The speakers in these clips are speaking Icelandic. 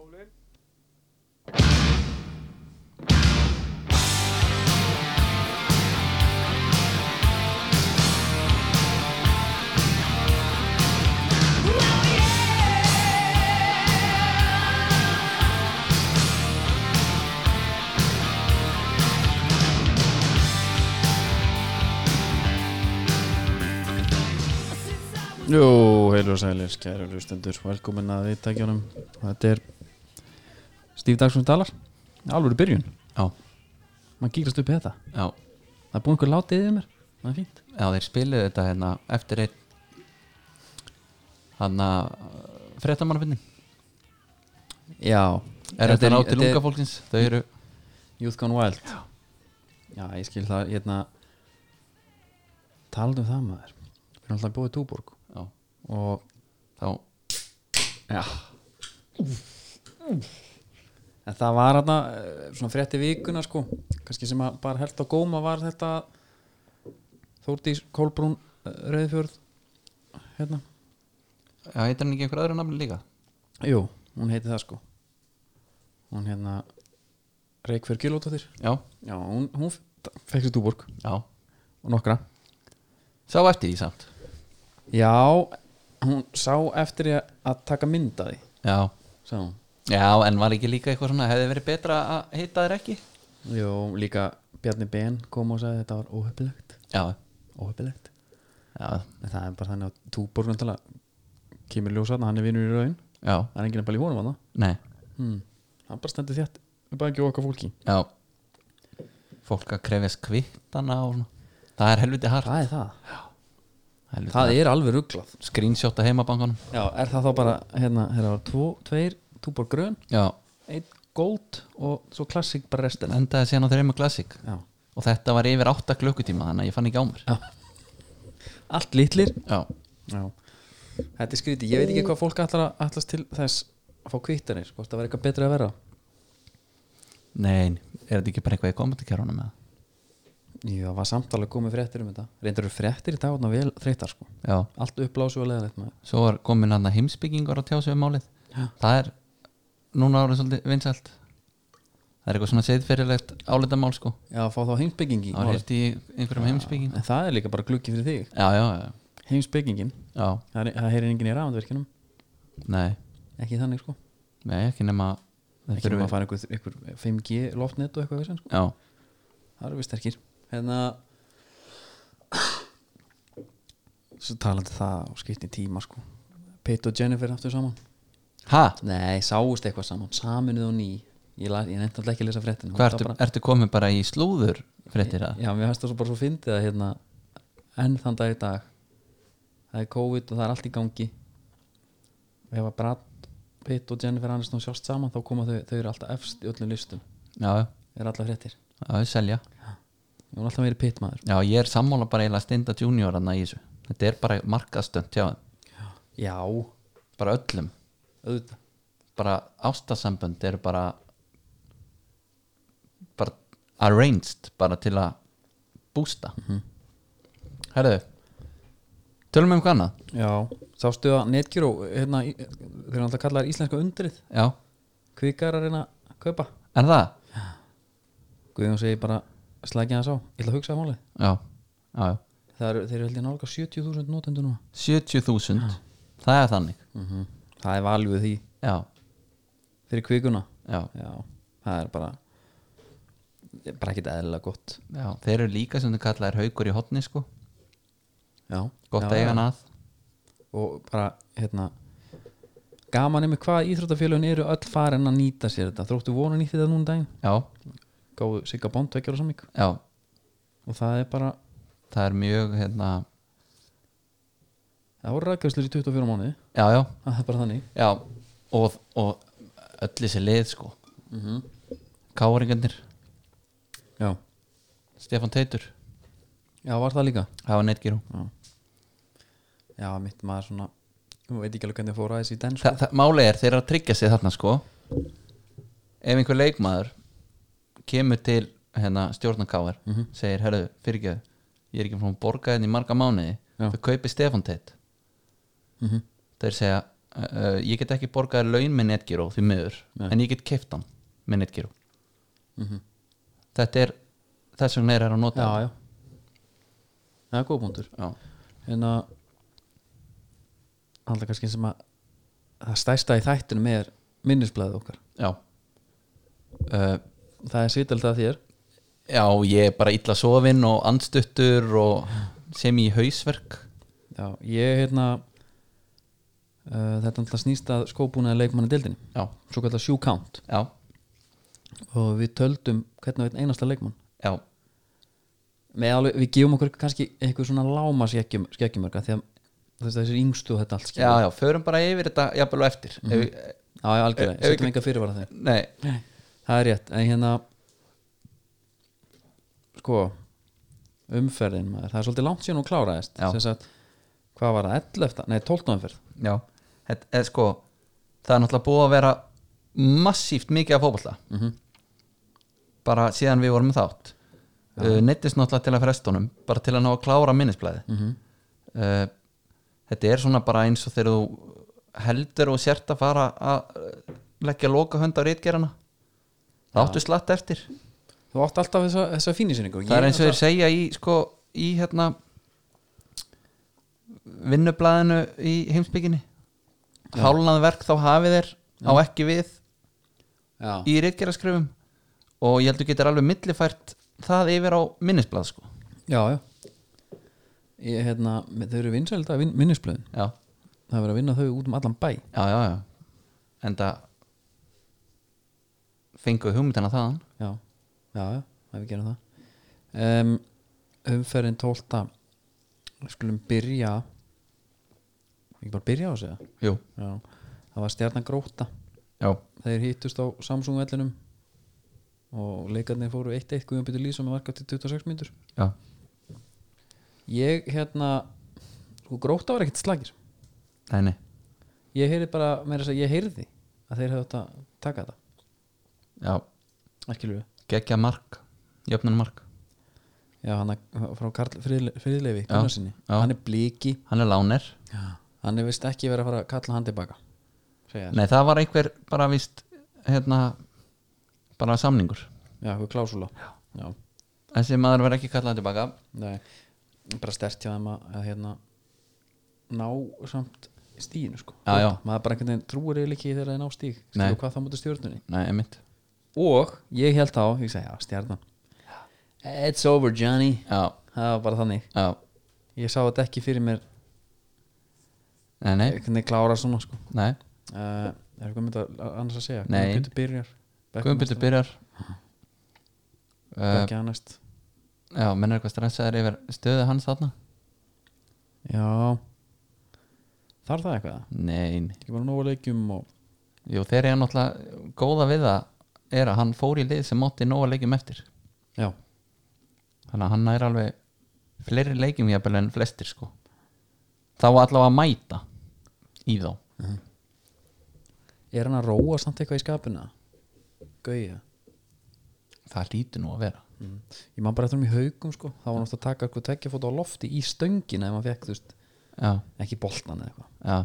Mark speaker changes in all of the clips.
Speaker 1: Ólin
Speaker 2: Jú, heilur og sælir, kæru hlustendur, velkomin að viðtækjunum Þetta er Stíf Dagsson talar, alveg byrjun
Speaker 3: Já.
Speaker 2: Maður gýrast upp í þetta,
Speaker 3: Já,
Speaker 2: það er búin einhver látið yfir mér, það er fínt
Speaker 3: já þeir spiluðu þetta hérna eftir einn hann að fréttamannafindin
Speaker 2: Já,
Speaker 3: Er þetta ná til unga fólksins? Mm. Þau eru
Speaker 2: Youth Gone Wild Já, ég skil það, hérna Talandi um það maður, við erum alltaf búið túborg
Speaker 3: já,
Speaker 2: Og,
Speaker 3: þá,
Speaker 2: já En það var hérna, eh, svona frétti vikuna sko kannski sem að bara held á góma var þetta Þórdís Kolbrún eh, Rauðfjörð hérna
Speaker 3: já, heitir hann ekki einhver öðru namni líka
Speaker 2: Jú, hún heiti það sko hún hérna Reykjör Gilóttir
Speaker 3: Já,
Speaker 2: Já, hún, hún fekk sér túborg
Speaker 3: já,
Speaker 2: og nokkra
Speaker 3: sá eftir því samt
Speaker 2: Já, hún sá eftir því að taka mynd að því
Speaker 3: Já,
Speaker 2: sá hún
Speaker 3: já, en var ekki líka eitthvað svona hefði verið betra að heita þér ekki
Speaker 2: Jú, líka Bjarni Ben kom og sagði þetta var óhefnilegt
Speaker 3: Já,
Speaker 2: óhefnilegt
Speaker 3: já,
Speaker 2: en það er bara þannig að túborg náttúrulega kemur ljósa hann er vinur í raun
Speaker 3: já,
Speaker 2: það er enginn að bæla í honum hann
Speaker 3: nei,
Speaker 2: hmm. hann bara stendur þétt við bara ekki okkar fólki
Speaker 3: já Fólk að krefjast kvittana og svona Það er helviti hart
Speaker 2: það er það
Speaker 3: helviti
Speaker 2: það er alveg rugglað
Speaker 3: hart. Screenshot að heimabankanum
Speaker 2: já, er það þá bara hérna, hérna var tvo, tveir túborg grön
Speaker 3: Já,
Speaker 2: einn gold og svo klassik bara restina
Speaker 3: endaði síðan á þreima klassik
Speaker 2: já.
Speaker 3: og þetta var yfir 8 klukkutíma þannig að ég fann ekki á mér
Speaker 2: já allt litlir
Speaker 3: já,
Speaker 2: já þetta er skrítið ég veit ekki hvað fólk ætlar að ætlast til þess að fá kvittanir hvort það var eitthvað betra að vera
Speaker 3: nein, er þetta ekki bara eitthvað í kommentarkerfunum með
Speaker 2: já, það var samtalið komið fréttir um þetta reyndur eru fréttir í dag og vel þreytar sko
Speaker 3: já,
Speaker 2: allt uppblásu og leðanett maður
Speaker 3: svo var komin hann að heimsbyggingar að tjá sig um málið
Speaker 2: Já.
Speaker 3: það er núna árið svolítið vinsælt það er eitthvað svona seðferðilegt álitamál sko,
Speaker 2: Já, fá þá heimsbyggingi
Speaker 3: það var hirt í einhverjum heimsbygging
Speaker 2: En það er líka bara gluggi fyrir þig
Speaker 3: já, já, já,
Speaker 2: Heimsbyggingin,
Speaker 3: já,
Speaker 2: það, er, það heyrir enginn í rafandverkinum
Speaker 3: nei
Speaker 2: Ekki þannig sko
Speaker 3: nei, ekki nema þeir
Speaker 2: Ekki um að
Speaker 3: þurfi-
Speaker 2: fara einhver, einhver 5G loftnet og eitthvað fyrir sko.
Speaker 3: já,
Speaker 2: Það eru við sterkir Hérna Svo talandi um það og skipti tíma sko Pete og Jennifer aftur saman
Speaker 3: ha,
Speaker 2: Nei, sáust eitthvað saman, saminuð og ný Ég, las, ég nefndi alltaf ekki að lesa fréttina
Speaker 3: hvað ertu, ertu komið bara í slúður fréttir að,
Speaker 2: Já, mér finnst það svo bara svo fyndið að hérna enn þann dag í dag það er COVID og það er allt í gangi og ef að Brad Pitt og Jennifer Aniston sjást saman þá koma þau, þau eru alltaf efst í öllum listum
Speaker 3: já, já,
Speaker 2: eru alltaf fréttir,
Speaker 3: já, selja
Speaker 2: ég var alltaf meiri Pitt maður
Speaker 3: Já, ég er sammála bara eiginlega steinda junior hann í þessu. Þetta er bara markastönd hjá þeim,
Speaker 2: Já,
Speaker 3: bara öllum
Speaker 2: auðvitað
Speaker 3: bara ástasambönd eru bara bara arranged bara til að bústa mm
Speaker 2: Mhm.
Speaker 3: -hmm. Herðu Tölum við um hvað annað?
Speaker 2: Já, sástu að Netgyro hérna, í- þau eru alltaf kallar íslenska undrið
Speaker 3: Já,
Speaker 2: kvikar að reyna að kaupa
Speaker 3: er það?
Speaker 2: Guðjón segi bara slækja hans á, ég ætla að hugsa að málið
Speaker 3: Já, já, já
Speaker 2: Það eru, þeir eru heldur nálga 70.000 notendur núna
Speaker 3: 70.000, það er þannig
Speaker 2: Það er valjúið því
Speaker 3: Já,
Speaker 2: fyrir kvikuna
Speaker 3: já,
Speaker 2: Já, það er bara bara ekkert eðlilega gott
Speaker 3: já Þeir eru líka sem þau kalla er haukur í hotni sko
Speaker 2: Já,
Speaker 3: Gott
Speaker 2: já,
Speaker 3: eiga hann að
Speaker 2: og bara, hérna gaman er með hvað íþróttafélögin eru öll farin að nýta sér þetta þróttu vonu nýtti þetta núna um daginn
Speaker 3: Já,
Speaker 2: gáðu Sigga Bond ekki ára samvík
Speaker 3: já,
Speaker 2: og það er bara,
Speaker 3: það er mjög hérna,
Speaker 2: það voru ræðgjöfslur í 24 mánuði
Speaker 3: já, já,
Speaker 2: það er bara þannig
Speaker 3: já og, og öll þessi lið sko
Speaker 2: mm -hmm.
Speaker 3: Káringarnir,
Speaker 2: Já,
Speaker 3: Stefan Teitur
Speaker 2: já, var það líka
Speaker 3: það var netgíró
Speaker 2: Já, mitt maður svona ég veit ekki alveg hvernig fóra þessi í den
Speaker 3: Þa,
Speaker 2: sko.
Speaker 3: það- Málið er þeir eru að tryggja sig þarna sko ef einhver leikmaður kemur til hérna, stjórnarkáar
Speaker 2: Mhm,
Speaker 3: segir, herru, fyrirgeðu ég hérna er ekki frá að borga henni í marga mánuði
Speaker 2: Já.
Speaker 3: þau kaupi Stefan Teit
Speaker 2: Mhm.
Speaker 3: þeir segja, uh, ég get ekki borgað laun með netgyró því miður,
Speaker 2: Nei.
Speaker 3: en ég get keift hann með netgyró þetta er, þess vegna er hann að nota
Speaker 2: mhm. já, já það er góð búndur
Speaker 3: Já.
Speaker 2: en að alltaf kannski sem að það stæsta í þættunum er minnisblæðið okkar
Speaker 3: já uh,
Speaker 2: það er svitalda þér
Speaker 3: já, ég er bara illa sofin og andstuttur og sem í hausverk
Speaker 2: já, ég hérna uh, þetta er alltaf snýst að skóbúnaði leikmanna deildinni
Speaker 3: já,
Speaker 2: svo kallar shoe count
Speaker 3: já,
Speaker 2: og við töldum hvernig við einn einasta leikmann
Speaker 3: já,
Speaker 2: Með alveg, við gefum okkur kannski einhver svona láma skekkjumörka því að þess að þessir yngstu og þetta allt
Speaker 3: já,
Speaker 2: skilur.
Speaker 3: já förum bara yfir þetta jafnvel og eftir mm -hmm.
Speaker 2: já, já, algjörlega,
Speaker 3: Ef- ef
Speaker 2: setjum enga fyrirvara þeim
Speaker 3: nei,
Speaker 2: það er rétt, en hérna sko umferðin maður, það er svolítið langt síðan hún kláraðist
Speaker 3: Já.
Speaker 2: sem sagt, hvað var það, 11 nei, 12 umferð,
Speaker 3: já þetta er sko, það er náttúrulega búið að vera massíft mikið af fótbolta
Speaker 2: Mhm.
Speaker 3: bara síðan við vorum með þátt uh, neittist náttúrulega til að frestunum bara til að ná að klára minnisblæði
Speaker 2: Mhm.
Speaker 3: uh, þetta er svona bara eins og þegar þú heldur og sért að fara að uh, leggja loka hönd á reitgerana það áttu slatt eftir
Speaker 2: þú átt alltaf þessa, þessa fínisýningu
Speaker 3: það er eins og þeir segja í sko í hérna vinnublaðinu í heimsbygginni hálnað verk þá hafið þeir á ekki við
Speaker 2: já,
Speaker 3: í reitgeraskrifum og ég heldur getur alveg millifært það yfir á minnisblað sko
Speaker 2: já, já. Ég, hérna, þau eru vinsælda vin, minnisblöðin,
Speaker 3: já,
Speaker 2: það er verið að vinna þau út um allan bæ
Speaker 3: já, já, já. en það fengu hugmyndina þaðan
Speaker 2: já, já, já, ef við gerum það um, umferðin 12 við skulum byrja ekki bara byrja á þessu eða?
Speaker 3: jú,
Speaker 2: já, það var stjarnan gróta
Speaker 3: já,
Speaker 2: þeir hittust á Samsung vellinum og leikarnir fóru 1-1 Guðjón Pétur Lýsson með marka til 26 mínútur
Speaker 3: já,
Speaker 2: ég hérna sko gróta var ekkert slagir
Speaker 3: nei, nei
Speaker 2: ég heyrði bara, meira þess að ég heyrði að þeir hefðu átt að taka þetta
Speaker 3: já,
Speaker 2: ekki ljóðu
Speaker 3: geggja mark jöfnun mark,
Speaker 2: já, hann að- frá Karl Friðle- Friðleifi
Speaker 3: Já,
Speaker 2: Gunnarsinni,
Speaker 3: já.
Speaker 2: hann er bliki
Speaker 3: hann er láner
Speaker 2: hann er vist ekki verið að fara að kalla hann tilbaka segja þér,
Speaker 3: nei, það var einhver bara vist hérna, bara samningur
Speaker 2: já, hvað klásula já,
Speaker 3: þessi maður verður ekki kallað tilbaka
Speaker 2: nei bara stert hjá þeim að, að hérna ná samt stíðinu sko
Speaker 3: Já, já.
Speaker 2: maður bara einhvern veginn trúir eiginlega ekki þegar þeir ná stíg
Speaker 3: Nei.
Speaker 2: og hvað þá mútu stjórnunni
Speaker 3: nei, emitt,
Speaker 2: og ég held þá, ég segi, já, stjarnan it's over Johnny
Speaker 3: já,
Speaker 2: það var bara þannig,
Speaker 3: já
Speaker 2: ég sá þetta ekki fyrir mér
Speaker 3: nei, nei,
Speaker 2: einhvern veginn klára svona sko
Speaker 3: nei,
Speaker 2: uh, er eitthvað mynd að annars að segja
Speaker 3: Nei.
Speaker 2: Guðmundur byrjar eh,
Speaker 3: Guðbjörn byrjar uh,
Speaker 2: ekki annast
Speaker 3: Eh, já, menn er eitthvað stressaður yfir stöðu hans þarna
Speaker 2: já þarf það eitthvað
Speaker 3: nei, nei.
Speaker 2: ekki bara nógu leikjum og
Speaker 3: jú, þeir eru náttúrulega góða við það er að hann fór í lið sem átti nóga leikjum eftir
Speaker 2: já,
Speaker 3: þannig að hann er alveg fleiri leikjum jafnvel en flestir sko þá allavega að mæta í þá
Speaker 2: er hann að róa samt eitthvað í skapina gauja
Speaker 3: það lítur nú að vera
Speaker 2: ég man bara eftir um í haugum sko þá var hann oft að taka eitthvað tekjafóta á lofti í stöngina ef maður fekk, þú veist,
Speaker 3: já,
Speaker 2: ekki boltan eða eitthvað
Speaker 3: já,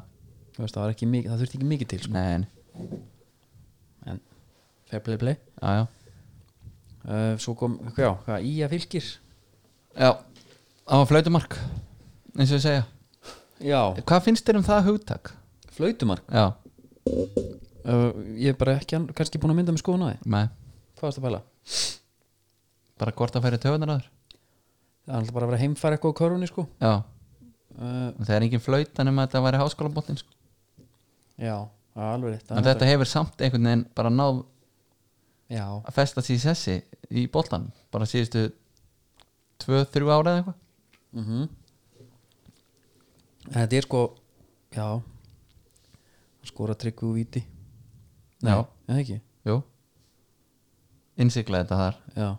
Speaker 2: Þú veist, það, var ekki mikið, það þurfti ekki mikið til sko.
Speaker 3: nei, nei,
Speaker 2: en fair play play
Speaker 3: já, já
Speaker 2: uh, svo kom, já, hvað, í að fylgir
Speaker 3: já, það var flautumark eins og ég segja,
Speaker 2: já,
Speaker 3: hvað finnst þér um það hugtak?
Speaker 2: flautumark
Speaker 3: já,
Speaker 2: uh, ég er bara ekki, ann- kannski búin að mynda með skoðun á því
Speaker 3: með,
Speaker 2: hvað varst að pæla?
Speaker 3: bara hvort að færi töfunar aður
Speaker 2: það er alltaf bara að vera heimfæra eitthvað á körfunni sko
Speaker 3: já,
Speaker 2: uh,
Speaker 3: og það er engin flauta nema að þetta væri háskólabotnin sko.
Speaker 2: já, það er alveg rétt það
Speaker 3: en
Speaker 2: er
Speaker 3: þetta hefur samt einhvern veginn bara náð
Speaker 2: þetta- já,
Speaker 3: að festa sig í sessi í boltan bara síðustu 2-3 ára eða eitthvað
Speaker 2: mm þetta er sko já skora tryggu og viti
Speaker 3: Já.
Speaker 2: er það ekki
Speaker 3: Jú Innsiklaði þetta þar
Speaker 2: já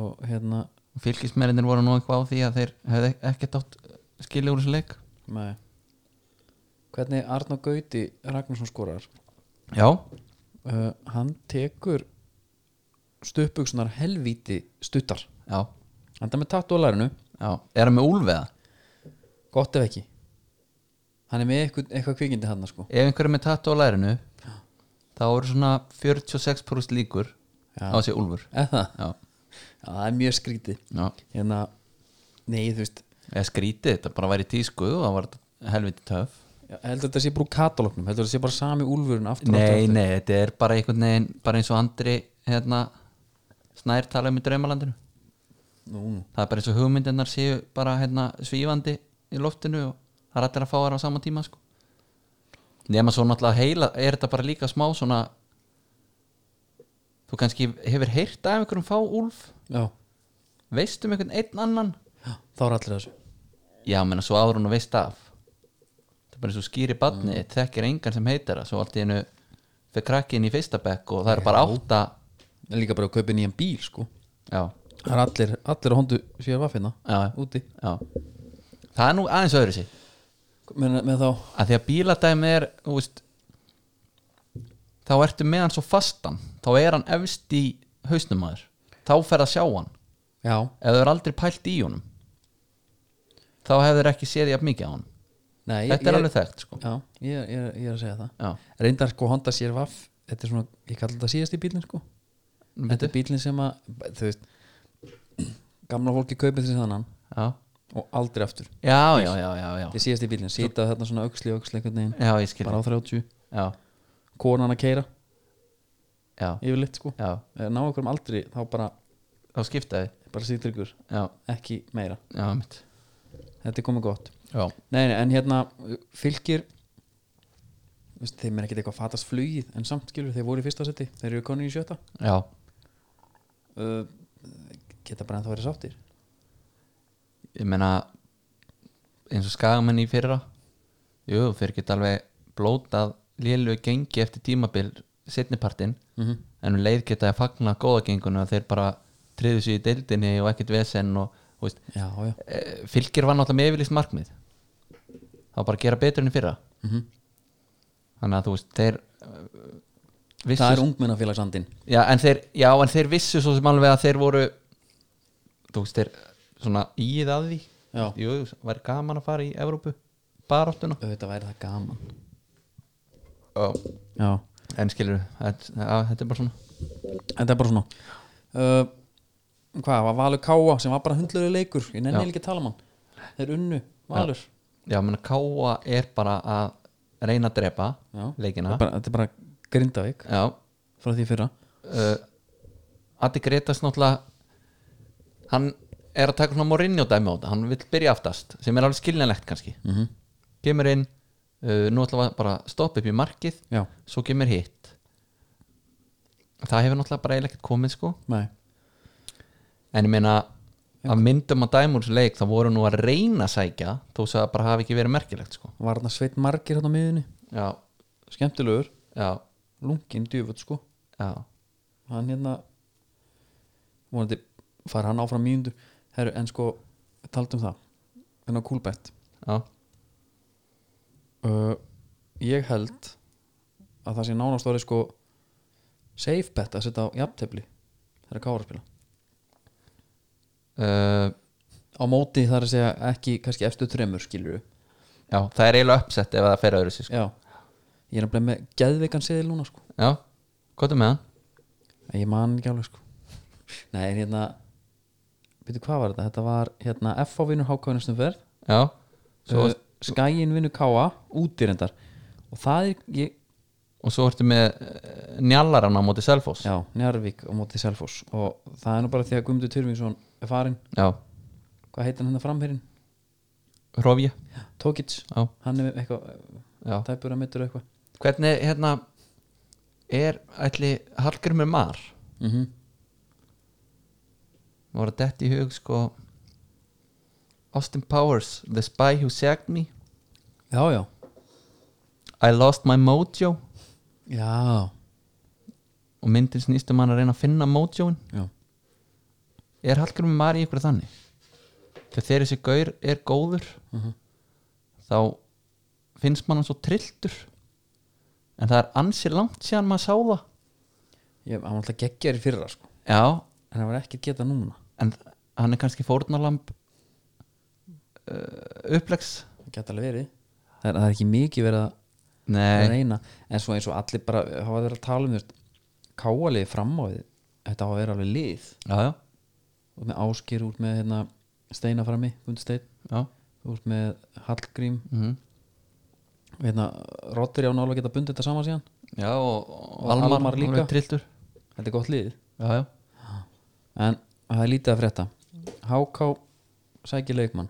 Speaker 2: og hérna
Speaker 3: Fylgismerinir voru nú eitthvað á því að þeir hefði ekkert átt skilja úr þessu leik
Speaker 2: með hvernig Arna Gauti Ragnarsson skorar
Speaker 3: Já,
Speaker 2: uh, hann tekur stuppugsunar helvíti stuttar
Speaker 3: já,
Speaker 2: hann er með tattu á lærinu,
Speaker 3: já Er hann með úlveða?
Speaker 2: gott ef ekki hann er með eitthvað, eitthvað kvikindi hann sko.
Speaker 3: ef einhver er með tattu á lærinu þá eru svona 46% líkur
Speaker 2: Já.
Speaker 3: á að sé úlfur
Speaker 2: eða það,
Speaker 3: já,
Speaker 2: já, það er mjög skrítið
Speaker 3: já.
Speaker 2: hérna, nei þú veist
Speaker 3: eða skrítið, þetta bara væri tísku og það var helviti töf
Speaker 2: já, heldur þetta sé bara úr katalóknum heldur þetta sé bara sami úlfurinn aftur og aftur
Speaker 3: nei,
Speaker 2: og aftur.
Speaker 3: nei, þetta er bara einhvern veginn bara eins og Andri hérna, snær talaði um í draumalandinu
Speaker 2: Nú, nú.
Speaker 3: það er bara eins og hugmyndirnar séu bara hérna, svífandi í loftinu og það er allir að fá þær á sama tíma sko. nema svo náttúrulega heila er þetta bara líka smá svona þú kannski hefur heyrt af einhverjum fá úlf
Speaker 2: já,
Speaker 3: veist um einhvern einn annan
Speaker 2: já, þá er allir að þessu
Speaker 3: já, menna svo áður hún og veist af það er bara eins og skýri badni mm. þekkir engan sem heitir það svo allt í einu fyrir krakkin í fyrsta bekk og það er bara átta
Speaker 2: En líka bara að kaupa nýjan bíl sko
Speaker 3: já,
Speaker 2: það er allir, allir á hondu sér vaffina
Speaker 3: já,
Speaker 2: úti,
Speaker 3: já það er nú aðeins öðru sig
Speaker 2: með, með þá
Speaker 3: að því að bíladæmi er þú veist, þá ertu með hann svo fastan þá er hann efst í hausnum maður þá fer að sjá hann
Speaker 2: já,
Speaker 3: ef þau eru aldrei pælt í honum þá hefur ekki séð jafn mikið á hann
Speaker 2: nei, ég-
Speaker 3: þetta er
Speaker 2: ég-
Speaker 3: alveg þekkt sko.
Speaker 2: já, ég, er- ég, er- ég er að segja það
Speaker 3: já,
Speaker 2: reyndar sko Honda sér vaff þetta er svona, ég kalla þetta síðasti bílinn sko
Speaker 3: Mm,
Speaker 2: þetta er bílinn sem að, þú veist gamla fólki kaupið þessi þannan
Speaker 3: já,
Speaker 2: og aldrei aftur,
Speaker 3: já, já, já, já, já.
Speaker 2: þetta er síðasti bílinn sitað þarna svona auksli, auksli einhvern veginn
Speaker 3: já ég skil
Speaker 2: bara á 30,
Speaker 3: já,
Speaker 2: konan að keira
Speaker 3: já,
Speaker 2: yfirleitt sko,
Speaker 3: já,
Speaker 2: Eh, ná okkur um aldri þá bara,
Speaker 3: þá skiptaði
Speaker 2: bara síðtryggur,
Speaker 3: já,
Speaker 2: ekki meira
Speaker 3: já, mitt
Speaker 2: þetta er komið gott
Speaker 3: já,
Speaker 2: Nei, nei, en hérna fylgir þú veist, þeim er ekkert eitthvað fatast flugið en samt skilur þeir voru í fyrsta seti, þeir eru konin í sjötta
Speaker 3: já
Speaker 2: uh, geta bara ennþá verið sáttir
Speaker 3: ég meina eins og skagamenn í fyrra jú, fyrir geta alveg blótað lélu gengi eftir tímabil setnipartin,
Speaker 2: mm -hmm.
Speaker 3: en um leið geta að fagna góða gengunum að þeir bara triðu sér í deildinni og ekkert vesen og þú veist,
Speaker 2: Já, já
Speaker 3: eh, fylgir var náttúrulega með yfirlýst markmið þá bara að gera betur enn í fyrra
Speaker 2: mm
Speaker 3: þannig að þú veist, þeir eh, vissu,
Speaker 2: Það er ungmennafélagsandinn
Speaker 3: já, en þeir, já, en þeir vissu svo sem alveg að þeir voru þú veist, þeir svona íð að því
Speaker 2: Já,
Speaker 3: jú, jú, væri gaman að fara í Evrópu baráttuna
Speaker 2: auðvitað væri það gaman
Speaker 3: en
Speaker 2: Já,
Speaker 3: skilur, þetta, að, þetta er bara svona
Speaker 2: en það er bara svona uh, Hvað, var Valur Káa sem var bara hundlöðu leikur, ég nenni
Speaker 3: Já.
Speaker 2: eiginlega ekki að tala mann Þeir unnu, Valur
Speaker 3: já, menn Káa er bara að reyna að drepa
Speaker 2: Já,
Speaker 3: leikina
Speaker 2: Þetta er bara, þetta er bara Grindavík
Speaker 3: já,
Speaker 2: frá því fyrra
Speaker 3: uh, Addi Gretas náttúrulega hann er að taka svona Mourinho dæmi á þetta, hann vill byrja aftast sem er alveg skiljanlegt kannski
Speaker 2: mm -hmm.
Speaker 3: kemur inn, uh, nú ætlum við að bara stoppa upp í markið,
Speaker 2: Já,
Speaker 3: svo kemur hitt það hefur náttúrulega bara eiginlega ekkert komið sko
Speaker 2: nei,
Speaker 3: en ég meina að myndum að dæmur þessu leik þá voru nú að reyna að sækja þó svo það bara hafi ekki verið merkilegt sko.
Speaker 2: var þarna sveit margir hérna á miðunni
Speaker 3: já,
Speaker 2: skemmtilegur,
Speaker 3: já,
Speaker 2: lungin djöfut sko
Speaker 3: já,
Speaker 2: hann hérna vonandi fara hann áfram mínundur Heru, en sko, taldum það en á Coolbet
Speaker 3: já,
Speaker 2: uh, ég held að það sé nánast orðið sko safe bet að setja á jafntefli þegar kára spila
Speaker 3: uh,
Speaker 2: á móti þar að segja ekki kannski efstu þremur skilur við
Speaker 3: já það er eiginlega uppsett ef það fer öðru sér sko.
Speaker 2: já, ég er að með geðveikan seðil núna sko
Speaker 3: já, hvað er með hann?
Speaker 2: En ég man ekki alveg sko nei, en hérna veitu hvað var þetta, þetta var hérna F.A. vinnur hákáðinastum verð
Speaker 3: já, svo,
Speaker 2: Svo uh, Skæin vinnur K.A. útirendar og það er ég,
Speaker 3: og svo ertu með uh, njallarann á móti Selfoss já,
Speaker 2: já, Njarvík á móti Selfoss og það er nú bara því að Guðmundur Tyrfingsson er farinn,
Speaker 3: já.
Speaker 2: hvað heitir hann hérna framherinn
Speaker 3: Hrofja,
Speaker 2: Tókits,
Speaker 3: já,
Speaker 2: hann er eitthvað
Speaker 3: já
Speaker 2: tæpur að mittur eitthvað
Speaker 3: hvernig, hérna er ætli Hallgrimur Mar
Speaker 2: mm -hmm.
Speaker 3: voru dett í hug sko Austin Powers, The Spy Who Sagged Me
Speaker 2: já, já,
Speaker 3: I lost my mojo
Speaker 2: já,
Speaker 3: og myndin snýst um hann að reyna að finna mojoin
Speaker 2: já.
Speaker 3: er Hallgrimur Mar í ykkur þannig þegar þegar þessi gaur er góður
Speaker 2: Mhm.
Speaker 3: þá finnst mann hann svo trilltur en það er ansi langt síðan maður sá það
Speaker 2: Ég, hann var alltaf geggjar í fyrra sko
Speaker 3: já,
Speaker 2: en hann var ekki að geta núna
Speaker 3: en hann er kannski fórnalamb uh, upplegs
Speaker 2: það geta alveg verið það er, það er ekki mikið verið að
Speaker 3: Nei,
Speaker 2: reyna en svo eins og allir bara hafa verið að tala um þú veist, káaliði fram á því þetta hafa verið alveg lið
Speaker 3: já, já,
Speaker 2: og með áskir út með hérna, steina frammi, Gunnsteinn
Speaker 3: já
Speaker 2: út með Hallgrím
Speaker 3: mm
Speaker 2: hérna, Rottir á nála geta bundið þetta saman síðan
Speaker 3: Já, og, og
Speaker 2: Og
Speaker 3: Almar,
Speaker 2: Almar líka.
Speaker 3: alveg trilltur
Speaker 2: þetta er gott lið
Speaker 3: Já, já,
Speaker 2: en það er lítið að frétta HK sækir leikmann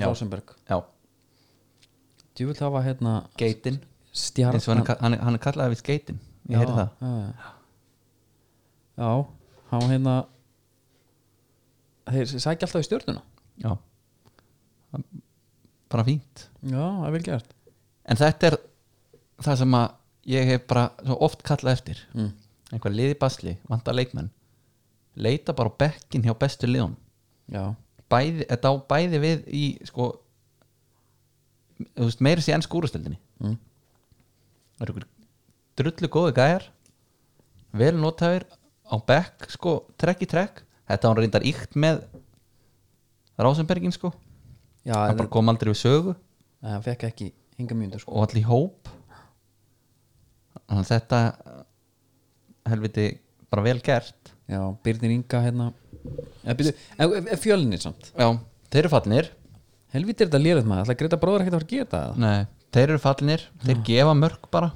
Speaker 3: Já.
Speaker 2: Rosenberg
Speaker 3: já,
Speaker 2: þú vil hafa hérna
Speaker 3: geitin
Speaker 2: stjarnan
Speaker 3: Eins og hann, er ka- hann, er- hann er kallaði við geitin Ég heyrði það
Speaker 2: já, já. já, hann var hérna þeir sækja alltaf í stjórnuna
Speaker 3: Já Bara fínt
Speaker 2: já, það er vel gert
Speaker 3: En þetta er það sem að ég hef bara svo oft kallað eftir
Speaker 2: mm.
Speaker 3: einhver liði basli, vantar leikmenn leita bara á bekkin hjá bestu liðun
Speaker 2: já,
Speaker 3: bæði, þetta á bæði við í sko þú veist, meira sér enn skúrastöldinni
Speaker 2: mm.
Speaker 3: það eru ykkur drullu góði gæjar vel notaðir á bekk sko, trekk í trekk þetta hann reyndar íkt með Rásenbergin sko
Speaker 2: já
Speaker 3: hann
Speaker 2: en
Speaker 3: bara kom aldrei við sögu
Speaker 2: en hann fekk ekki hinga mjöndur sko.
Speaker 3: og allir í hóp þannig að þetta eh, helviti bara vel gert
Speaker 2: já, Byrnir Inga hérna en, byrju, en, en, en fjölinni samt
Speaker 3: já, þeir eru fallinir
Speaker 2: helvítið er þetta lérið maður, alltaf greita bróður ekkert að fara að geta það
Speaker 3: Nei, þeir eru fallinir, þeir gefa mörg bara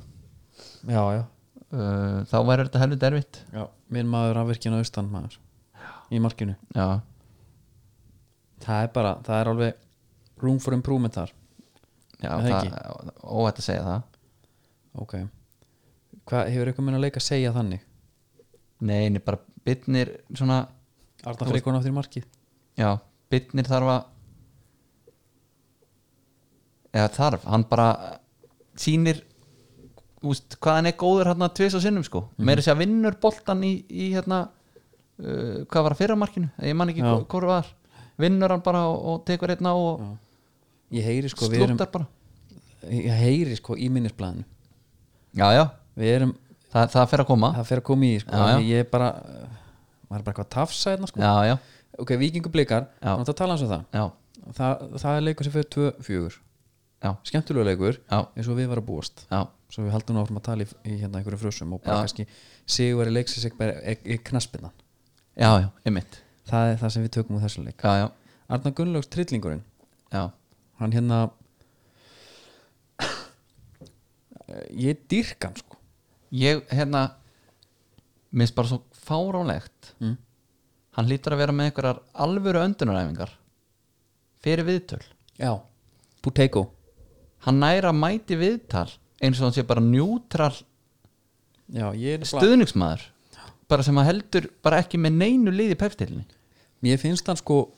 Speaker 2: já, já,
Speaker 3: uh, þá væri þetta helviti erfitt
Speaker 2: já minn maður afvirkjana austan maður í markinu
Speaker 3: já,
Speaker 2: það er bara, það er alveg room for improvement þar
Speaker 3: já
Speaker 2: Er það ekki?
Speaker 3: það, óætt að segja það
Speaker 2: ok Hva, hefur eitthvað mun að leika að segja þannig
Speaker 3: Nei, nei, bara bytnir svona,
Speaker 2: Arna Freikon áttir í markið
Speaker 3: já, bytnir þarf að eða þarf, hann bara sýnir úst, hvað hann er góður hérna tvis og sinnum sko,
Speaker 2: Mhm.
Speaker 3: meira sér að vinnur boltan í, í hérna uh, hvað var að fyrra markinu, ég man ekki
Speaker 2: Já.
Speaker 3: hvo- hvor var, vinnur hann bara og, og tekur hérna og
Speaker 2: ég heyri sko, við erum
Speaker 3: slúttar bara
Speaker 2: ég heyri sko í minnisblæðinu
Speaker 3: já, já,
Speaker 2: við erum,
Speaker 3: Þa, það fer að koma
Speaker 2: það fer að koma í því, sko,
Speaker 3: Ah. Já, já.
Speaker 2: já, ég er bara maður er bara eitthvað að tafsa hérna sko
Speaker 3: Já, já,
Speaker 2: ok, vikingu blikar,
Speaker 3: Já.
Speaker 2: þannig að tala hans um það
Speaker 3: já,
Speaker 2: það, það er leikur sem fyrir 2-4
Speaker 3: já,
Speaker 2: skemmtulega leikur,
Speaker 3: já,
Speaker 2: eins og við varum að búast
Speaker 3: já,
Speaker 2: svo við haldum áfram að tala í, í hérna einhverju frösum og bara
Speaker 3: Já.
Speaker 2: kannski sigur í leiksins í knaspinnan
Speaker 3: já, já, einmitt
Speaker 2: það er það sem við tökum úr þessu leik
Speaker 3: Já, já,
Speaker 2: Arna Gunnlaugs trillingurinn
Speaker 3: já,
Speaker 2: hann hérna ég dýrk hann sko
Speaker 3: ég, hérna mér finnst bara svo fáránlegt
Speaker 2: Mm.
Speaker 3: hann hlýtur að vera með einhverjar alvöru öndunaræfingar fyrir viðtöl
Speaker 2: já, Buteyko
Speaker 3: hann næra mæti viðtal eins og hann sé bara njútral
Speaker 2: já, ég er nefnilega-
Speaker 3: stuðningsmaður bara sem að heldur bara ekki með neinu liði peftilinni
Speaker 2: mér finnst hann sko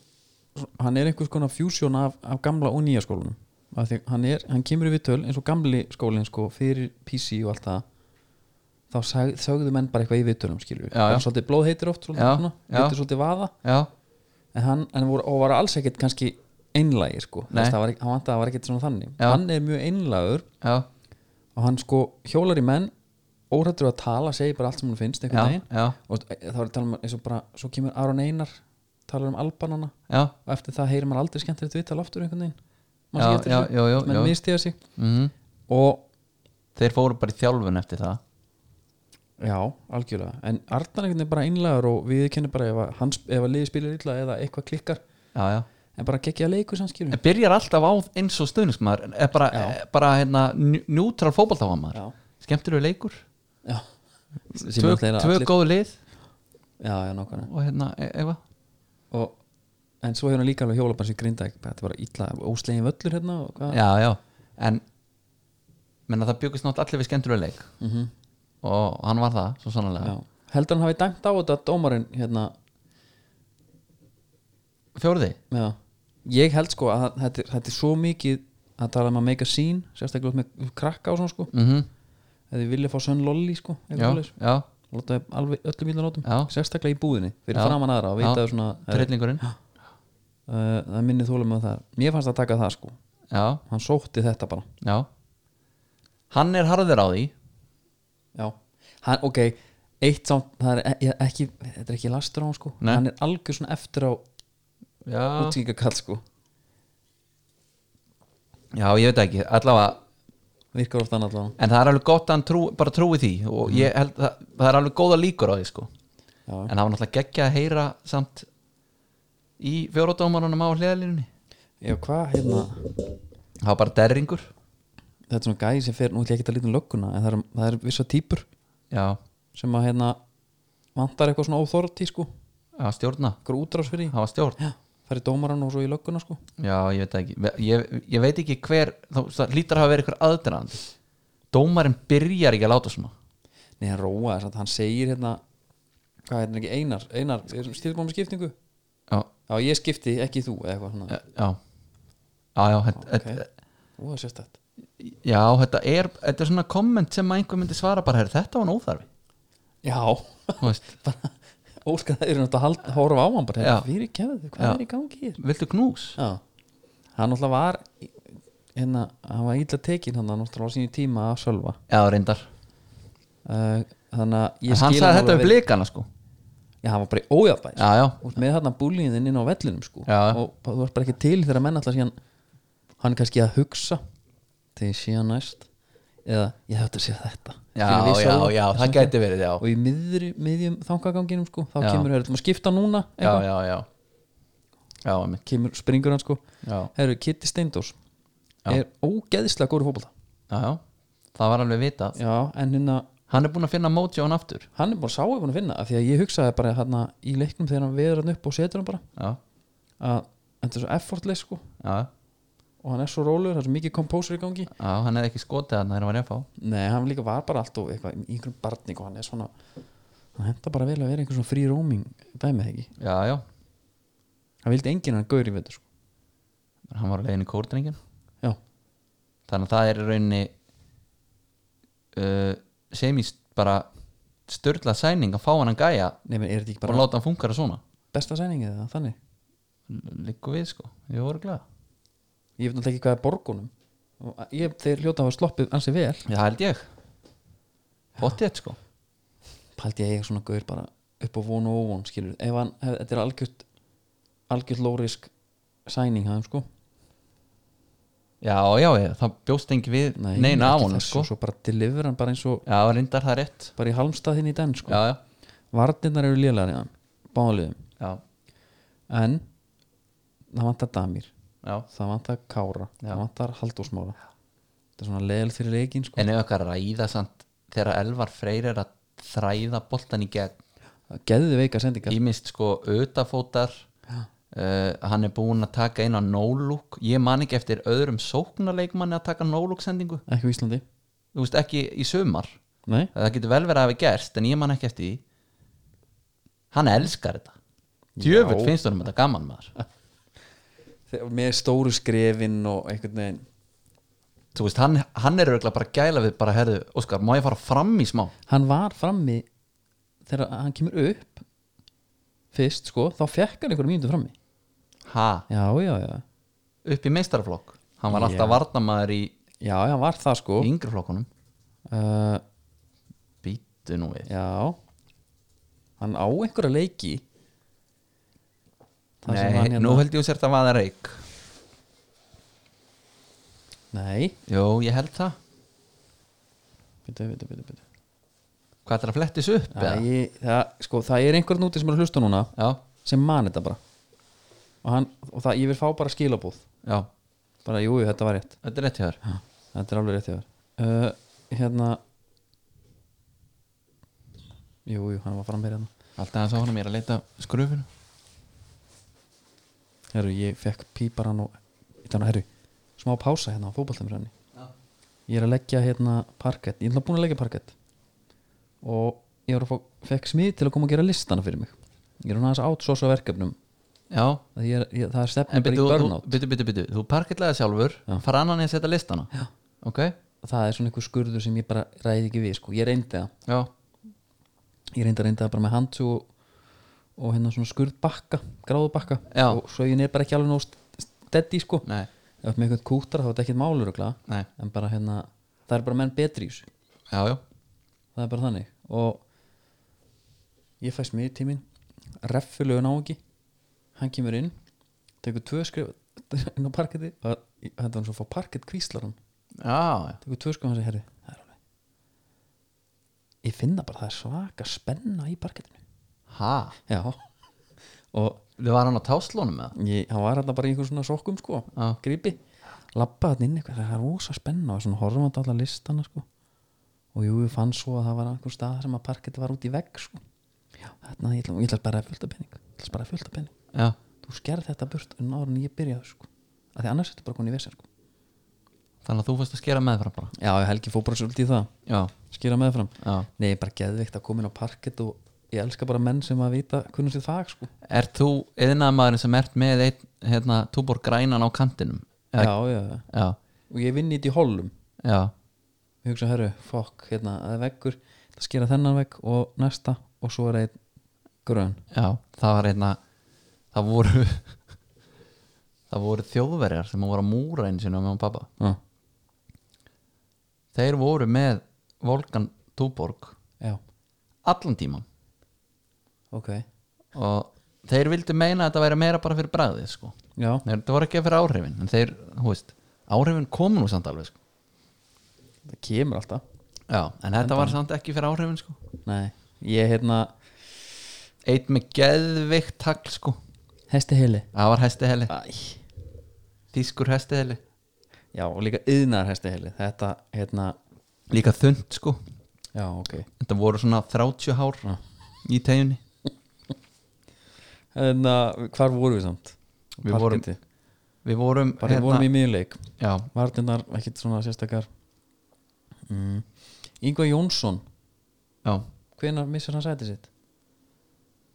Speaker 2: hann er einhvers konar fjúsjón af, af gamla og nýja skólanum Af því hann, er, hann kemur við töl eins og gamli skólinn sko fyrir PC og allt það þá sag, sögðu menn bara eitthvað í viðtölum skilur
Speaker 3: Já, já.
Speaker 2: svolítið blóðheitir oft svolítið,
Speaker 3: Já,
Speaker 2: svona,
Speaker 3: já.
Speaker 2: vitur svolítið vaða
Speaker 3: Já,
Speaker 2: en hann en voru, og var alls ekkert kannski einlægi sko,
Speaker 3: Nei.
Speaker 2: Þess, var, ekki- hann vantaði að það var ekkert svona þannig
Speaker 3: Já.
Speaker 2: hann er mjög einlægur
Speaker 3: já,
Speaker 2: og hann sko hjólar í menn óhrættur að tala, segir bara allt sem hún finnst
Speaker 3: já,
Speaker 2: einhvern veginn
Speaker 3: já,
Speaker 2: og þá er að tala um eins og bara, svo kemur Aron Einar talar um Albanana
Speaker 3: já,
Speaker 2: og eftir það heyrir maður aldrei skemmtilegt viðtal aftur einhvern veginn
Speaker 3: Já,
Speaker 2: Manstu ekki eftir
Speaker 3: já,
Speaker 2: þessu?
Speaker 3: já, já,
Speaker 2: menn
Speaker 3: já.
Speaker 2: mistiða sig
Speaker 3: mhm
Speaker 2: og
Speaker 3: þeir fóru bara í þjálfun eftir það
Speaker 2: já, algjörlega, en Arnar einhvern veginn er bara einlægur og við kennum bara ef að, hans, ef að liði spilir illa eða eitthvað klikkar
Speaker 3: já, já.
Speaker 2: en bara gekkja leiku sem skilur
Speaker 3: en byrjar alltaf á eins og stuðningsmaður er bara,
Speaker 2: Mm. Já.
Speaker 3: er bara hérna, njú- neutral fótballtáfamaður
Speaker 2: já,
Speaker 3: skemmtir við leikur,
Speaker 2: já Sem
Speaker 3: tvö,
Speaker 2: náttúrulega er að
Speaker 3: tvö
Speaker 2: allir-
Speaker 3: góð lið
Speaker 2: já, já, nákvæmlega
Speaker 3: og hérna, e eitthvað
Speaker 2: og, en svo hefur hann líka alveg hjólabann sem grinda þetta var illa, óslegin völlur hérna og hvað
Speaker 3: já, já, en menna það byggust nátt allir við skemmtir við leik
Speaker 2: Mhm.
Speaker 3: og hann var það, svo sannlega
Speaker 2: Já. heldur hann hafi dæmt á þetta dómarinn hérna,
Speaker 3: fjórði,
Speaker 2: já. ég held sko að þetta, er- þetta er svo mikið að tala um að make a scene sérstaklega oft með krakka og svona sko
Speaker 3: mm
Speaker 2: eða þið vilja fá sönn lolli sko eitthvað
Speaker 3: já,
Speaker 2: svoleiðis.
Speaker 3: já,
Speaker 2: láta þau alveg öllum íla notum
Speaker 3: Já.
Speaker 2: sérstaklega í búðinni fyrir
Speaker 3: Já.
Speaker 2: framan aðra og vita
Speaker 3: Já.
Speaker 2: þau svona uh,
Speaker 3: trillingurinn
Speaker 2: það er minni þólum að það mér fannst að taka það sko
Speaker 3: já,
Speaker 2: hann sótti þetta bara
Speaker 3: já hann er harður á því
Speaker 2: já hann, ok eitt samt það er e- ekki þetta er ekki lastur á hann sko
Speaker 3: Nei.
Speaker 2: hann er algjör svona eftir á
Speaker 3: já,
Speaker 2: útsýkakall sko
Speaker 3: já, ég veit það ekki, allavega
Speaker 2: virkar ofta annað allavega
Speaker 3: en það er alveg gott að hann trú, bara trúi því og ég held að það er alveg góða líkur á því sko. en
Speaker 2: Mhm. Já.
Speaker 3: það var náttúrulega geggja að heyra samt í fjóratómarunum á hliðalínunni
Speaker 2: Já, hvað hérna
Speaker 3: það var bara derringur
Speaker 2: þetta er svona gæði sem fer, nú ætlum ég ekki að lítum lögguna en það eru það er vissa típur
Speaker 3: já,
Speaker 2: sem að hérna vantar eitthvað svona óþorti sko
Speaker 3: það var stjórna
Speaker 2: eitthvað útrásfyrir
Speaker 3: það var stjórn,
Speaker 2: í færi dómaran og svo í lögguna sko
Speaker 3: já, ég veit það ekki ég, ég veit ekki hver, þá- það lítur að hafa verið eitthvað aðdraðandi dómarinn byrjar ekki að láta svona
Speaker 2: Nei, hann róaði þess að hann segir hérna hvað hérna ekki, Einar, Einar stýrbáðum skiptingu?
Speaker 3: já,
Speaker 2: Já, ég skipti, ekki þú eða eitthvað svona
Speaker 3: já, Eh, já, já, þetta,
Speaker 2: okay.
Speaker 3: þetta-
Speaker 2: Ú, það sést þetta
Speaker 3: já þetta, er, þetta er svona komment sem einhver myndi svara bara, "Heyrðu, þetta var nóþarfi
Speaker 2: Já,
Speaker 3: þú veist
Speaker 2: bara óskar það er náttúrulega að halda- horfa á hann bara
Speaker 3: Já.
Speaker 2: hérna, fyrir kefðu, hvað
Speaker 3: Já.
Speaker 2: er í gangi hér?
Speaker 3: viltu knús?
Speaker 2: Já, hann náttúrulega var í- hérna, hann var illa tekinn hann náttúrulega á sínu tíma að sölva
Speaker 3: Já, reyndar
Speaker 2: uh, þannig að
Speaker 3: En
Speaker 2: ég
Speaker 3: hann
Speaker 2: skil
Speaker 3: sagði
Speaker 2: hann
Speaker 3: þetta
Speaker 2: alveg
Speaker 3: við blikana sko
Speaker 2: vel. Já, hann var bara í ójafnbæð
Speaker 3: Já, já,
Speaker 2: Þú ert með þarna búlíðin inn á vellinum sko
Speaker 3: Já.
Speaker 2: og þú ert bara ekki til þegar menn alltaf síðan hann er kannski að hugsa þegar ég sé hann næst eða ég hættu að sé þetta
Speaker 3: já,
Speaker 2: Skilur við
Speaker 3: já,
Speaker 2: sjálfa,
Speaker 3: já,
Speaker 2: þess
Speaker 3: það
Speaker 2: vegna.
Speaker 3: gæti verið já.
Speaker 2: og í miðri, miðjum þangaganginum sko þá
Speaker 3: Já.
Speaker 2: kemur, herru, þú maður skipta núna
Speaker 3: já,
Speaker 2: eitthvað.
Speaker 3: já, já Já, einmitt
Speaker 2: kemur, springur hann sko
Speaker 3: Já,
Speaker 2: herru, Kitty Steindors
Speaker 3: Já.
Speaker 2: er ógeðislega góður í fótbolta
Speaker 3: já, já, það var alveg vitað
Speaker 2: já, en hérna,
Speaker 3: Hann er búinn að finna mótjón aftur
Speaker 2: hann er bara sáið búin að finna af því að ég hugsaði bara hérna í leiknum þegar hann veður hann upp og setur hann bara
Speaker 3: Já,
Speaker 2: að þetta er svo effortless sko
Speaker 3: já,
Speaker 2: og hann er svo rólegur, það er svo mikið kompósur í gangi
Speaker 3: já, hann hefði ekki skotið hann þegar hann var ég að fá
Speaker 2: Nei, hann líka var bara allt og eitthvað í einhverjum barning og hann er svona hann henda bara vel að vera einhver svona frí roaming dæmið ekki,
Speaker 3: Já, já,
Speaker 2: hann vildi enginn hann gaur í veitur sko.
Speaker 3: hann var á leiðin í kórdrengin
Speaker 2: já,
Speaker 3: Þannig að það er í rauninni uh, semist bara störla sæning að fá hann að gæja
Speaker 2: nei, menn er þetta ekki
Speaker 3: og
Speaker 2: bara
Speaker 3: láta hann funkara svona
Speaker 2: besta sæningi eða þannig
Speaker 3: Liggu við sko, ég voru glæða
Speaker 2: ég veit náttúrulega ekki hvað er borgunum og ég, þeir hljóta hafa sloppið ansi vel
Speaker 3: Já, held ég Bóttið sko
Speaker 2: paldi ég að ég svona gaur bara upp á von og óvon skilur, ef hann, hef, þetta er algjört algjört lórisk sæning hann sko,
Speaker 3: Já, já, já, það bjóst engi við
Speaker 2: Nei,
Speaker 3: neina á
Speaker 2: ekki
Speaker 3: honum
Speaker 2: þessu.
Speaker 3: sko.
Speaker 2: svo bara deliver hann bara eins og
Speaker 3: Já, reyndar það er rétt
Speaker 2: bara í halmstað þinn í den sko,
Speaker 3: Já, já,
Speaker 2: vartinnar eru lélæri hann, báðliðum
Speaker 3: já,
Speaker 2: en það vantar Damir,
Speaker 3: já.
Speaker 2: það vantar Kára það vantar Halldórsmára þetta er svona leil fyrir leikin sko.
Speaker 3: En ef okkar ræða samt þegar Elvar Freyr er að þræða boltan í gegn
Speaker 2: geðið veika sendingar
Speaker 3: ímist sko auðafótar uh, hann er búinn að taka inn á no-look ég man ekki eftir öðrum sóknarleikmanni að taka no-look sendingu
Speaker 2: ekki á Íslandi,
Speaker 3: þú veist ekki í sumar
Speaker 2: nei
Speaker 3: það getur vel verið að hafi gerst en ég man ekki eftir því hann elskar þetta djöfull
Speaker 2: Já.
Speaker 3: finnst honum þetta gaman maður
Speaker 2: Þegar- með stóru skrefin og einhvern veginn
Speaker 3: þú veist, hann, hann er auðvitað bara að gæla við bara, herðu, Óskar, má ég fara fram í smá
Speaker 2: hann var frammi þegar hann kemur upp fyrst sko, þá fekk hann einhverjum mínútu frammi
Speaker 3: ha,
Speaker 2: já, já, já,
Speaker 3: upp í meistarflokk hann var
Speaker 2: Já.
Speaker 3: alltaf varnamaður í
Speaker 2: já, já, hann var það sko
Speaker 3: í yngri flokkunum
Speaker 2: uh,
Speaker 3: býtu nú við
Speaker 2: já hann á einhverja leiki Þar sem
Speaker 3: Nei,
Speaker 2: hann
Speaker 3: nú
Speaker 2: hérna-
Speaker 3: held ég að sér þetta vaða reik
Speaker 2: nei,
Speaker 3: jú, ég held það
Speaker 2: bitu, bitu, bitu, bitu.
Speaker 3: hvað er að flettis upp
Speaker 2: Æ,
Speaker 3: eða?
Speaker 2: ég, það, sko, það er einhvern úti sem er að hlusta núna
Speaker 3: já,
Speaker 2: sem man þetta bara og, hann, og það, ég vil fá bara skilabúð
Speaker 3: já,
Speaker 2: bara jú, jú, þetta var rétt
Speaker 3: þetta er rétt hjá þér
Speaker 2: Ha, þetta er alveg rétt hjá þér uh, hérna jú, jú, hann var frammeir hérna
Speaker 3: alltaf hann sá hann mér að leita skrufinu
Speaker 2: herru, ég fekk pípar hann og þannig, herru, smá pása hérna á fótballtumröðinni ég er að leggja hérna parkett, ég er náttúrulega búin að leggja parkett og ég var að fá, fekk smið til að koma að gera listana fyrir mig ég er hann aðeins átsósa verkefnum
Speaker 3: já,
Speaker 2: Það, er, ég, það er
Speaker 3: en
Speaker 2: stefnum bara
Speaker 3: byttu,
Speaker 2: í burnout
Speaker 3: byttu, byttu, byttu þú parkillaði sjálfur,
Speaker 2: Já.
Speaker 3: fara annan í að setja listana já. ok,
Speaker 2: það er svona einhver skurður sem ég bara ræði ekki við sko. ég reyndi það,
Speaker 3: já,
Speaker 2: ég reyndi að reyndi það bara með handsu og, og hérna svona skurðbakka gráðubakka
Speaker 3: Já.
Speaker 2: og svo ég er bara ekki alveg nóg steddi sko. ef
Speaker 3: nei,
Speaker 2: með einhvern kútar þá er þetta ekkert málur en
Speaker 3: nei
Speaker 2: bara hérna, það er bara menn betri í þessu
Speaker 3: já, já,
Speaker 2: það er bara þannig og ég fæst mig í tímin reffulegun á ekki hann kemur inn tekur tvö skrif inn á parketti og þetta var svo að fá parkett kvíslarum
Speaker 3: já,
Speaker 2: tekur tvö sko og hann segir, herri, það er alveg ég finna bara það er svaka spenna í parkettinu
Speaker 3: ha
Speaker 2: já og
Speaker 3: þið var hann á táslónum með
Speaker 2: ég, hann var hérna bara í einhver svona sokkum sko
Speaker 3: Já.
Speaker 2: gripi, labbaði hann inn eitthvað það er rosa spenna og svona horfum hann alla listana sko og jú, ég fann svo að það var einhver stað sem að parkett var út í vegg sko já, þarna, ég ætla, ég ætla að spara fjölda pening ég ætla að spara fjölda pening
Speaker 3: já,
Speaker 2: þú skerð þetta burt en ára en ég byrjaði sko af því annars þetta bara koni í vesen sko
Speaker 3: þannig að þú fórst að skera með frá bara
Speaker 2: já, Helgi fór bara svolítið í það,
Speaker 3: já,
Speaker 2: skýra meðfram
Speaker 3: já
Speaker 2: nei, ég er bara geðveikt að koma inn á parkett og ég elska bara menn sem að vita kunnum sér fag sko
Speaker 3: Er þú yðnaðamaðurinn sem ert með einn, hérna, túbor grænan á kantinum?
Speaker 2: já, já, já.
Speaker 3: Já,
Speaker 2: og ég vinn í þetta í hollum
Speaker 3: já,
Speaker 2: ég hugsa, herru, fokk, hérna, það er veggur það skera þennan vegg og næsta og svo er einn grön
Speaker 3: já, það var einna það voru það voru þjóðverjar sem voru að múra einu sinni með hún pappa
Speaker 2: já,
Speaker 3: Þeir voru með Volkan Túborg
Speaker 2: já,
Speaker 3: allan tíman
Speaker 2: ok
Speaker 3: og þeir vildu meina að þetta væri meira bara fyrir bragðið sko.
Speaker 2: já,
Speaker 3: Þeir, þetta voru ekki fyrir áhrifin en þeir, hú veist, áhrifin komu nú samt alveg sko.
Speaker 2: það kemur alltaf
Speaker 3: Já, en þetta var samt ekki fyrir áhrifin sko.
Speaker 2: nei, ég hérna
Speaker 3: Eitt með geðvikt tagl sko.
Speaker 2: hesti heili
Speaker 3: Það var hæsti heli
Speaker 2: Æ.
Speaker 3: Þýskur hestiðeli
Speaker 2: já, og líka yðnar hesti heili þetta, hérna,
Speaker 3: Líka þund sko
Speaker 2: já, ok
Speaker 3: Þetta voru svona 30 hár
Speaker 2: Já.
Speaker 3: í teginni
Speaker 2: en uh, hvar voru við samt?
Speaker 3: Við vorum- hérna-
Speaker 2: Parketti.
Speaker 3: Við vorum,
Speaker 2: bara hérna. við vorum í miðleik
Speaker 3: Já,
Speaker 2: vartinnar, ekkit svona sérstakar mm. Ingvar Jónsson
Speaker 3: já,
Speaker 2: hvenær missar hann sæti sitt?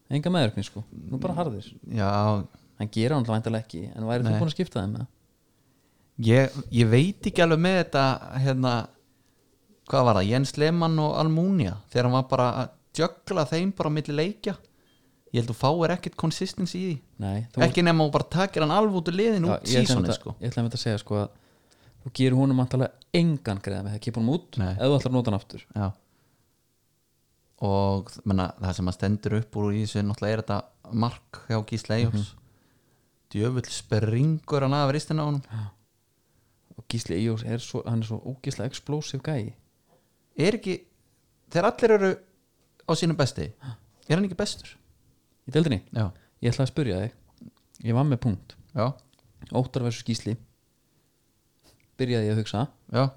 Speaker 2: enga meðurkni sko, nú bara harðir
Speaker 3: já
Speaker 2: hann gera hann væntalega ekki en væri
Speaker 3: Mm. Nei.
Speaker 2: þú búin að skipta þeim með?
Speaker 3: ég, ég veit ekki alveg með þetta hérna Hvað var það? Jens Lehmann og Almúnia Þegar hann var bara að jökla þeim bara á milli leikja Ég held að þú fáir ekkert konsistens í því
Speaker 2: Nei, þú
Speaker 3: Ekki nema þú bara takir hann alveg út úr liðin
Speaker 2: Já,
Speaker 3: út
Speaker 2: ég ætla einmitt
Speaker 3: sísonið
Speaker 2: að-
Speaker 3: sko
Speaker 2: ég ætla að mynda að segja sko að þú gerur honum antalega engan greiða með það kipur hann út
Speaker 3: Nei.
Speaker 2: ef þú ætlar að nota hann aftur
Speaker 3: Já og menna, það sem að stendur upp úr í þessu náttúrulega er þetta mark hjá Gísla Eyjóks
Speaker 2: Mhm.
Speaker 3: djöfull springur hann af ristina á hann
Speaker 2: og Gísli Ejós er svo, hann er svo ógísla explosive gæi
Speaker 3: er ekki, þegar allir eru á sínum besti, er hann ekki bestur
Speaker 2: í deildinni,
Speaker 3: já,
Speaker 2: ég ætla að spyrja þig ég var með punkt,
Speaker 3: já,
Speaker 2: óttar versus Gísli byrjaði ég að hugsa
Speaker 3: já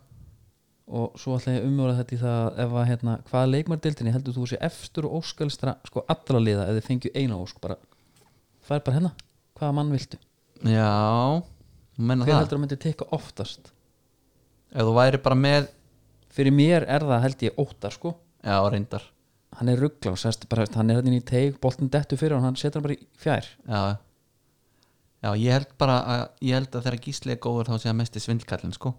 Speaker 2: og svo ætla ég að umjóra þetta í það ef að hérna, hvaða leikmar deildinni heldur þú sé efstur og óskalstra sko allra liða ef þið fengju eina ósk bara, það er bara hérna hvaða mann viltu,
Speaker 3: já, þú menna
Speaker 2: hver
Speaker 3: það
Speaker 2: heldur að myndi teka oftast
Speaker 3: ef þú væri bara með,
Speaker 2: fyrir mér er það held ég óttar sko
Speaker 3: já, reyndar
Speaker 2: hann er ruggla og sérst bara veist, hann er hérna inn í teig, boltin dettu fyrir hann hann setur hann bara í fjær
Speaker 3: já, já, ég held bara að, ég held að þegar Gísli er góður þá sé að mesti svindlkallin sko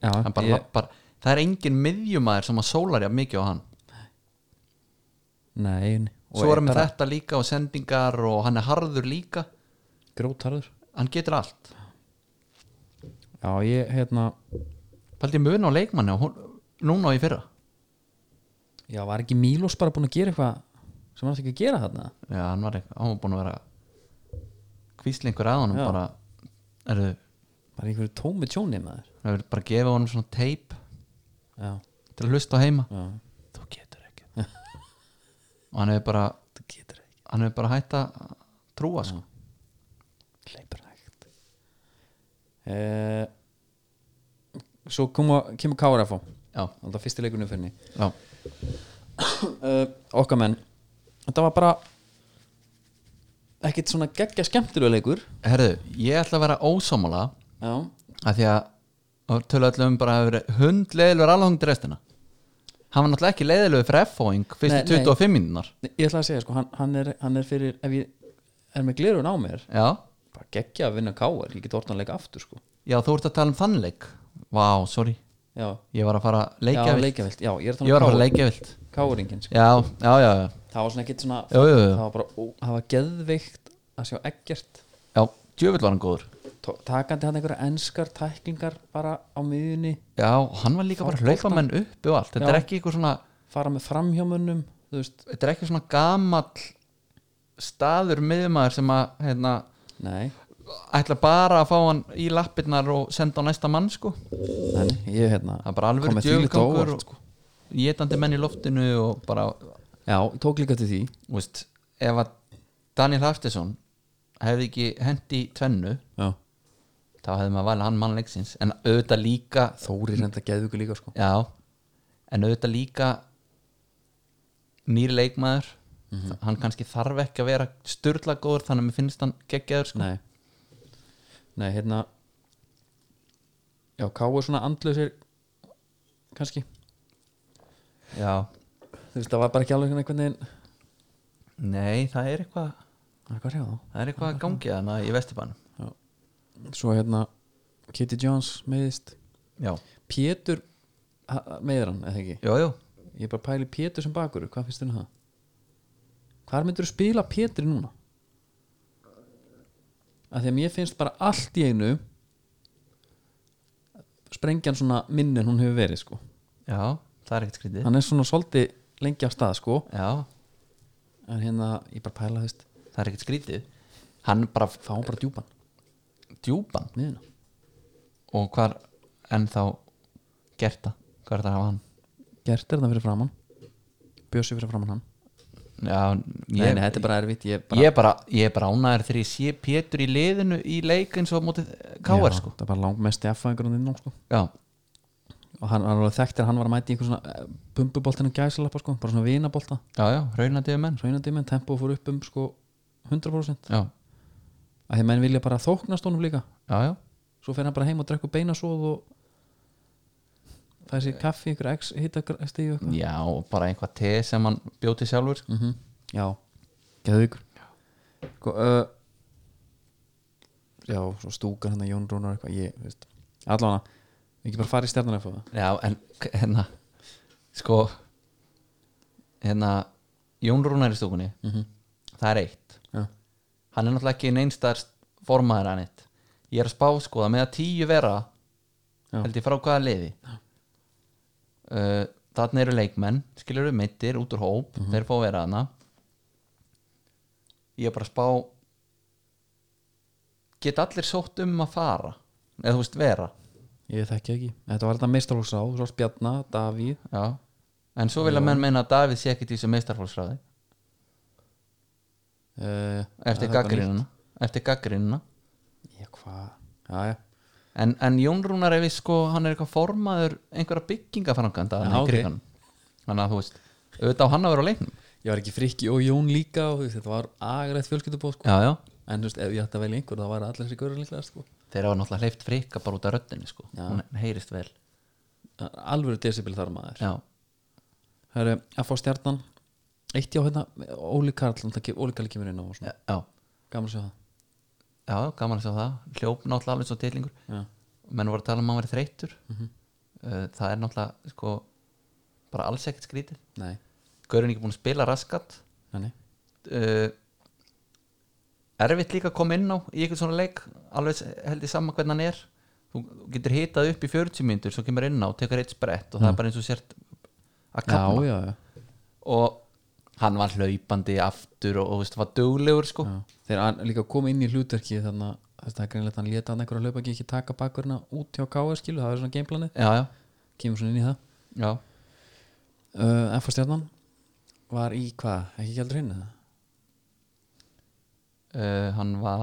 Speaker 2: já,
Speaker 3: hann bara
Speaker 2: ég,
Speaker 3: lappar það er engin miðjumæður sem að sólar jafn mikið á hann
Speaker 2: nei, nei.
Speaker 3: svo er með þetta líka og sendingar og hann er harður líka
Speaker 2: grótarður
Speaker 3: hann getur allt
Speaker 2: já ég hérna,
Speaker 3: Paldi mun á leikmanni og hún, núna og í fyrra
Speaker 2: já var ekki Mílos bara búin að gera eitthvað sem hann átti ekki að gera þarna
Speaker 3: já, hann var, ekki, hann var búin að vera kvíslingur að honum
Speaker 2: Já.
Speaker 3: bara er,
Speaker 2: bara í einhverju tómi tjóni maður
Speaker 3: er bara að gefa honum svona teip
Speaker 2: já,
Speaker 3: til að hlusta á heima
Speaker 2: já,
Speaker 3: þú getur ekki og hann hefur bara
Speaker 2: þú getur ekki
Speaker 3: hann hefur bara hætt að trúa sko.
Speaker 2: hleypur hægt eh, svo koma, kemur KRF á
Speaker 3: já,
Speaker 2: alltaf fyrsti leikunum fyrir henni
Speaker 3: já,
Speaker 2: uh, okkar menn þetta var bara ekkert svona geggja skemmtilega leikur
Speaker 3: herðu, ég ætla að vera ósámála
Speaker 2: já,
Speaker 3: að því að tölu öllum um bara að vera hundleiðilegur alhangt restina hann var náttúrulega ekki leiðilegur fyrir F-fóing fyrstu
Speaker 2: Nei, nei.
Speaker 3: 25 mínúnar
Speaker 2: ég ætla að segja sko hann, hann, er, hann er fyrir, ef ég er með glirun á mér
Speaker 3: já.
Speaker 2: bara geggja að vinna káar, ég get orðan að leika aftur sko
Speaker 3: já, þú ert að tala um þannleik vá, sorry,
Speaker 2: já,
Speaker 3: ég var að fara að leika
Speaker 2: já,
Speaker 3: vilt.
Speaker 2: leikjavilt já, ég er
Speaker 3: ég var
Speaker 2: þannig
Speaker 3: að fara að
Speaker 2: um
Speaker 3: leika vilt
Speaker 2: káaringin sko.
Speaker 3: já, já, já, já,
Speaker 2: það var svona ekkert svona
Speaker 3: Jú, jú, jú.
Speaker 2: það var bara, ó, það var geðveikt að sjá ekkert
Speaker 3: já djöfull var hann góður
Speaker 2: To- takandi hann einhverja enskar tæklingar bara á miðunni
Speaker 3: já, hann var líka bara að hlaupa menn upp og allt, þetta
Speaker 2: Já.
Speaker 3: er ekki eitthvað svona
Speaker 2: fara með framhjómunum þú veist,
Speaker 3: þetta er ekki svona gamall staður miðumæður sem að hérna,
Speaker 2: nei,
Speaker 3: ætla bara að fá hann í lappirnar og senda á næsta mann sko
Speaker 2: en ég hérna
Speaker 3: það er bara alveg
Speaker 2: Komið þvílíkt á óvart,
Speaker 3: sko. étandi menn í loftinu og bara,
Speaker 2: já, ég tók líka til því
Speaker 3: þú veist ef að Daniel Haftisson hefði ekki hendi tvennu
Speaker 2: já.
Speaker 3: þá hefði maður valið hann mann leiksins en auðvitað líka
Speaker 2: Þórir enda geðvíku líka sko
Speaker 3: já, en auðvitað líka nýr leikmaður
Speaker 2: Mhm.
Speaker 3: hann kannski þarf ekki að vera styrla góður þannig að mér finnst hann geggjaður sko.
Speaker 2: nei, nei hérna já, Ká er svona andlausir kannski,
Speaker 3: já,
Speaker 2: þú veist, það var bara ekki alveg einhvern veginn,
Speaker 3: nei það er eitthvað
Speaker 2: það er hvað hrjáð á
Speaker 3: það er eitthvað að gangi þannig að ég vesti bænum
Speaker 2: svo hérna, Kitty Jones meðist,
Speaker 3: já,
Speaker 2: Pétur ha- meiðir hann, eða ekki
Speaker 3: jú, jú,
Speaker 2: ég er bara að pæli Pétur sem bakur hvað finnst þér um það? hvar myndur þú spila Pétur núna? af því að mér finnst bara allt í einu sprengjan svona minn en hún hefur verið sko
Speaker 3: já það er ekkert skrítið
Speaker 2: hann er svona svolítið lengi af stað sko
Speaker 3: já,
Speaker 2: en hérna ég bara pæla þú veist
Speaker 3: það er ekkert skrítið hann bara f-
Speaker 2: fá bara djúpan
Speaker 3: djúpan
Speaker 2: miðina
Speaker 3: og hvar ennþá gert það, hvað er það að hafa hann
Speaker 2: gert er það fyrir framann bjössi fyrir framann hann
Speaker 3: já,
Speaker 2: nei, nei, þetta er bara erfitt ég bara
Speaker 3: ég er bara, ég er bara ánæður þegar ég sé Pétur í liðinu í leik eins og mótið
Speaker 2: Já,
Speaker 3: K.R. sko
Speaker 2: það er bara langmest í afhæðingur sko
Speaker 3: já,
Speaker 2: og hann hann var alveg þekktir að hann var að mæta í einhver svona bumbuboltinu gæsalappa sko bara svona vinabolta
Speaker 3: já, já, raunatiðu menn sko.
Speaker 2: svo einandi menn um tempo fór upp um sko 100%
Speaker 3: já,
Speaker 2: að því menn vilja bara þóknast honum líka
Speaker 3: já, já,
Speaker 2: svo fer hann bara heim og drekku beinasóð og fær sér kaffi ykkur x hitta stíu eitthvað
Speaker 3: já, og bara einhvað te sem hann bjóti sjálfur sko.
Speaker 2: mm já, geðu ykkur sko, uh, já, svo stúkar hann að Jón Rúnar eitthvað, ég, veist allan að, ekki bara fara í stjarnan eftir það
Speaker 3: já, en k- hérna sko hérna, Jón Rúnar í stúkunni
Speaker 2: Mhm.
Speaker 3: það er eitt
Speaker 2: já,
Speaker 3: hann er náttúrulega ekki neinstæðar formaður hann eitt ég er að spá sko að með að tíu vera
Speaker 2: Já.
Speaker 3: held ég frá hvaða liði uh, þannig eru leikmenn skilur við meittir út úr hóp
Speaker 2: Mhm.
Speaker 3: þeir fá að vera hana ég er bara að spá get allir sótt um að fara eða þú veist vera
Speaker 2: ég þekki ekki þetta var þetta meistarhúsá, svo spjarna, Davíð
Speaker 3: Já. en svo vilja menn meina að Davíð sé ekkit í þessu meistarfólksræði
Speaker 2: uh,
Speaker 3: eftir gaggrínuna eftir gaggrínuna
Speaker 2: já, hvað, já, já
Speaker 3: En, en Jón Rúnar ef ég sko, hann er eitthvað formaður einhverja byggingafranganda
Speaker 2: Já,
Speaker 3: ja,
Speaker 2: ok.
Speaker 3: okay. þannig að þú veist auðvitað á hann að vera á leiknum
Speaker 2: ég var ekki frikki og Jón líka og þú veist, þetta var agrætt fjölskyldubóð sko.
Speaker 3: já, já.
Speaker 2: en þú veist, ef ég ætti að velja einhver þá var allir þessi görur líklega sko.
Speaker 3: þeir hafa náttúrulega hleyft frikka bara út af röddinni sko.
Speaker 2: Já.
Speaker 3: hún heyrist vel
Speaker 2: alvöru decibel þar maður
Speaker 3: já,
Speaker 2: Heru, að fá stjarnan eitt já hérna, Óli Karl náttúrulega ke- Óli Karl kemur inn á og svona,
Speaker 3: já, já,
Speaker 2: gaman að sjá það
Speaker 3: já gaman að sjá það hljóp náttúrulega alveg svo titlingur
Speaker 2: já,
Speaker 3: menn voru að tala um að hann verið þreyttur Uh, það er náttúrulega sko, bara alls ekkert skrítið
Speaker 2: nei,
Speaker 3: Gaurin ekki búin að spila raskat
Speaker 2: nei, nei.
Speaker 3: uh, erfitt líka að koma inn á í eitthvað svona leik alveg s- held ég saman hvernig hann er þú þú getur hitað upp í 40 mínútur svo kemur inn á, tekur eitt sprett og það er bara eins og sért að
Speaker 2: já,
Speaker 3: kapna
Speaker 2: já, já.
Speaker 3: og hann var hlaupandi aftur og, og veist, var duglegur sko
Speaker 2: já. þeir an, líka koma inn í hlutverki þannig að þetta er greinlegt að hann leta hann einhverja hlaupa ekki taka bakurina út hjá K.R. skilu það er svona gameplanið,
Speaker 3: já, já,
Speaker 2: kemur svona inn í það
Speaker 3: já,
Speaker 2: uh, F.A. stjarnan var í hvað, ekki gældur hinn eða?
Speaker 3: Uh, hann var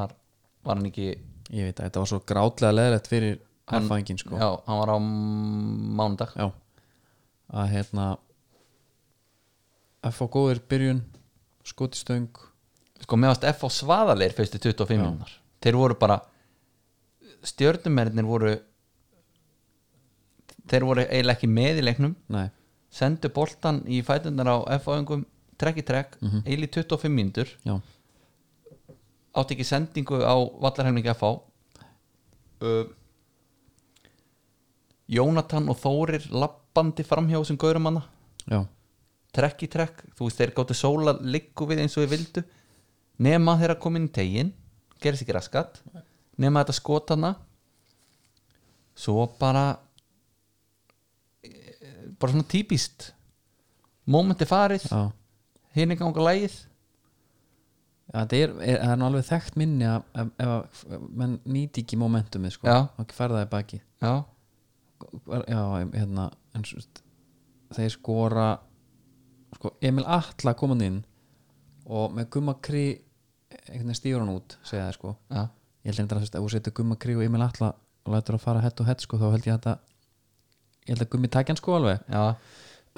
Speaker 3: var hann ekki
Speaker 2: ég veit að þetta var svo grátlega leðrætt fyrir
Speaker 3: Hann-
Speaker 2: erfæðingin sko
Speaker 3: já, hann var á mánudag
Speaker 2: Já. að hérna F á góðir byrjun skotistöng
Speaker 3: sko mér varst F á svaðalegir fyrstu 25 minnar þeir voru bara stjörnumernir voru þeir voru eiginlega ekki með í leiknum
Speaker 2: nei,
Speaker 3: sendu boltan í fætundar á F á engum trekk í trekk, mm -hmm. eiginlega í 25 mínútur
Speaker 2: já,
Speaker 3: átti ekki sendingu á vallarhefningi F á uh, Jónatan og Þórir lappandi framhjá sem gaurum hana
Speaker 2: já,
Speaker 3: trekk í trekk, þú veist þeir gáttu sóla liggu við eins og við vildu nema þeirra komin í tegin gerðist ekki raskat, nema þetta skotana svo bara eh, bara svona típist momenti farið,
Speaker 2: já
Speaker 3: hinn er ganga lægið
Speaker 2: Já, það er, er, það er nú alveg þekkt minni að, ef, ef að menn nýti ekki momentumið sko,
Speaker 3: Já.
Speaker 2: og ekki færða í baki
Speaker 3: já,
Speaker 2: já, hérna en, svo- þeir skora sko, Emil Atla kom hann inn og með Gumma Krí einhvern veginn stíður hann út, segja það sko
Speaker 3: já,
Speaker 2: ég held einhvern veginn að ef þú setur Gumma Krí og Emil Atla og lætur að fara hett og hett sko, þá held ég að þetta ég held að Gummi takja hann sko alveg
Speaker 3: já,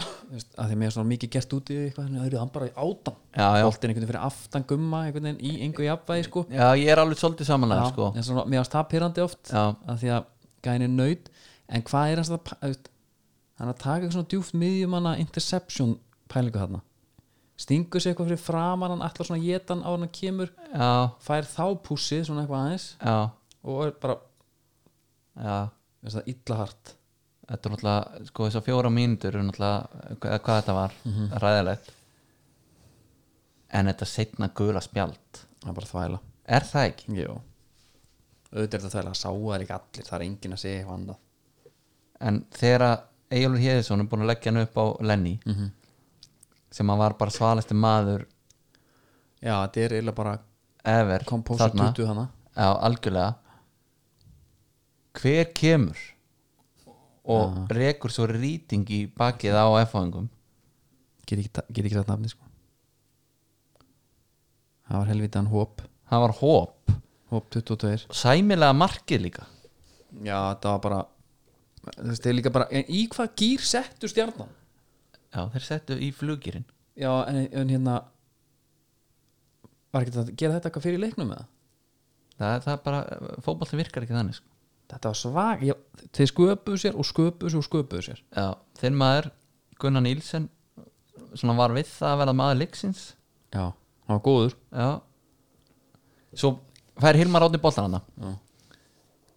Speaker 2: Þú veist, að því að mér er svona mikið gert út í því eitthvað, þannig að það eru hann bara í átan
Speaker 3: já, já.
Speaker 2: boltinn einhvern veginn fyrir aftan Gumma einhvern veginn í einhver jafnvægi sko
Speaker 3: já ég er alveg svolítið sko. samanlega
Speaker 2: Já,
Speaker 3: sko.
Speaker 2: en svona, mér varst það pyrrandi oft
Speaker 3: já,
Speaker 2: að því að gæðin er nöyt en hvað er hans að pa- þú veist, hann er að taka eitthvað svona djúft miðjumanna interception pælingu þarna stingur sér eitthvað fyrir framan hann allar svona jetan á hann að kemur
Speaker 3: já,
Speaker 2: fær þá pússið svona eitthvað aðeins
Speaker 3: já,
Speaker 2: og er bara
Speaker 3: já
Speaker 2: þú veist, það illa hart
Speaker 3: þetta er náttúrulega, sko þessar fjóra mínútur er náttúrulega, hvað, hvað þetta var ræðilegt en þetta setna gula spjald
Speaker 2: það er bara þvæla
Speaker 3: er það ekki?
Speaker 2: Jó. auðvitað er þetta þvæla að sáa er ekki allir það er enginn að segja eitthvað annað
Speaker 3: en þegar að Egilur Heiðisson er búin að leggja hann upp á Lenny
Speaker 2: Mhm.
Speaker 3: sem að var bara svalesti maður
Speaker 2: já, þetta er eiginlega bara
Speaker 3: ever
Speaker 2: kompósur
Speaker 3: þarna.
Speaker 2: 20 hana
Speaker 3: Já, algjörlega hver kemur og rekur svo rýting í bakið á F-fáðingum
Speaker 2: get ekki, ta- get ekki sagt nafni sko það var helvitaðan hóp
Speaker 3: hann var hóp,
Speaker 2: hóp 22
Speaker 3: sæmilega markið líka
Speaker 2: já þetta var bara þú veist þeir líka bara en í hvað gýr settu stjarnan
Speaker 3: já, þeir settu í flugirinn
Speaker 2: já en, en hérna var ekki þetta gera þetta eitthvað fyrir leiknum með það
Speaker 3: það, það er bara, fótbolti virkar ekki þannig sko.
Speaker 2: þetta var svag já, þeir sköpuðu sér og sköpuðu sér og sköpuðu sér
Speaker 3: já, þinn maður Gunnar Nílsen svona var við það að verða maður leiksins
Speaker 2: já hann var góður
Speaker 3: Já Svo fær Hilmar átni boltan hana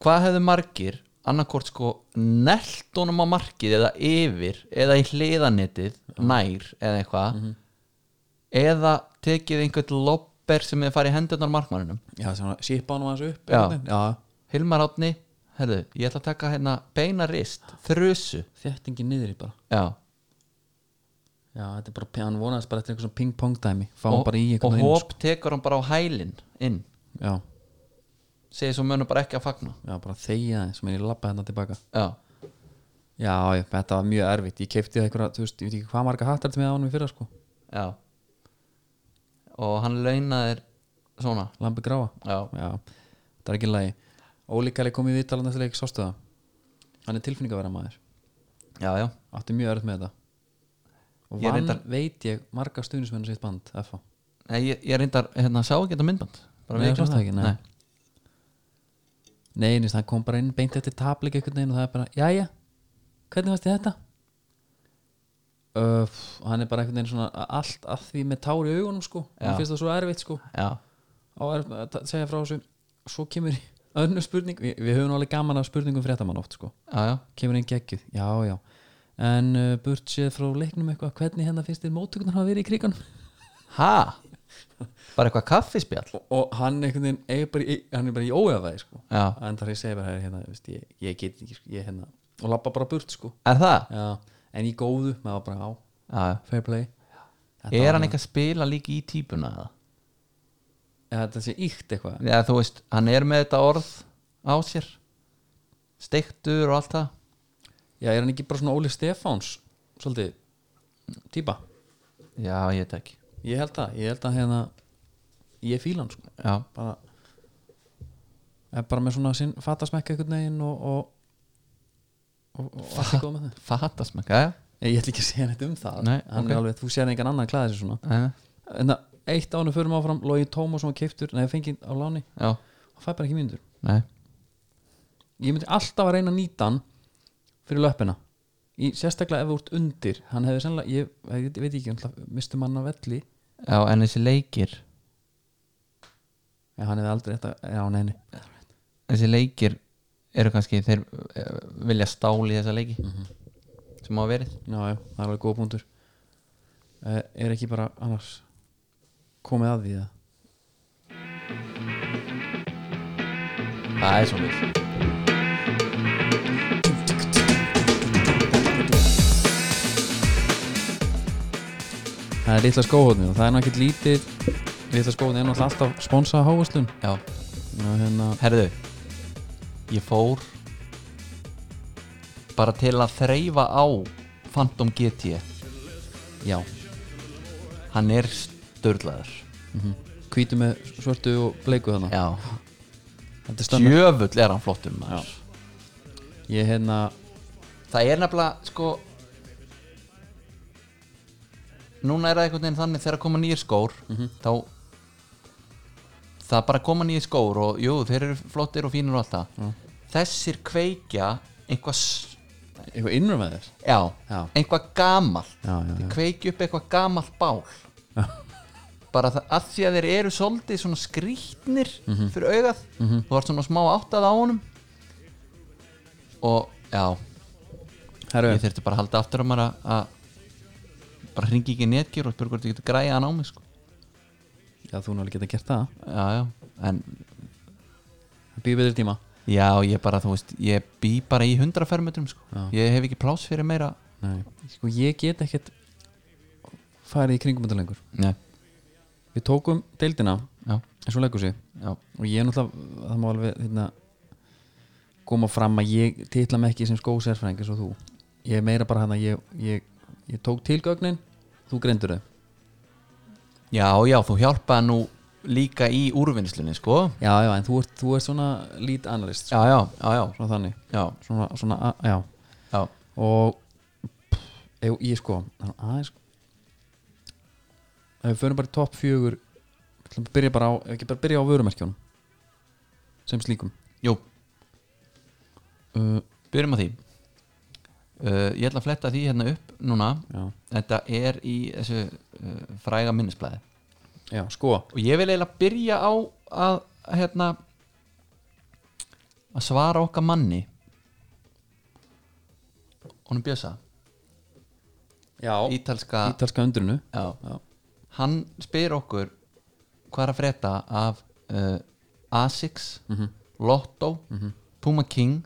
Speaker 3: Hvað hefðu margir annarkort sko nelt honum á markið eða yfir eða í hliðanettið nær eða eitthvað eða tekið einhvern lopper sem hefði farið í hendurnar á markmannunum
Speaker 2: já svona sípa hann aðeins upp
Speaker 3: Já.
Speaker 2: einhvern veginn. já
Speaker 3: Hilmar átni, herðu, ég ætla að taka hérna beina rist, þrösu
Speaker 2: þjættingi niður í bara
Speaker 3: Já,
Speaker 2: já þetta er bara hann vonaðist bara eftir einhver svona ping pong dæmi fá hann
Speaker 3: og,
Speaker 2: bara í
Speaker 3: og
Speaker 2: einhvern veginn,
Speaker 3: hóp tekur hann bara á hælinn inn,
Speaker 2: sko. já
Speaker 3: segir svo mönnum bara ekki að fagna
Speaker 2: Já, bara þegja það sem ég lappa hérna tilbaka
Speaker 3: Já,
Speaker 2: Já, ég, þetta var mjög erfitt Ég keipti það einhverja, þú veist, ég veit ekki hvað marga hattar til mig ánum í fyrra, sko
Speaker 3: Já Og hann launaðir svona
Speaker 2: Lambi gráa
Speaker 3: Já,
Speaker 2: Já, þetta er ekki lagi Ólíkali kom í viðtalan eftir leik, sástu það Hann er tilfinningaværa maður
Speaker 3: já, já,
Speaker 2: Átti mjög erfitt með þetta Og
Speaker 3: Ég
Speaker 2: vann,
Speaker 3: reyndar-
Speaker 2: veit ég, marga stuðnismennu sitt band FH
Speaker 3: Nei, ég, ég reyndar hérna, sá ekki þetta myndband Bara
Speaker 2: Nei,
Speaker 3: við
Speaker 2: sástu það ekki, nei. Nei, nýst, hann kom bara inn beint eftir tapleik einhvern veginn og það er bara, jæja hvernig varst þið þetta? Öf, hann er bara einhvern veginn svona a- allt að því með tár í augunum sko hann
Speaker 3: Já.
Speaker 2: finnst það svo erfitt sko
Speaker 3: Já,
Speaker 2: á erf, að ta- segja frá þessu svo kemur önnur spurning, við, við höfum nú alveg gaman af spurningum fréttamann oft sko,
Speaker 3: já, já,
Speaker 2: kemur einn geggjuð já, já, en uh, burt séð frá leiknum eitthvað, hvernig hérna finnst þér móttökunar hafa verið í kriganum?
Speaker 3: ha Bara eitthvað kaffispjall
Speaker 2: Og, og hann einhvern veginn, er bara í, hann er bara í óefaði sko
Speaker 3: Já,
Speaker 2: en þar ég segi bara "Herra, hérna, veist, ég, ég get ekki sko, ég, hérna, og labba bara burt sko
Speaker 3: er það?
Speaker 2: já, en í góðu, maður var bara á
Speaker 3: Já, já
Speaker 2: fair play þetta,
Speaker 3: Er hann ekki að spila líka í típuna eða?
Speaker 2: eða þetta sé íkt eitthvað
Speaker 3: Já, þú veist, hann er með þetta orð á sér Steiktur og allt það
Speaker 2: já, er hann ekki bara svona Óli Stefáns svolítið, típa
Speaker 3: Já, ég veit ekki
Speaker 2: ég held að, ég held að hérna ég fíla hann sko,
Speaker 3: Já,
Speaker 2: bara er bara með svona sinn fatasmekka einhvern veginn og og, og, og allt er góð með það
Speaker 3: fatast mig, já,
Speaker 2: ég ætla ekki að segja neitt um það
Speaker 3: Nei,
Speaker 2: Hann er
Speaker 3: ok.
Speaker 2: alveg, þú sér engan annan klæða sér svona
Speaker 3: já
Speaker 2: en það, eitt ánum förum áfram Lógi Tómasson var keiptur, nei fengið á láni
Speaker 3: Já,
Speaker 2: og fæ bara ekki mínútur
Speaker 3: nei,
Speaker 2: ég myndi alltaf að reyna að nýta hann fyrir löppina í, sérstaklega ef þú ert undir hann hefði sennilega, ég, ég, ég veit ekki hann mistum hann af velli
Speaker 3: já, en þessi leikir
Speaker 2: en hann hefði aldrei þetta, já neini
Speaker 3: þessi leikir eru kannski þeir eh, vilja stáli þessa leiki sem hafa verið
Speaker 2: já, já, það er alveg góð punktur uh, er ekki bara annars komið að því það
Speaker 3: það er svolítið
Speaker 2: það er litla skóhóðnið og það er nú ekkert lítið Lítla skóðin er náttúrulega alltaf sponsað hávaslun
Speaker 3: Já,
Speaker 2: og hérna,
Speaker 3: herðu Ég fór bara til að þreyfa á Phantom GT Já Hann er störlaður
Speaker 2: hvítu með svörtu og bleiku þarna
Speaker 3: Já,
Speaker 2: Þetta er stömmur
Speaker 3: djöfull er hann flottur maður
Speaker 2: Ég hérna,
Speaker 3: Það er nefnilega sko Núna er það einhvern veginn þannig þegar koma nýjir skór
Speaker 2: Mhm.
Speaker 3: þá það bara koma nýjir skór og jú, þeir eru flottir og fínir og allt það Þessir kveikja einhvað s-
Speaker 2: eitthvað innrum með þér
Speaker 3: já,
Speaker 2: Já.
Speaker 3: einhvað gamalt
Speaker 2: Já, já,
Speaker 3: þeir
Speaker 2: já.
Speaker 3: kveikja upp eitthvað gamalt bál bara það, að því að þeir eru svolítið svona skrýtnir
Speaker 2: Mhm.
Speaker 3: fyrir augað, þú ert svona smá áttað á honum og já,
Speaker 2: Herru,
Speaker 3: ég þurfti bara að halda aftur um að, að bara hringi ekki í netgjur og spyrja hvort ég geti græja hann á mig sko.
Speaker 2: já þú náttúrulega geta gert það
Speaker 3: já, já, en
Speaker 2: Það býður betri tíma
Speaker 3: já, ég bara, þú veist, ég bý bara í 100 fermetrum, sko,
Speaker 2: Já.
Speaker 3: ég hef ekki pláss fyrir meira
Speaker 2: Nei. Sko ég get ekkert farið í kringum þetta lengur
Speaker 3: nei,
Speaker 2: Við tókum deildina
Speaker 3: já,
Speaker 2: eins og leggur sig
Speaker 3: já,
Speaker 2: og ég er náttúrulega, það má alveg hérna, koma fram að ég titla mig ekki sem skósérfræðing eins og þú ég er meira bara hann að ég, ég, ég tók tilgögnin, þú grindur þau
Speaker 3: já, já, þú hjálpaði nú líka í úrvinnslunni, sko
Speaker 2: Já, já, en þú ert, þú ert svona lead analyst, sko.
Speaker 3: já, já, já, já,
Speaker 2: svona þannig
Speaker 3: já,
Speaker 2: svona, svona a- já
Speaker 3: já,
Speaker 2: og pff, ég, ég sko, þannig aðeins ef við förum bara í topp fjögur við ætlum að byrja bara á, ef við ekki bara byrja á vörumerkjónum sem slíkum
Speaker 3: jú,
Speaker 2: uh,
Speaker 3: byrjum á því uh, ég ætla að fletta því hérna upp núna,
Speaker 2: já,
Speaker 3: þetta er í þessu uh, fræga minnisblæði
Speaker 2: já, sko
Speaker 3: og ég vil eiginlega byrja á að að, hérna að svara okkar manni honum Bjösa
Speaker 2: já,
Speaker 3: ítalska
Speaker 2: ítalska undrunu
Speaker 3: já,
Speaker 2: já.
Speaker 3: hann spyr okkur hvað er að frétta af uh, Asics Lotto, Puma King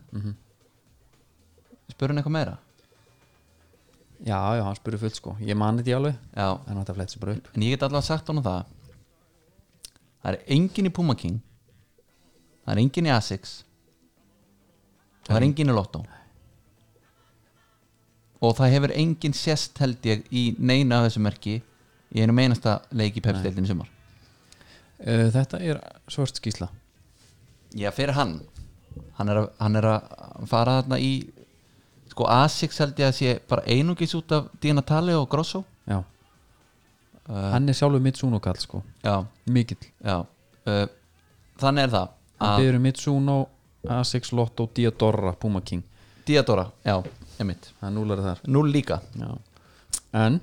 Speaker 3: spyr hann eitthvað meira
Speaker 2: já, já, hann spurði fullt sko ég mani þetta í alveg,
Speaker 3: já,
Speaker 2: en hann átti að fletta sér bara upp
Speaker 3: en ég get allavega sagt honum það það er engin í Puma King það er engin í Asics og það er engin í Lotto og það hefur engin sérst held ég í neina af þessu merki í einum einasta leik í pepsdeildin í sumar
Speaker 2: uh, þetta er svört skísla
Speaker 3: já fyrir hann hann er að, hann er að fara þarna í sko Asics held ég að sé bara einungis út af Dina Tali og Grosso
Speaker 2: já hann er sjálfur Mitsuno kall sko
Speaker 3: já,
Speaker 2: mikill,
Speaker 3: já uh, þannig er það
Speaker 2: hann
Speaker 3: að-
Speaker 2: byrður Mitsuno A6 Lotto Diadora Puma King
Speaker 3: Diadora, já, emitt
Speaker 2: það er núlar þar
Speaker 3: Núl líka
Speaker 2: já. en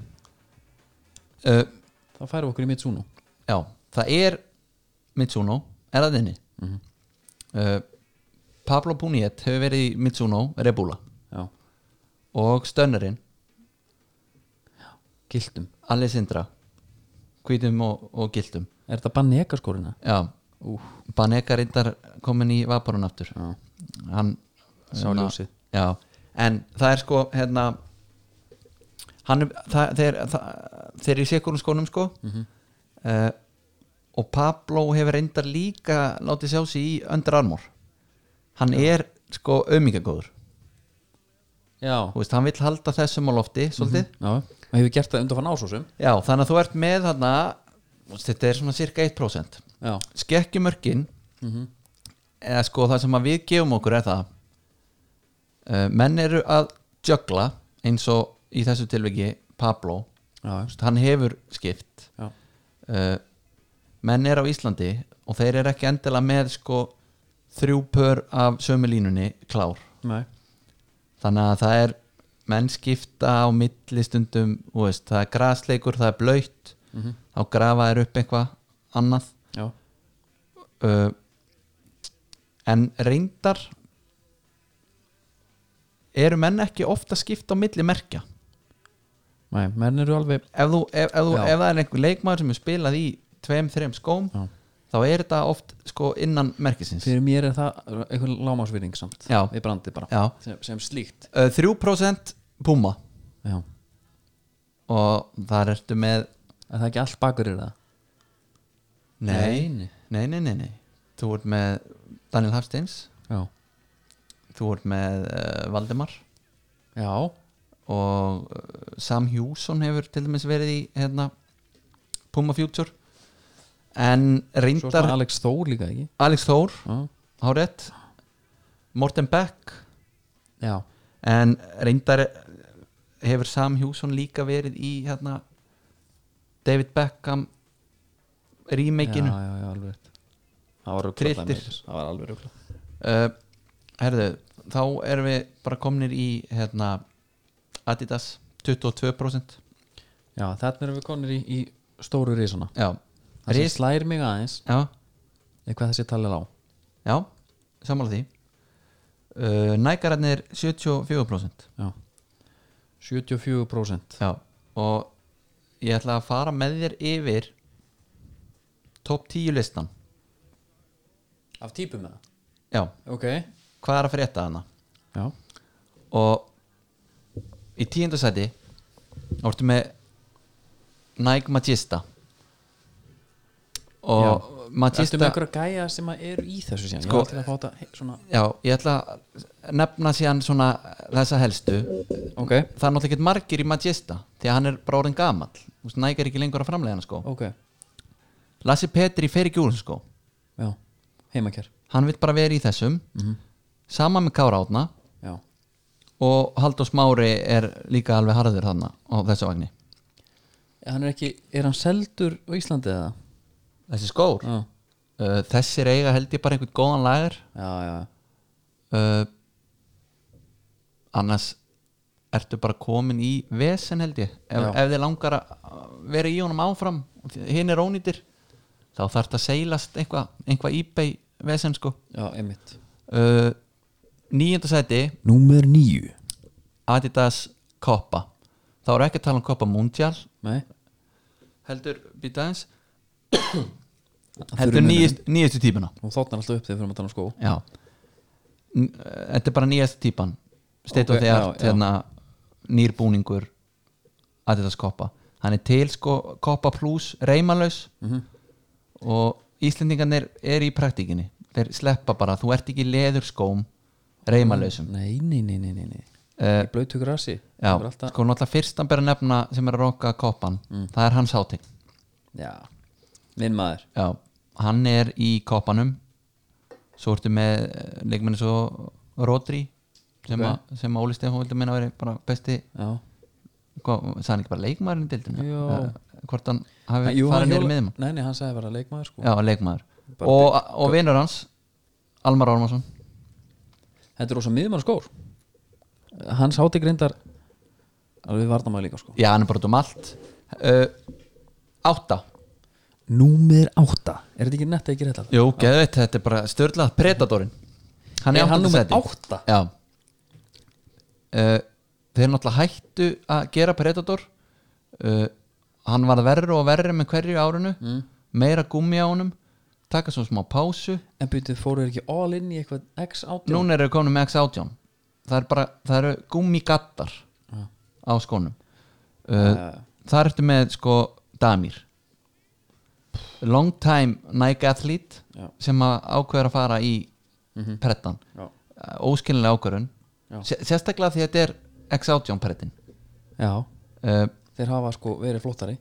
Speaker 3: uh,
Speaker 2: þá færum við okkur í Mitsuno
Speaker 3: Já, það er Mitsuno, er það þinni uh, Pablo Puniet hefur verið í Mitsuno Rebula
Speaker 2: já,
Speaker 3: og Stönnerinn,
Speaker 2: giltum,
Speaker 3: Alessandra Hvítum og, og Giltum
Speaker 2: er þetta banni ekkaskórina?
Speaker 3: Já, Baneka reyndar komin í vaparun aftur
Speaker 2: já,
Speaker 3: Hann
Speaker 2: Sá
Speaker 3: hérna,
Speaker 2: ljósið.
Speaker 3: Já, en það er sko hérna hann, er- það, þeir, það, þeir eru í sekurum skónum sko mm
Speaker 2: Mhm.
Speaker 3: og Pablo hefur reyndar líka látið sjá sig í Under Armour hann er sko ömingagóður
Speaker 2: já,
Speaker 3: Þú veist, hann vill halda þessum á lofti svolítið
Speaker 2: já og hefur gert það undanfann ásósum
Speaker 3: já, þannig að þú ert með þarna þú veist, þetta er svona cirka 1%
Speaker 2: já,
Speaker 3: skekkjumörkin
Speaker 2: Mhm.
Speaker 3: eða sko það sem að við gefum okkur er það uh, menn eru að jögla eins og í þessu tilviki Pablo,
Speaker 2: já,
Speaker 3: Þú veist, hann hefur skipt
Speaker 2: já,
Speaker 3: uh, menn eru á Íslandi og þeir eru ekki endilega með sko þrjú pör af sömu línunni klár
Speaker 2: nei
Speaker 3: þannig að það er menn skipta á milli stundum þú veist, það er grasleikur, það er blöytt
Speaker 2: Mhm.
Speaker 3: þá grafa þeir upp eitthvað annað
Speaker 2: já,
Speaker 3: uh, en reyndar eru menn ekki ofta skipt á milli merkja
Speaker 2: nei, menn eru alveg
Speaker 3: ef, þú, ef, ef, þú,
Speaker 2: Já.
Speaker 3: ef það er einhver leikmaður sem er spilað í tveim, þreim skóm
Speaker 2: Já.
Speaker 3: þá er þetta oft sko innan merkisins
Speaker 2: fyrir mér er það einhver lámásvirðing samt
Speaker 3: Já.
Speaker 2: við brandi bara
Speaker 3: Já.
Speaker 2: sem, sem slíkt
Speaker 3: Uh, 3% Puma
Speaker 2: já.
Speaker 3: og þar ertu með
Speaker 2: er það ekki allt bakur er það
Speaker 3: nei,
Speaker 2: nei.
Speaker 3: nei, nei, nei, nei. Þú ert með Daniel Hafsteins
Speaker 2: Já.
Speaker 3: Þú ert með uh, Valdemar
Speaker 2: Já.
Speaker 3: og uh, Sam Hjússon hefur til dæmis verið í hérna, Puma Future en
Speaker 2: Svo er
Speaker 3: reyndar
Speaker 2: Alex Þór líka ekki
Speaker 3: Alex Þór,
Speaker 2: Já,
Speaker 3: hárett Morten Beck
Speaker 2: já.
Speaker 3: en reyndar eh, hefur Sam Hjússon líka verið í hérna, David Beckham
Speaker 2: já,
Speaker 3: remake-inu
Speaker 2: já, já alveg rétt. Það var ruglað
Speaker 3: Trilltir.
Speaker 2: dæmis. Það var alveg ruglað
Speaker 3: uh, herðu, þá erum við bara komnir í hérna, Adidas 22%
Speaker 2: Já, þarna erum við konir í, í stóru risana
Speaker 3: já,
Speaker 2: Það sem
Speaker 3: Ris-
Speaker 2: slær mig aðeins
Speaker 3: já
Speaker 2: er hvað þessi talið á
Speaker 3: Já, sammála því uh, Nækararnir 74%
Speaker 2: Já 74%
Speaker 3: Já Og ég ætla að fara með þér yfir Top 10 listan
Speaker 2: Af típum með það
Speaker 3: Já,
Speaker 2: Ok Já
Speaker 3: hvað er að frétta hana? Og í tíundasæti Ortu með Nike Magista Og
Speaker 2: Ertu með
Speaker 3: Magista
Speaker 2: einhverja gæja sem að eru í þessu síðan
Speaker 3: Sko-
Speaker 2: Ég ætla að fá þetta he- svona
Speaker 3: Já, ég ætla að nefna síðan svona þessa helstu
Speaker 2: Ok
Speaker 3: það er náttúrulega ekkert margir í Magista því að hann er bara orðin gamall Þú veist, Nike er ekki lengur að framlega hann sko
Speaker 2: Ok
Speaker 3: Lassi Petri fer ekki úr þessu sko
Speaker 2: Já Heimakjær
Speaker 3: hann vil bara vera í þessum sama með Kára Átna
Speaker 2: Já
Speaker 3: og Haldur Smári er líka alveg harður þarna á þessu vagni
Speaker 2: Hann er ekki Er hann seldur á Íslandi eða?
Speaker 3: þessi skór
Speaker 2: Já
Speaker 3: uh, þessir eiga held ég bara einhvern góðan lagar
Speaker 2: Já, já
Speaker 3: uh, annars ertu bara komin í vesen held ég ef,
Speaker 2: Já.
Speaker 3: ef þið langar að vera í honum áfram og hinn er ónýtir þá þarf það að seilast eitthvað einhvað ebay vesen sko
Speaker 2: Já, einmitt
Speaker 3: uh, nýjönda sæti
Speaker 2: Númer nýju
Speaker 3: Adidas Copa þá er ekki að tala um Copa Mundial
Speaker 2: Nei
Speaker 3: heldur býtaðins heldur nýjist, nýjistu típuna
Speaker 2: Og þóttnar alltaf upp þegar við fyrir að tala um skó
Speaker 3: já N- eh, þetta er bara nýjastu típan state
Speaker 2: Ok,
Speaker 3: of the
Speaker 2: já,
Speaker 3: art
Speaker 2: já.
Speaker 3: hérna, nýrbúningur Adidas Copa hann er til sko Copa Plus reymalaus
Speaker 2: Mhm.
Speaker 3: og Íslendingarnir er í praktíkinni þeir sleppa bara, þú ert ekki í leðurskóm reymalausum
Speaker 2: Nei, nei, nei, nei, nei, nei.
Speaker 3: uh,
Speaker 2: Í blautu grasi
Speaker 3: Já,
Speaker 2: Það er alltaf... Mhm.
Speaker 3: sko náttúrulega fyrstan ber að nefna sem er að roka koppan, það er hans háting
Speaker 2: Já Minn maður
Speaker 3: Já, hann er í koppanum svo ertu með leikmenni svo Rodri sem,
Speaker 2: Ok.
Speaker 3: að, sem að Óli Stefán vildi minna að vera bara besti
Speaker 2: Já
Speaker 3: hvað, sagði hann ekki bara leikmaðurinn í dildinu
Speaker 2: Jó.
Speaker 3: hvort hann hafi
Speaker 2: Jú,
Speaker 3: farið
Speaker 2: hjól-
Speaker 3: neyri miðum
Speaker 2: Nei, nei, hann sagði bara leikmaður sko
Speaker 3: Já, leikmaður
Speaker 2: Bara
Speaker 3: og, og vinur hans, Almar Ormarsson
Speaker 2: Þetta er rosa miðmann skór Hans háti grindar Alveg varnamæði líka sko
Speaker 3: Já, hann er bara út um allt uh, Átta
Speaker 2: Númer átta Er þetta ekki netta ekki rétt alltaf?
Speaker 3: Jú, geðveitt, þetta er bara störlað Predatorinn Hann er,
Speaker 2: Er hann
Speaker 3: áttunda
Speaker 2: númer
Speaker 3: sæti.
Speaker 2: átta?
Speaker 3: Já uh, Þeir náttúrulega hættu að gera Predator uh, Hann varð verri og verri með hverju árinu Meira gummi á honum Taka svo smá pásu
Speaker 2: En byrjuð fóru þeir ekki all in í eitthvað X átti
Speaker 3: Núna eru komin með X-18 Það, er bara, það eru gummigattar á skónum uh, Það ertu með sko Damir Long time Nike athlete
Speaker 2: Já.
Speaker 3: sem að ákveður að fara í prettan
Speaker 2: Já.
Speaker 3: uh, óskilnilega ákvörun
Speaker 2: Já.
Speaker 3: Se- sérstaklega því að þetta er X-18 prettin
Speaker 2: Já
Speaker 3: uh,
Speaker 2: Þeir hafa sko verið flottari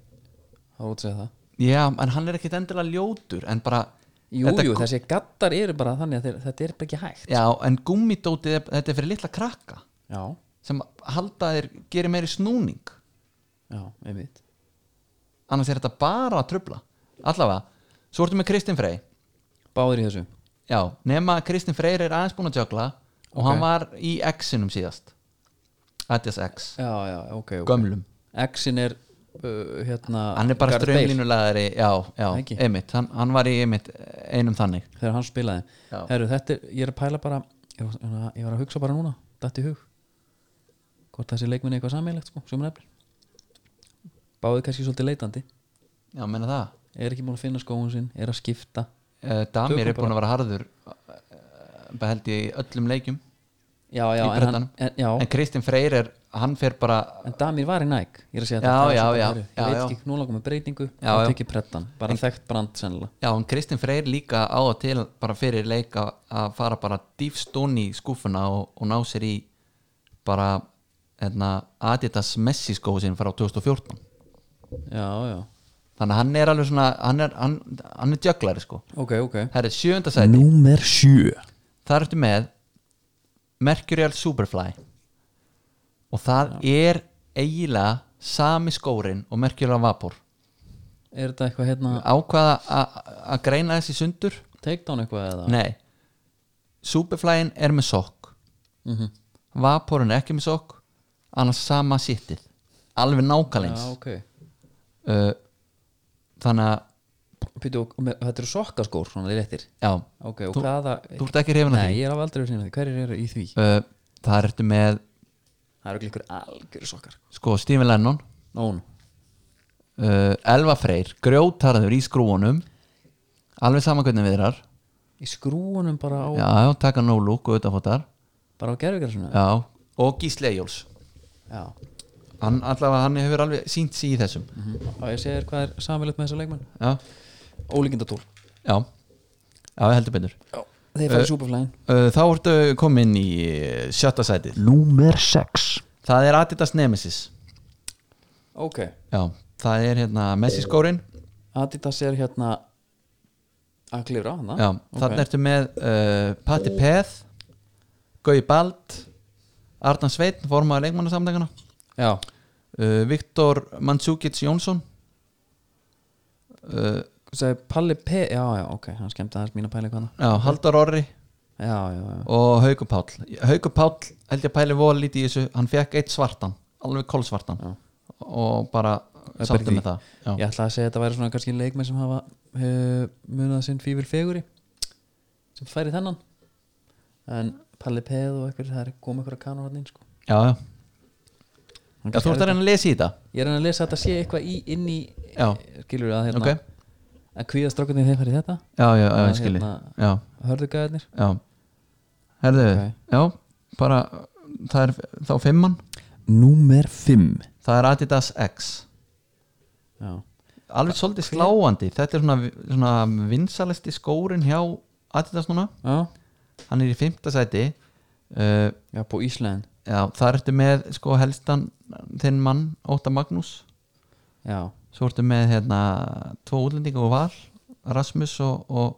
Speaker 2: Það er út að segja það
Speaker 3: Já, en hann er ekkit endilega ljótur en bara
Speaker 2: Jú,
Speaker 3: þetta,
Speaker 2: jú, þessi gattar eru bara þannig að þeir, þetta er bara ekki hægt
Speaker 3: Já, en gummidótið, er- þetta er fyrir litla krakka
Speaker 2: Já,
Speaker 3: sem halda þeir gerir meiri snúning
Speaker 2: já, einmitt
Speaker 3: annars er þetta bara að trubla allavega, svo ertu með Kristinn Frey
Speaker 2: Báðir í þessu
Speaker 3: já, nema að Kristinn Freyr er aðeins búin að jökla og
Speaker 2: Ok.
Speaker 3: hann var í X-inum síðast Adidas X,
Speaker 2: Já, já, ok, ok
Speaker 3: gömlum
Speaker 2: X-in er uh, hérna
Speaker 3: hann er bara
Speaker 2: Gareth Bale.
Speaker 3: strömlínulegari já, já,
Speaker 2: Ekki.
Speaker 3: einmitt, hann, hann var í einmitt einum þannig
Speaker 2: þegar hann spilaði
Speaker 3: Já.
Speaker 2: Heru, þetta er, ég er að pæla bara ég var, svona- ég var að hugsa bara núna, datt í hug hvort þessi leikminni eitthvað sammeilegt sko, sem er eflir báði kannski svolítið leitandi
Speaker 3: já, menna það,
Speaker 2: er ekki múin að finna skóun sinn, er að skipta
Speaker 3: uh,
Speaker 2: Tökum
Speaker 3: Damir eh, er búin að vera harður uh, held ég í öllum leikjum
Speaker 2: já, já,
Speaker 3: í
Speaker 2: en, hann,
Speaker 3: breddanum.
Speaker 2: en, já,
Speaker 3: en Kristinn Freyr er, hann fer bara
Speaker 2: en Damir var í næk ég er að segja
Speaker 3: Já,
Speaker 2: þetta,
Speaker 3: já,
Speaker 2: þetta er
Speaker 3: já,
Speaker 2: svo-
Speaker 3: já,
Speaker 2: ég veit
Speaker 3: já.
Speaker 2: ekki, nú langum með breytingu
Speaker 3: Já,
Speaker 2: og
Speaker 3: já.
Speaker 2: tekið preddan, bara þekkt brand sennilega
Speaker 3: já, en Kristinn Freyr líka á og til bara fyrir leik að, að fara bara dýfst ofan í skúfuna og, og ná sér í bara hérna, Adidas Messi skóu sinn frá 2014
Speaker 2: já, já,
Speaker 3: þannig að hann er alveg svona hann er, hann, hann er djöglari sko
Speaker 2: ok, ok
Speaker 3: það er sjöunda sæti,
Speaker 2: Númer sjö
Speaker 3: þar ertu með Mercurial Superfly og það er eiginlega sami skórin og Mercurial Vapor
Speaker 2: Er þetta eitthvað hérna,
Speaker 3: ákvaða a- að greina þessi sundur
Speaker 2: takedown eitthvað eða?
Speaker 3: nei Superflyin er með sokk
Speaker 2: Mm
Speaker 3: Vaporinn er ekki með sokk annars sama sittið alveg nákvæmleins
Speaker 2: Já, ok
Speaker 3: uh, þannig að
Speaker 2: Pítu, og með, Þetta eru sokkaskór, svona léttir
Speaker 3: já,
Speaker 2: Ok, og
Speaker 3: Þú-
Speaker 2: hvaða
Speaker 3: þú ert ekki hrifin að
Speaker 2: Nei, ég er alveg aldrei verið að því Hverjir eru í því?
Speaker 3: því uh, það er eftir með
Speaker 2: Það eru ykkur algjör sokkar
Speaker 3: sko Stephen Lennon
Speaker 2: Nón
Speaker 3: uh, Elva Freyr, grjótarður í skrúunum alveg saman hvernig viðrar
Speaker 2: Í skrúunum bara á,
Speaker 3: já, já, taka no look og auðvitafótar
Speaker 2: bara á gerfugrarsinu
Speaker 3: já, og Gísli Ejóls
Speaker 2: Já
Speaker 3: hann, allavega hann hefur alveg sínt sig í þessum
Speaker 2: Og ég segir hvað er samilegt með þessa leikmenn
Speaker 3: já,
Speaker 2: Ólíkindatól
Speaker 3: já, já, heldur betur
Speaker 2: Já Þeir fara í superflæðin
Speaker 3: uh, þá ertu komin í eh, sjötta sætið
Speaker 2: Númer 6
Speaker 3: það er Adidas Nemesis
Speaker 2: Ok
Speaker 3: já, það er hérna Messi skórin
Speaker 2: Adidas er hérna að klifra hana
Speaker 3: já, þannig ertu með uh, Patti Peth Gaui Bald Arnar Sveitn, formaður leikmannasamdækana
Speaker 2: Já
Speaker 3: uh, Viktor Mandzukic Jónsson uh,
Speaker 2: Sæði Palli P Já, já, ok Hann skemmti aðeins mína pæli hvaða
Speaker 3: já, Haldar Orri
Speaker 2: Já, já, já
Speaker 3: og Haukur Páll Haukur Páll held ég að pæli voða lítið í þessu hann fekk eitt svartan, alveg kolsvartan
Speaker 2: Já.
Speaker 3: og bara
Speaker 2: er bara í
Speaker 3: sáttu
Speaker 2: því.
Speaker 3: með það já.
Speaker 2: Ég ætla að segja að þetta væri svona kannski leikmenn sem hafa uh, munið að sinn fífil feguri sem færi þennan en Palli Peð og eitthvað það er komið eitthvað kanur hann inn sko.
Speaker 3: Já, já.
Speaker 2: Hann
Speaker 3: já, þú
Speaker 2: kannski
Speaker 3: ert að
Speaker 2: er-
Speaker 3: reyna að lesa í þetta
Speaker 2: Ég er að reyna að lesa að þetta sé eitthvað í inn í
Speaker 3: Já.
Speaker 2: skilur að hérna
Speaker 3: ok,
Speaker 2: að kvíða strókunni þeir færi þetta
Speaker 3: já, já, já,
Speaker 2: Að
Speaker 3: ég skilji
Speaker 2: hérna-
Speaker 3: já,
Speaker 2: hörðu gæðirnir
Speaker 3: já herðu,
Speaker 2: Ok.
Speaker 3: já, bara það er þá fimmann
Speaker 2: Númer 5
Speaker 3: það er Adidas X
Speaker 2: Já,
Speaker 3: alveg svolítið sláandi þetta er svona, svona vinsalisti skórin hjá Adidas núna
Speaker 2: já,
Speaker 3: hann er í fimmta sæti uh,
Speaker 2: já på Ísland
Speaker 3: já, þar ertu með sko helstan þinn mann, Óta Magnús
Speaker 2: Já,
Speaker 3: svo ertu með hérna tvo útlendinga og val Rasmus og, og,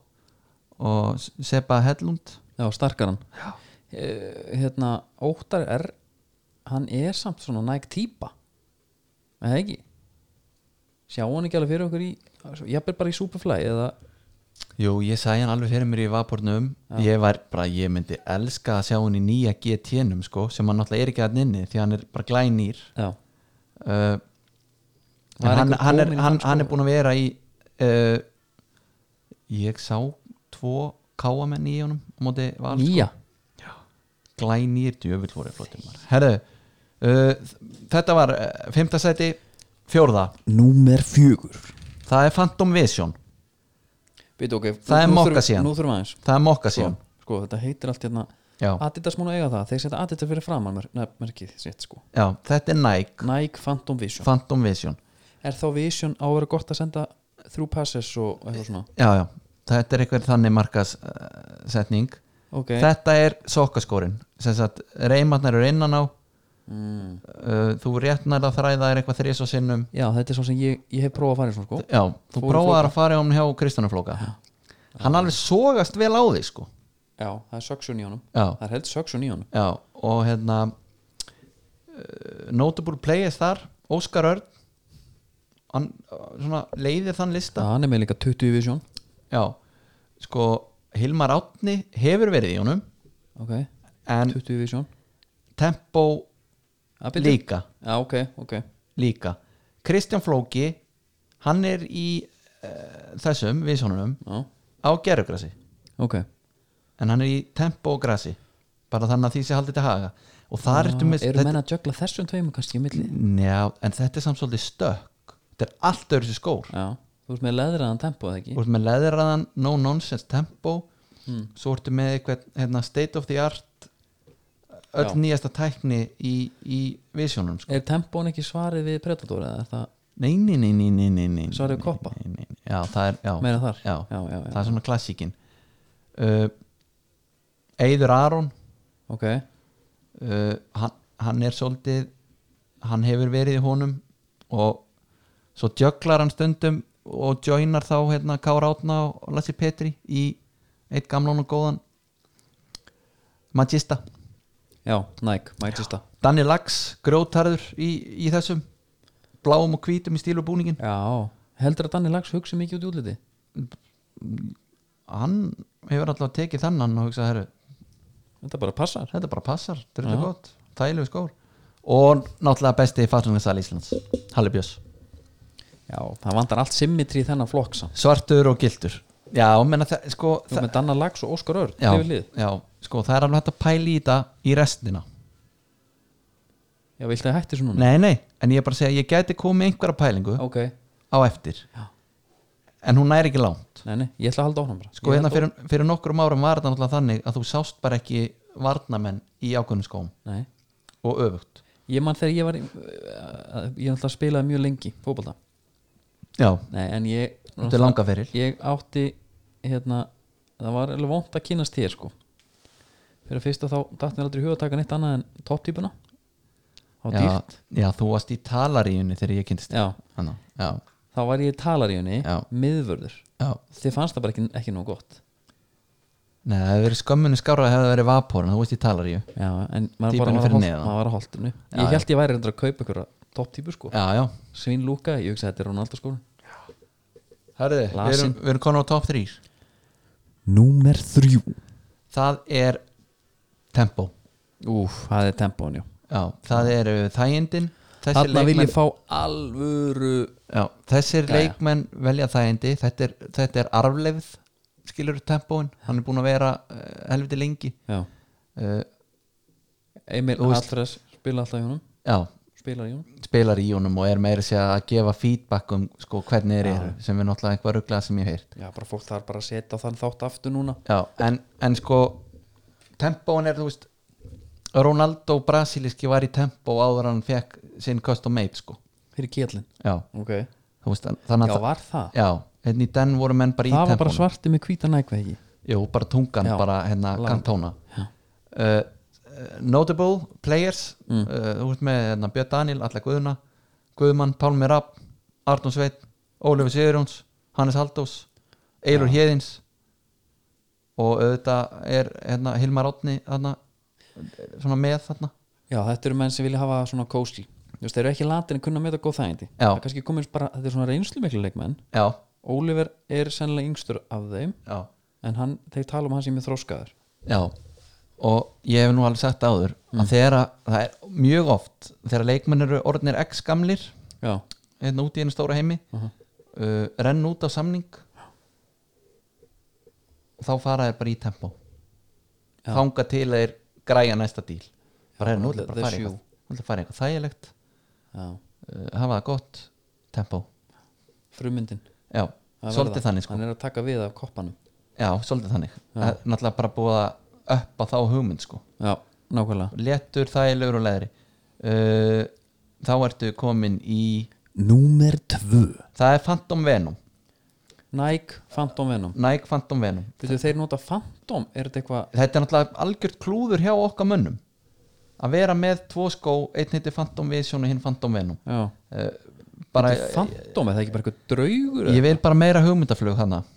Speaker 3: og Seba Hellund
Speaker 2: já starkaran já. Hérna, Óttar R hann er samt svona næg típa Er það ekki sjá hann ekki alveg fyrir okkur í jafnvel bara í Superfly eða
Speaker 3: Jú, ég sagði hann alveg fyrir mér í vapornum ég var bara, ég myndi elska að sjá hann í nýja GT-num sko, sem hann náttúrulega er ekki að inni því hann er bara glænýr
Speaker 2: já,
Speaker 3: uh,
Speaker 2: Var
Speaker 3: hann,
Speaker 2: einhver
Speaker 3: hann, er,
Speaker 2: kominn í
Speaker 3: hann, sko?
Speaker 2: hans
Speaker 3: hann er
Speaker 2: skó?
Speaker 3: búin að vera í uh, ég sá tvo káamenn í honum á móti val sko.
Speaker 2: nýja
Speaker 3: glænýr djöfull voru flottir maður. herru, uh, þetta var uh, fimmta sæti, fjórða
Speaker 2: Númer fjögur
Speaker 3: það er Phantom Vision
Speaker 2: Veit, okay,
Speaker 3: Það er
Speaker 2: nú
Speaker 3: mokka
Speaker 2: þurfum-
Speaker 3: síðan.
Speaker 2: Nú þurfum aðeins
Speaker 3: það er mokka
Speaker 2: sko,
Speaker 3: síðan
Speaker 2: sko, þetta heitir allt hérna
Speaker 3: já,
Speaker 2: Adidas múna eiga það, þeir setja Adidas fyrir framann merkið sitt sko
Speaker 3: já, þetta er Nike
Speaker 2: Nike Phantom Vision
Speaker 3: Phantom Vision
Speaker 2: Er þá Vision á að vera gott að senda þrjú passes og eitthvað svona
Speaker 3: já, já, þetta er eitthvað þannig markasetning
Speaker 2: Ok,
Speaker 3: þetta er sokkaskorinn sem sagt, reymarnar eru innan á
Speaker 2: mm.
Speaker 3: uh, þú rétt nærða þræða er eitthvað þrís og sinnum
Speaker 2: já þetta er svo sem ég, ég hef prófað að fara í svona sko
Speaker 3: já, þú
Speaker 2: Fór í
Speaker 3: prófaðar
Speaker 2: flóka.
Speaker 3: að fara um hjá Kristjánuflóka hann alveg sogast vel á því sko
Speaker 2: Já, það er söksun í honum
Speaker 3: já,
Speaker 2: Það er held söksun í honum
Speaker 3: já, og hérna uh, notable players þar Óskar Örn hann uh, svona leiðir þann lista
Speaker 2: Það hann er með líka 20 vision
Speaker 3: já, sko Hilmar Átni hefur verið í honum
Speaker 2: Ok,
Speaker 3: en
Speaker 2: 20 vision
Speaker 3: tempo
Speaker 2: Að byrja-
Speaker 3: líka
Speaker 2: Já, ok, ok
Speaker 3: líka Kristján Flóki hann er í uh, þessum viðsónunum
Speaker 2: Já,
Speaker 3: á gerðugrasi
Speaker 2: ok
Speaker 3: en hann er í tempo og grasi bara þannig að því sé haldið til haga og þar ertu með
Speaker 2: Eru menn að jögla þessum tveimur kannski í milli?
Speaker 3: já, en þetta er samt svolítið stökk þetta er allt öðru sér skór
Speaker 2: Já, þú veist með leðraðan tempo eða ekki? Mm.
Speaker 3: þú ert með leðraðan, no nonsense tempo svo ertu með eitthvað hérna, state of the art öll
Speaker 2: Já.
Speaker 3: nýjasta tækni í, í visjónum sko.
Speaker 2: er tempón ekki svarið við Predator eða er það
Speaker 3: nei, nei, nei, nei, nei, nei, nei
Speaker 2: Svarið er koppa.
Speaker 3: nei, nei, nei. já, það er, já,
Speaker 2: meira þar
Speaker 3: já,
Speaker 2: já, já,
Speaker 3: það er svona klassíkin uh, Eyður Aron
Speaker 2: ok,
Speaker 3: uh, hann, hann er svolítið hann hefur verið í honum og svo djöglar hann stundum og joinar þá hérna Kára Átna og Lassi Petri í eitt gamlan og góðan Magista
Speaker 2: já, Nike, Magista
Speaker 3: Danni Lax, grjótarður í, í þessum bláum og hvítum í stíl og búningin
Speaker 2: já, heldur að Danni Lags hugsi mikið út í útliti
Speaker 3: hann hefur alltaf tekið þannan og hugsað herru,
Speaker 2: þetta bara passar
Speaker 3: þetta bara passar, þetta er þetta gott þægilegu skór og náttúrulega besti fattungastæl Íslands, Halli Björns
Speaker 2: já, það vantar allt symmetri í þennan flokk samt
Speaker 3: svartur og gildur já, menna það, sko
Speaker 2: þú með Danna Lags og Óskar Örn
Speaker 3: já,
Speaker 2: yfir lið
Speaker 3: já, sko það er alveg hægt að pæla í þetta í restina
Speaker 2: já, viltu að hætti svona
Speaker 3: nei, nei, en ég er bara að segja, ég gæti komið einhverja pælingu
Speaker 2: ok,
Speaker 3: á eftir
Speaker 2: Já.
Speaker 3: en hún næri ekki langt
Speaker 2: nei, nei, ég ætla að halda áfram bara
Speaker 3: Sko
Speaker 2: Ég
Speaker 3: hérna
Speaker 2: held
Speaker 3: fyrir, fyrir nokkrum árum var þetta náttúrulega þannig að þú sást bara ekki varnamenn í ákveðnum skóm
Speaker 2: á- nei
Speaker 3: og öfugt
Speaker 2: Ég man þegar ég var í- uh, Ég ætla að spilaði mjög lengi fótbolta
Speaker 3: Já,
Speaker 2: Nei, en ég
Speaker 3: þetta er langa fyrir
Speaker 2: Ég átti hérna Það var alveg vont að kynast þér sko Fyrir að fyrsta þá datt mér aldrei í hug að taka neitt annað en topptípuna Það var
Speaker 3: já,
Speaker 2: dýrt
Speaker 3: já, þú varst í talaríunni þegar ég kynntist þér.
Speaker 2: Já,
Speaker 3: Þannig, já,
Speaker 2: þá var ég í talaríunni
Speaker 3: Já.
Speaker 2: miðvörður
Speaker 3: já
Speaker 2: Þið fannst það bara ekki, ekki nóg gott
Speaker 3: Nei, það hefði verið skömmunni skárað hefði það verið vapor en þú varst í talaríu
Speaker 2: Já, en maður bara
Speaker 3: Típunni
Speaker 2: var að,
Speaker 3: fyrir
Speaker 2: holt,
Speaker 3: neðan.
Speaker 2: maður var að holtinu
Speaker 3: Já,
Speaker 2: Ég held ég væri reyndar að kaupa ykkur topptípu sko
Speaker 3: Já, já
Speaker 2: Svín Lúka, ég hugsa þetta er Ronaldo sko
Speaker 3: Herði, við erum,
Speaker 2: Lasin.
Speaker 3: við erum konar á top 3
Speaker 2: Númer þrjú
Speaker 3: Það er tempo
Speaker 2: Úf, það er tempón, já
Speaker 3: Já, það er eh, þægindin Þessir
Speaker 2: Þarna vil
Speaker 3: leikmenn-
Speaker 2: ég fá alvöru
Speaker 3: Já, þessir
Speaker 2: Jæja.
Speaker 3: leikmenn velja þægindi þetta er, þetta er arfleifð skilur tempóin, hann er búin að vera uh, helviti lengi
Speaker 2: Já,
Speaker 3: uh,
Speaker 2: Emil
Speaker 3: Þú veist-
Speaker 2: Alfres spila alltaf í honum
Speaker 3: já,
Speaker 2: spilar í honum
Speaker 3: spilar í honum og er meira að segja að gefa feedback um sko, hvernig þeir
Speaker 2: Já.
Speaker 3: eru sem er náttúrulega eitthvað rugglega sem ég hef heyrt
Speaker 2: Já, bara fólk þarf bara að setja þann þátt aftur núna
Speaker 3: já, en, en sko tempóin er, þú veist Ronaldo brasiliski var í tempó áður en hann fekk sinn custom made sko,
Speaker 2: fyrir kjellin
Speaker 3: já,
Speaker 2: Ok,
Speaker 3: þú veist þannig
Speaker 2: já
Speaker 3: að,
Speaker 2: var það
Speaker 3: já, hérna í den voru menn bara í
Speaker 2: Það var bara
Speaker 3: tempónum
Speaker 2: svarti með hvíta nækveð ekki
Speaker 3: Jú, bara tungan,
Speaker 2: Já.
Speaker 3: bara hérna
Speaker 2: Lang.
Speaker 3: kantóna
Speaker 2: Já.
Speaker 3: uh, Notable players mm. uh, út með hérna, Björn Daniel, Alla Guðuna Guðmann, Pálmi Rapp, Arnón Sveit Ólefur Sigurjóns, Hannes Haldós Eilur Héðins og auðvitað er hérna, Hilmar Átni hérna, svona með þarna
Speaker 2: Já, þetta eru menn sem vilja hafa svona kósi Þú veist, þeir eru ekki latin en kunna með það góð þægindi
Speaker 3: Já.
Speaker 2: Það er kannski komið bara, þetta er svona reynslu miklu leikmenn
Speaker 3: Já,
Speaker 2: Oliver er sennilega yngstur af þeim
Speaker 3: já,
Speaker 2: en hann, þeir tala um hann sem er þróskaður
Speaker 3: já og ég hef nú alveg sagt áður
Speaker 2: Mm.
Speaker 3: að þegar að, það er mjög oft þegar leikmenn eru orðnir x gamlir
Speaker 2: Já,
Speaker 3: hérna út í einu stóra heimi uh
Speaker 2: Mhm.
Speaker 3: renn út á samning þá fara þeir bara í tempo
Speaker 2: Já.
Speaker 3: þanga til þeir græja næsta díl bara hérna út
Speaker 2: let
Speaker 3: bara
Speaker 2: the
Speaker 3: fara í
Speaker 2: shoe.
Speaker 3: eitthvað, nú ætla að fara í eitthvað þægilegt
Speaker 2: já,
Speaker 3: uh, hafa það gott, tempo
Speaker 2: frumyndin
Speaker 3: já,
Speaker 2: Það verður
Speaker 3: svolítið
Speaker 2: það.
Speaker 3: þannig sko
Speaker 2: Hann er að taka við af koppanum
Speaker 3: já, svolítið þannig, það er náttúrulega bara búið að uppa þá hugmynd sko
Speaker 2: Já, nákvæmlega
Speaker 3: léttur, þægilegur og leðri uh, þá ertu komin í
Speaker 2: Númer 2
Speaker 3: það er Phantom Venom,
Speaker 2: Nike Phantom Venom
Speaker 3: Nike Phantom Venom
Speaker 2: Veitu, þeir nota Phantom, er þetta eitthvað
Speaker 3: þetta er náttúrulega algjört klúður hjá okkar mönnum að vera með tvo skó einn heitir Phantom Vision og hinn Phantom Venom
Speaker 2: Já,
Speaker 3: Eh, bara,
Speaker 2: þetta er Phantom, er það ekki bara eitthvað draugur
Speaker 3: ég vil bara meira hugmyndaflug þannig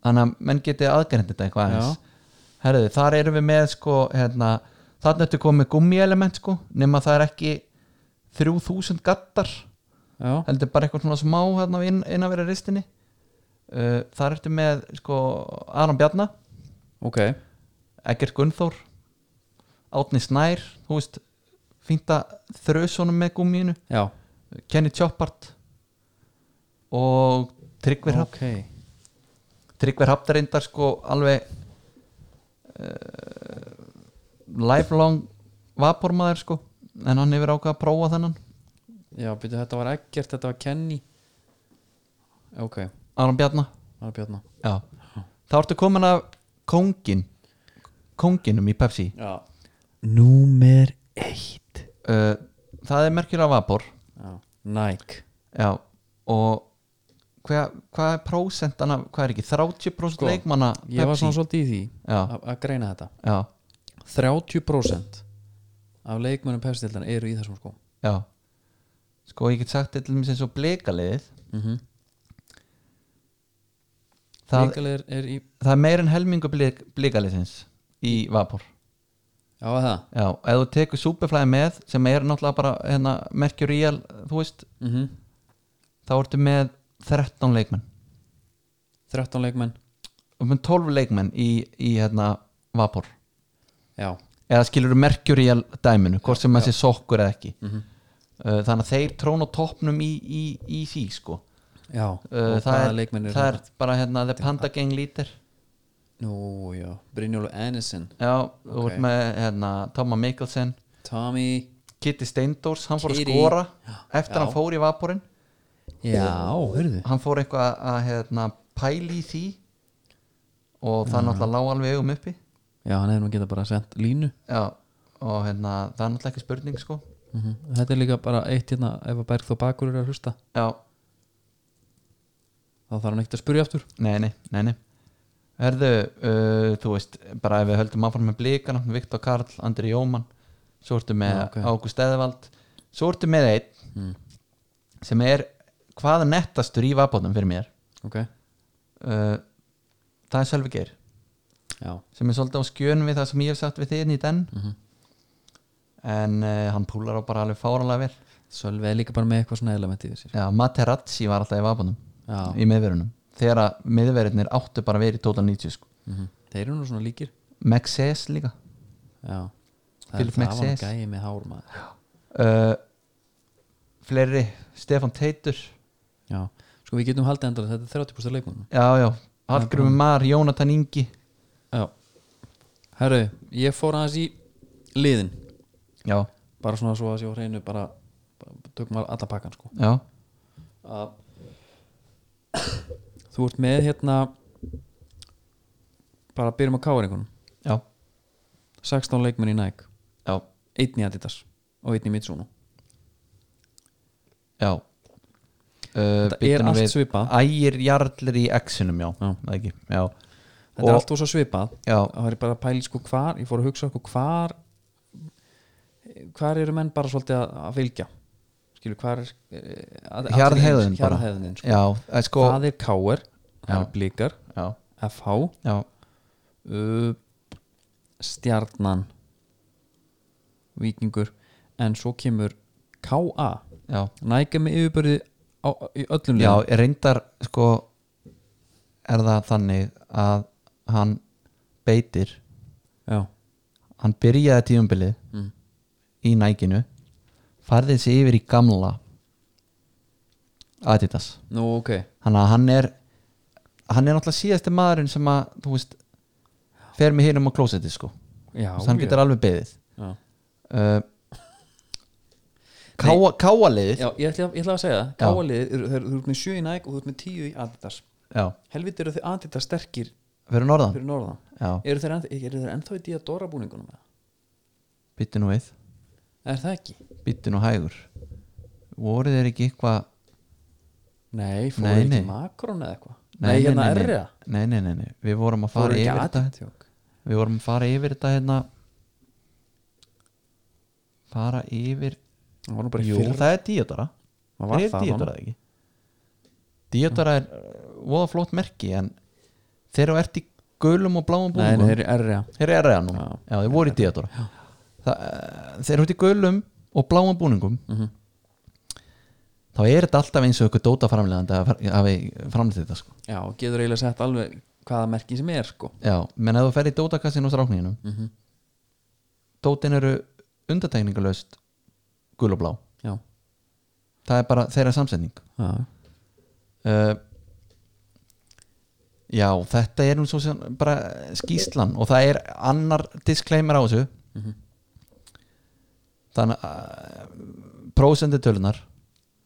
Speaker 3: þannig að menn geti aðgerðin þetta eitthvað aðeins herriði, þar erum við með sko hérna, þannig ertu komið gummielement sko nema það er ekki 3000 gattar
Speaker 2: Já,
Speaker 3: heldur bara eitthvað svona smá hérna, inn, inn að vera ristinni uh, þar ertu með sko Aron Bjarnar
Speaker 2: ok
Speaker 3: Egert Gunnþór Átni Snær þú veist, fínt að þrös honum með gummínu
Speaker 2: Já,
Speaker 3: Kenny Choppart og Tryggvi Hrapp
Speaker 2: ok
Speaker 3: Tryggvi Hrapp er reyndar sko alveg uh, lifelong vapormaður sko en hann hefur ákvað að prófa þennan
Speaker 2: Já, byrju, þetta var ekkert, þetta var Kenny Ok,
Speaker 3: Aron Bjarnar
Speaker 2: það er björna
Speaker 3: Já. þá ertu komin af kóngin kónginum í Pepsi
Speaker 2: Já, Númer eitt
Speaker 3: uh, það er merkjulega vapor
Speaker 2: Já. Nike
Speaker 3: já, og hvað hva er prósentan af, hvað er ekki 30%
Speaker 2: Sko,
Speaker 3: leikmanna
Speaker 2: Ég var svona
Speaker 3: Pepsi?
Speaker 2: svolítið í því
Speaker 3: já,
Speaker 2: að að greina þetta
Speaker 3: já,
Speaker 2: 30% af leikmönnum pepstildan eru í þessum sko
Speaker 3: já sko ég get sagt til dæmis eins og blikaliðið
Speaker 2: mm
Speaker 3: Mhm.
Speaker 2: -hmm.
Speaker 3: það,
Speaker 2: er, er í
Speaker 3: það er meir en helmingu blik, blikaliðsins í vapor
Speaker 2: Já, er það
Speaker 3: já, ef þú tekur Superfly með sem er náttúrulega bara hérna, Mercurial, þú veist
Speaker 2: mm
Speaker 3: þá ertu með 13 leikmenn
Speaker 2: 13 leikmenn
Speaker 3: og með 12 leikmenn í, í hérna, vapor
Speaker 2: Já,
Speaker 3: eða skilur Mercurial dæminu hvort sem
Speaker 2: Já.
Speaker 3: maður sé sokkur eða ekki
Speaker 2: Mhm.
Speaker 3: Uh, þannig að þeir trón á toppnum í, í, í því sko
Speaker 2: já
Speaker 3: uh,
Speaker 2: Og
Speaker 3: það,
Speaker 2: hvaða
Speaker 3: er,
Speaker 2: leikmenn eru
Speaker 3: það er
Speaker 2: þarna?
Speaker 3: bara hérna The Panda Gang lítir
Speaker 2: Nú, já Brynjólu Ennison
Speaker 3: já, þú ert með hérna, Toma Mikkelsen
Speaker 2: Tommy
Speaker 3: Kitty Steindors, hann fór
Speaker 2: Kitty.
Speaker 3: að skora eftir
Speaker 2: Já.
Speaker 3: hann fór í vaporinn
Speaker 2: Já, hörðu
Speaker 3: hann fór eitthvað að, að hérna, pæli í því og
Speaker 2: Mhm.
Speaker 3: það náttúrulega lág alveg eigum uppi
Speaker 2: Já, hann hefði nú getað bara sent línu
Speaker 3: já, og hérna, það er náttúrulega ekki spurning sko
Speaker 2: mm Þetta er líka bara eitt hérna ef að Bergþó Bakur er að hlusta
Speaker 3: já,
Speaker 2: þá þarf hann ekkert að spurja aftur
Speaker 3: Nei, nei, nei, nei. Herðu, uh, þú veist, bara ef við höldum áfram með blíkana, Viktor Karl, Andri Jóman svo ertu með
Speaker 2: Já, ok.
Speaker 3: Ágúst Eðvald svo ertu með einn
Speaker 2: mm.
Speaker 3: sem er hvaða nettastur í vapótum fyrir mér
Speaker 2: Ok,
Speaker 3: uh, það er Sölvi Geir
Speaker 2: já
Speaker 3: sem er svolítið á skjön við það sem ég hef sagt við þinn í den
Speaker 2: mm -hmm.
Speaker 3: en uh, hann púlar á bara alveg fáranlega vel
Speaker 2: Sölvi er líka bara með eitthvað svona element í þessir
Speaker 3: Já, Materazzi var alltaf í vapótum
Speaker 2: Já,
Speaker 3: í miðverunum þegar að miðverunir áttu bara verið í total 90 sko.
Speaker 2: mm þeir eru nú svona líkir
Speaker 3: Mexes líka
Speaker 2: Já, það, er-
Speaker 3: Philip
Speaker 2: það var hann
Speaker 3: Maxes.
Speaker 2: gæi með hár maður
Speaker 3: uh, fleiri Stefan Teitur
Speaker 2: Já, sko við getum haldið endur þetta er 30% leikmennum
Speaker 3: já, já, Hallgrimur Mar, Jónatan Ingi
Speaker 2: Já Herru, ég fór aðeins í liðin
Speaker 3: já,
Speaker 2: bara svona svo að sjá hreinu bara, bara tökum að alla pakkan sko
Speaker 3: já,
Speaker 2: að þú ert með hérna bara byrjum að káa einhvern
Speaker 3: já,
Speaker 2: 16 leikmenn í Nike,
Speaker 3: já,
Speaker 2: einn í Adidas og einn í Mitsuno
Speaker 3: já. Uh,
Speaker 2: Þetta er
Speaker 3: bíddu nú
Speaker 2: allt
Speaker 3: við.
Speaker 2: svipað
Speaker 3: ægir jarlir í X-unum, já,
Speaker 2: Já.
Speaker 3: Það ekki, já,
Speaker 2: Þetta er
Speaker 3: Og-
Speaker 2: allt og svo svipað
Speaker 3: já,
Speaker 2: það var ég bara að pæli sko hvar ég fór að hugsa sko hvar hvar eru menn bara svolítið að, að fylgja skilur hvar er eh, að- allir
Speaker 3: Hjarðheiðin
Speaker 2: eins,
Speaker 3: bara.
Speaker 2: hjarðheiðin sko.
Speaker 3: já, eh, sko
Speaker 2: það er Káer, það
Speaker 3: Já.
Speaker 2: eru Blikar
Speaker 3: já,
Speaker 2: FH,
Speaker 3: já,
Speaker 2: uh, Stjarnan Víkingur en svo kemur KA
Speaker 3: já,
Speaker 2: nægja með yfirbörði á, í öllum
Speaker 3: já,
Speaker 2: liðum.
Speaker 3: reyndar sko, er það þannig að hann beitir,
Speaker 2: já,
Speaker 3: hann byrjaði tíumbilið
Speaker 2: Mm.
Speaker 3: í nækinu farðið sér yfir í gamla Adidas
Speaker 2: nú ok
Speaker 3: þannig að hann er hann er náttúrulega síðasti maðurinn sem að þú veist, fer með hinum á klósetti sko,
Speaker 2: já,
Speaker 3: þannig hann getur alveg beðið
Speaker 2: já.
Speaker 3: uh, káa, káaliðið já.
Speaker 2: já ég, ætla, ég ætla að segja það,
Speaker 3: Já.
Speaker 2: KA liðið eru- þeir- þú ert með 7 í næg og þú ert með 10 í Adidas
Speaker 3: já,
Speaker 2: helviti eru þau Adidas sterkir
Speaker 3: fyrir norðan
Speaker 2: fyrir norðan
Speaker 3: já,
Speaker 2: eru þeir, ennþá, eru þeir ennþá í Diadora búningunum eða?
Speaker 3: byttu nú við,
Speaker 2: er það ekki?
Speaker 3: byttu nú hægur voru þeir ekki eitthvað
Speaker 2: nei, fóru
Speaker 3: Nei,
Speaker 2: ekki
Speaker 3: nei.
Speaker 2: Macron eða eitthvað nei, hérna er það
Speaker 3: nei, nei, nei, nei, við vorum að fara
Speaker 2: fóru ekki
Speaker 3: yfir þetta hérna.
Speaker 2: Adidas
Speaker 3: við vorum að fara yfir þetta hérna fara yfir
Speaker 2: það var nú bara í
Speaker 3: jú,
Speaker 2: fyrra
Speaker 3: það er díotara
Speaker 2: Það
Speaker 3: það
Speaker 2: var
Speaker 3: er
Speaker 2: það
Speaker 3: díotara ekki díotara er uh, voða flott merki en þeir eru ert í gulum og bláum
Speaker 2: Nei, nei,
Speaker 3: búningum
Speaker 2: þeir eru erja
Speaker 3: þeir eru erða núna,
Speaker 2: Já.
Speaker 3: já, þeir voru í díotara Þa, uh, þeir eru ert í gulum og bláum búningum
Speaker 2: Mhm.
Speaker 3: þá er þetta alltaf eins og ykkur dóta framlegandi að hafi framlegið þetta sko.
Speaker 2: Já, og getur eiginlega sett alveg hvaða merki sem er sko
Speaker 3: já, menn ef þú ferð í dótakassin og strákninginum
Speaker 2: mm
Speaker 3: dótin eru undartekningalöst gul og blá
Speaker 2: Já,
Speaker 3: það er bara þeirra samsetning
Speaker 2: já,
Speaker 3: uh, já, þetta er nú svo sem bara skýslan og það er annar disclaimer á þessu
Speaker 2: Mhm.
Speaker 3: þannig að eh, prósendi tölunar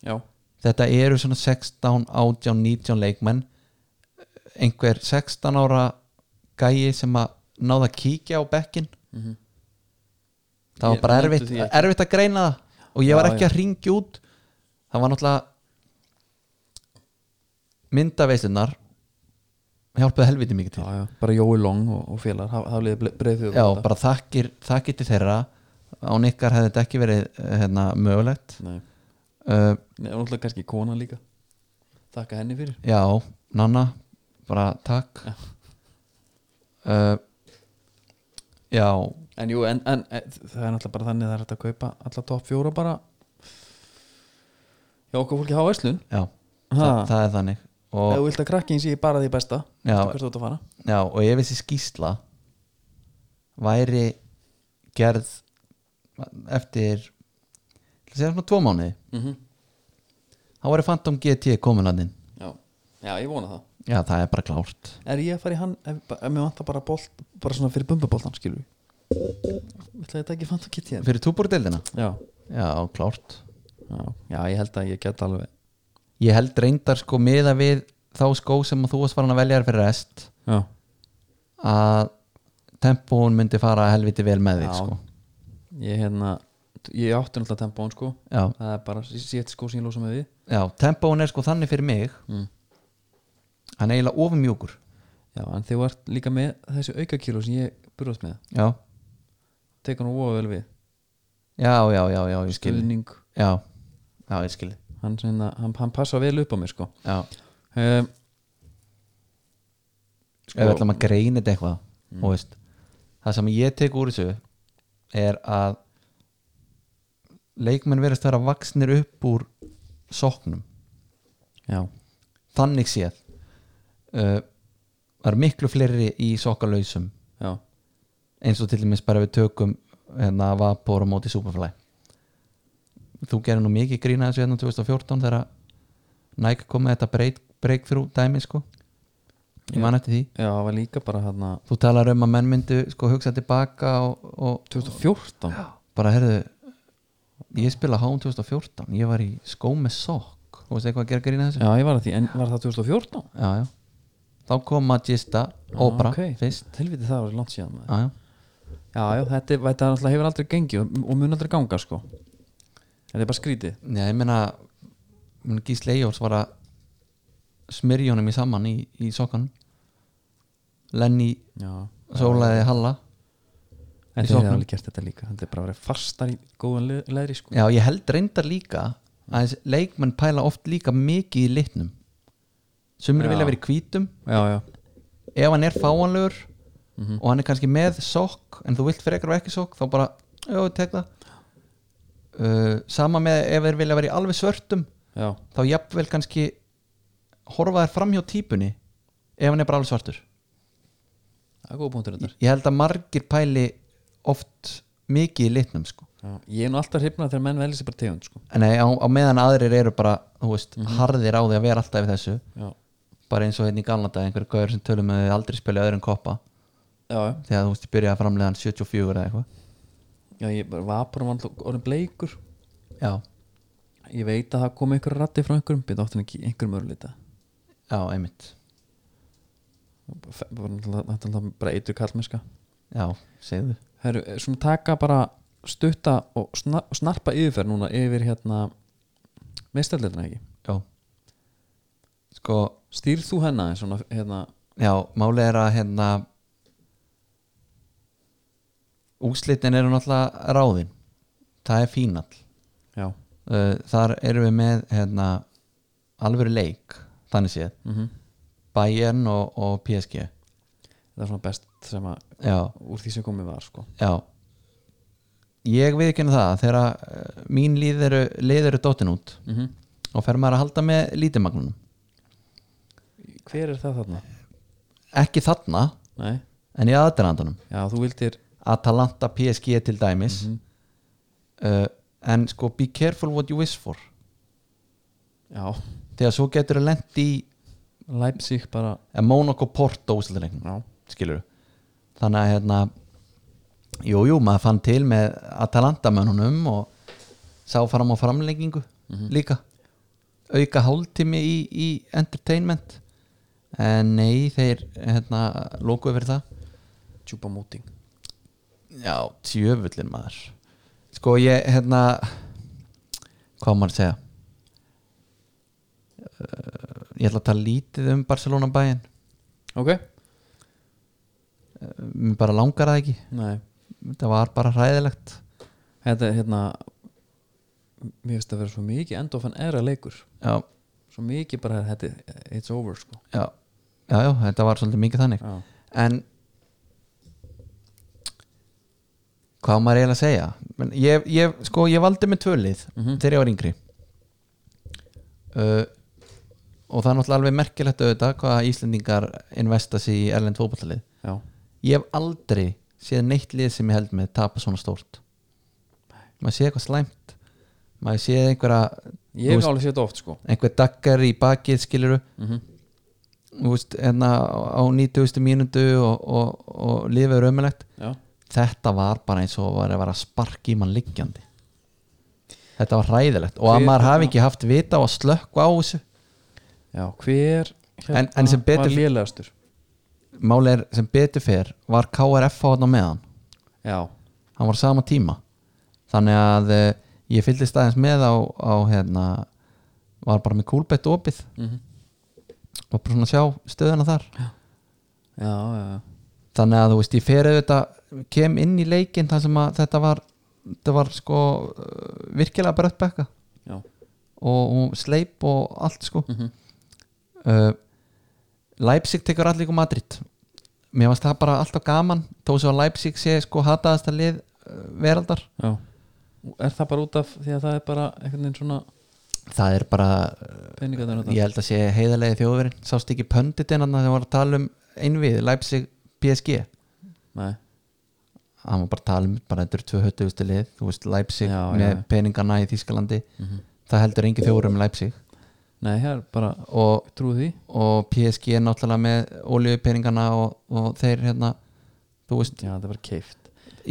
Speaker 2: já,
Speaker 3: þetta eru svona 16, 18, 19 leikmenn einhver
Speaker 2: Mhm.
Speaker 3: 16 ára gæi sem að náða að kíkja á bekkin það var
Speaker 2: Ég
Speaker 3: bara
Speaker 2: nefndi
Speaker 3: erfitt,
Speaker 2: því ekki.
Speaker 3: erfitt að greina það og ég var
Speaker 2: Já,
Speaker 3: ekki að ringja út það var náttúrulega myndaveislunar hjálpuði helviti mikið til
Speaker 2: já, já, bara Jói Long og, og félar hafa liðið breið þjóð
Speaker 3: já, bara þakkir, þakkir til þeirra án ykkar hefði þetta ekki verið eh, hérna, mögulegt
Speaker 2: Nei,
Speaker 3: uh,
Speaker 2: Nei, og náttúrulega kannski kona líka Takka henni fyrir
Speaker 3: já, Nanna bara takk
Speaker 2: Já.
Speaker 3: uh, já
Speaker 2: En jú, en, en e, það er náttúrulega bara þannig að það er hægt að kaupa alla topp fjóra bara Já, okkur fólki hafa verslun
Speaker 3: já,
Speaker 2: Ha.
Speaker 3: það, það er þannig
Speaker 2: Ef
Speaker 3: og,
Speaker 2: þú vilt að krakkin sé bara því besta
Speaker 3: Já.
Speaker 2: veistu hvert þú ert að fara
Speaker 3: já, og ef þessi skýsla væri gerð eftir ætla að segja svona tvo mánuði
Speaker 2: mm
Speaker 3: þá væri Phantom GT komin að þinn
Speaker 2: já. já, ég vona það
Speaker 3: já, það er bara klárt
Speaker 2: Er ég að fara í hann, ef, ef mér vantar bara bolt bara svona fyrir bumbuboltan, skilur við Ætla ég þetta ekki fant að geta ég
Speaker 3: fyrir túbúrdeildina
Speaker 2: hérna? já.
Speaker 3: já, klárt
Speaker 2: já, já, ég held að ég get alveg
Speaker 3: ég held reyndar sko miða við þá skó sem að þú varst farin að velja þér fyrir rest
Speaker 2: Já,
Speaker 3: að tempón myndi fara helviti vel með
Speaker 2: Já.
Speaker 3: þig sko
Speaker 2: ég hérna Ég átti náttúrulega tempón, sko
Speaker 3: já,
Speaker 2: Það er bara sétt sko sem ég lósa með við
Speaker 3: já tempón er sko þannig fyrir mig
Speaker 2: Mm.
Speaker 3: hann er eiginlega ofumjúkur
Speaker 2: Já, en þið vart líka með þessu aukakíló sem ég burðast með
Speaker 3: já,
Speaker 2: tekur hann óa vel við
Speaker 3: já, já, já, já ég skil
Speaker 2: Stuðning,
Speaker 3: já, já, ég skil
Speaker 2: hann, svona, hann, hann passa vel upp á mig sko.
Speaker 3: já,
Speaker 2: um,
Speaker 3: ef við
Speaker 2: sko,
Speaker 3: ætlum að greina þetta eitthvað
Speaker 2: Mm.
Speaker 3: og veist, það sem ég tek úr þessu er að leikmenn verðast að vera vaksnir upp úr sóknum
Speaker 2: Já,
Speaker 3: þannig séð uh, var miklu fleiri í sokkalausum
Speaker 2: já,
Speaker 3: eins og til dæmis bara við tökum hérna Vapor á móti Superfly þú gerir nú mikið grína þessu hérna 2014 þegar Nike kom með þetta break, breakthrough dæmi sko ég man eftir því
Speaker 2: já, það var líka bara hérna, hann
Speaker 3: þú talar um að menn myndu sko hugsa tilbaka og, og
Speaker 2: 2014
Speaker 3: bara herðu ég spila hán 2014 ég var í skó með sokk þú veist eitthvað að gera grína þessu
Speaker 2: Já, ég var að því, en var það 2014?
Speaker 3: já, já. þá kom Magista Opera
Speaker 2: Ah, ok.
Speaker 3: fyrst
Speaker 2: Helviti það var langt síðan maður
Speaker 3: já, já.
Speaker 2: Já, já, þetta, er- þetta er náttúrulega hefur aldrei gengið og, og mun aldrei ganga sko Þetta er bara skrítið
Speaker 3: Já, ég meina mun Gísli Eyjóls var að smyrja honum í saman í, í sokkanum Lenny
Speaker 2: Já, Ah.
Speaker 3: sólaði Halla
Speaker 2: en
Speaker 3: Í
Speaker 2: þið hefur
Speaker 3: sóknum.
Speaker 2: alveg gert þetta líka Þetta er bara að vera fastar í góðan le- leðri sko
Speaker 3: Já, ég held reyndar líka að þessi leikmenn pæla oft líka mikið í litnum sumur
Speaker 2: Já.
Speaker 3: vilja verið hvítum
Speaker 2: já, Mhm. já.
Speaker 3: ef hann er fáanlegur og hann er kannski með sokk en þú vilt frekar og ekki sokk þá bara, já, ég tek það uh, sama með ef þeir vilja verið í alveg svörtum
Speaker 2: já.
Speaker 3: þá jafnvel kannski horfa þær fram hjá típunni ef hann er bara alveg svartur
Speaker 2: Það er góð punktur þetta
Speaker 3: ég held að margir pæli oft mikið í litnum sko
Speaker 2: Já, ég er nú alltaf hrifnað þegar menn velja sér bara tegund sko.
Speaker 3: en nei, á, á meðan aðrir eru bara þú veist, harðir á því að vera alltaf í þessu
Speaker 2: já.
Speaker 3: bara eins og hérna í gamla dag einhverjum gauður sem tölum að þið aldrei spila öðrum koppa
Speaker 2: Já, já.
Speaker 3: þegar þú veist ég byrjaði að framlega hann 74 eða eitthvað
Speaker 2: já, ég bara vapur um alltaf orðin bleikur
Speaker 3: já,
Speaker 2: ég veit að það kom einhver ratti frá einhverjum byrði áttin ekki einhverjum örlita
Speaker 3: já, einmitt
Speaker 2: þetta er bara eitur kallmesska
Speaker 3: já, segðu
Speaker 2: Heru, eh, svona taka bara stutta og snar, og snarpa yfirferð núna yfir hérna meðstældina ekki
Speaker 3: já. sko,
Speaker 2: stýrð þú hennar eins svona hérna
Speaker 3: já, málið er að hérna úslitin eru náttúrulega ráðin það er fínall
Speaker 2: já,
Speaker 3: uh, þar erum við með hérna, alvöru leik þannig séð,
Speaker 2: mm
Speaker 3: Bayern og, og PSG
Speaker 2: það er svona best sem að
Speaker 3: já,
Speaker 2: úr því sem komið var sko
Speaker 3: já ég viðkynna það að þegar uh, mín lið eru, lið eru dottin út
Speaker 2: mm
Speaker 3: og fer maður að halda með lítimagnunum
Speaker 2: hver er það þarna?
Speaker 3: ekki þarna,
Speaker 2: Nei?
Speaker 3: en í aðdraðandunum
Speaker 2: já, þú vildir Mhm.
Speaker 3: Atalanta PSG til dæmis uh, en sko be careful what you wish for
Speaker 2: já,
Speaker 3: þegar svo getur þú lent í
Speaker 2: Leipzig bara
Speaker 3: eh, Monaco Porto úslitin
Speaker 2: já,
Speaker 3: skilur þannig að hérna jú, jú, maður fann til með Atalanta-mönnunum og sá fram á framlengingu
Speaker 2: Mhm.
Speaker 3: líka auka hálftími í, í entertainment en nei, þeir hérna, lókuðu fyrir það
Speaker 2: tjúpa móting
Speaker 3: já, tjöfullin maður sko ég hérna hvað á maður að segja uh, ég ætla að tala lítið um Barcelona bæinn
Speaker 2: ok,
Speaker 3: Uh, mér bara langar það ekki
Speaker 2: nei
Speaker 3: þetta var bara hræðilegt
Speaker 2: þetta er hérna mér finnst að vera svo mikið endofan era leikur
Speaker 3: já,
Speaker 2: svo mikið bara þetta, er- it's over sko
Speaker 3: já, já, já þetta var svolítið mikið þannig
Speaker 2: já,
Speaker 3: en hvað á maður eiginlega að segja Men ég, ég, sko, ég valdi með tvölið
Speaker 2: Mhm.
Speaker 3: þegar ég var yngri uh, og það er náttúrulega alveg merkilegt auðvitað hvað Íslendingar investa sér í erlend fótballalið
Speaker 2: já,
Speaker 3: ég hef aldrei séð neitt lið sem ég held með tapa svona stórt maður séð eitthvað slæmt maður séð einhverja
Speaker 2: ég
Speaker 3: Þú
Speaker 2: hef
Speaker 3: veist-
Speaker 2: alveg séð þetta oft sko
Speaker 3: einhver daggar í bakið skiluru
Speaker 2: mm
Speaker 3: Mhm. þú veist, hérna á 90. mínútu og, og, og lifið er ömulegt
Speaker 2: já,
Speaker 3: þetta var bara eins og var að vera sparki í mann liggjandi þetta var hræðilegt og að
Speaker 2: Hver-
Speaker 3: maður hafi ekki haft vita á að slökku á þessu
Speaker 2: já, hver hérna,
Speaker 3: En- en sem
Speaker 2: var
Speaker 3: betur-
Speaker 2: lélegastur
Speaker 3: máli er sem betur fer var KRF á þarna á meðan
Speaker 2: já,
Speaker 3: hann var á sama tíma þannig að eh, ég fylgdist aðeins með á, á hérna var bara með kúlbett opið
Speaker 2: mm
Speaker 3: og bara svona að sjá stöðuna þar
Speaker 2: já, já, já
Speaker 3: þannig að þú veist ég fer auðvitað kem inn í leikinn þar sem að þetta var þetta var sko uh, virkilega brött bekka
Speaker 2: já,
Speaker 3: og, og sleip og allt sko
Speaker 2: mm
Speaker 3: uh, Leipzig tekur allir líka Madrid mér varst það bara alltaf gaman þó svo að Leipzig sé sko hataðasta lið uh, veraldar
Speaker 2: já er það bara út af því að það er bara einhvern veginn svona
Speaker 3: það er bara uh,
Speaker 2: peningarnir
Speaker 3: ég held að sé heiðarlega þjóðverinn sást ekki pönditinn þarna þegar var að tala um einvið Leipzig PSG
Speaker 2: nei,
Speaker 3: hann var bara að tala um bara þetta eru tvö höttuðustu lið þú veist Leipzig
Speaker 2: Já, já,
Speaker 3: með
Speaker 2: já.
Speaker 3: peningana í Þískalandi
Speaker 2: mm
Speaker 3: það heldur engi þjóður um Leipzig
Speaker 2: nei, það er bara
Speaker 3: og,
Speaker 2: trú því
Speaker 3: og PSG er náttúrulega með olíupeningana og, og þeir hérna þú veist
Speaker 2: já, það var keift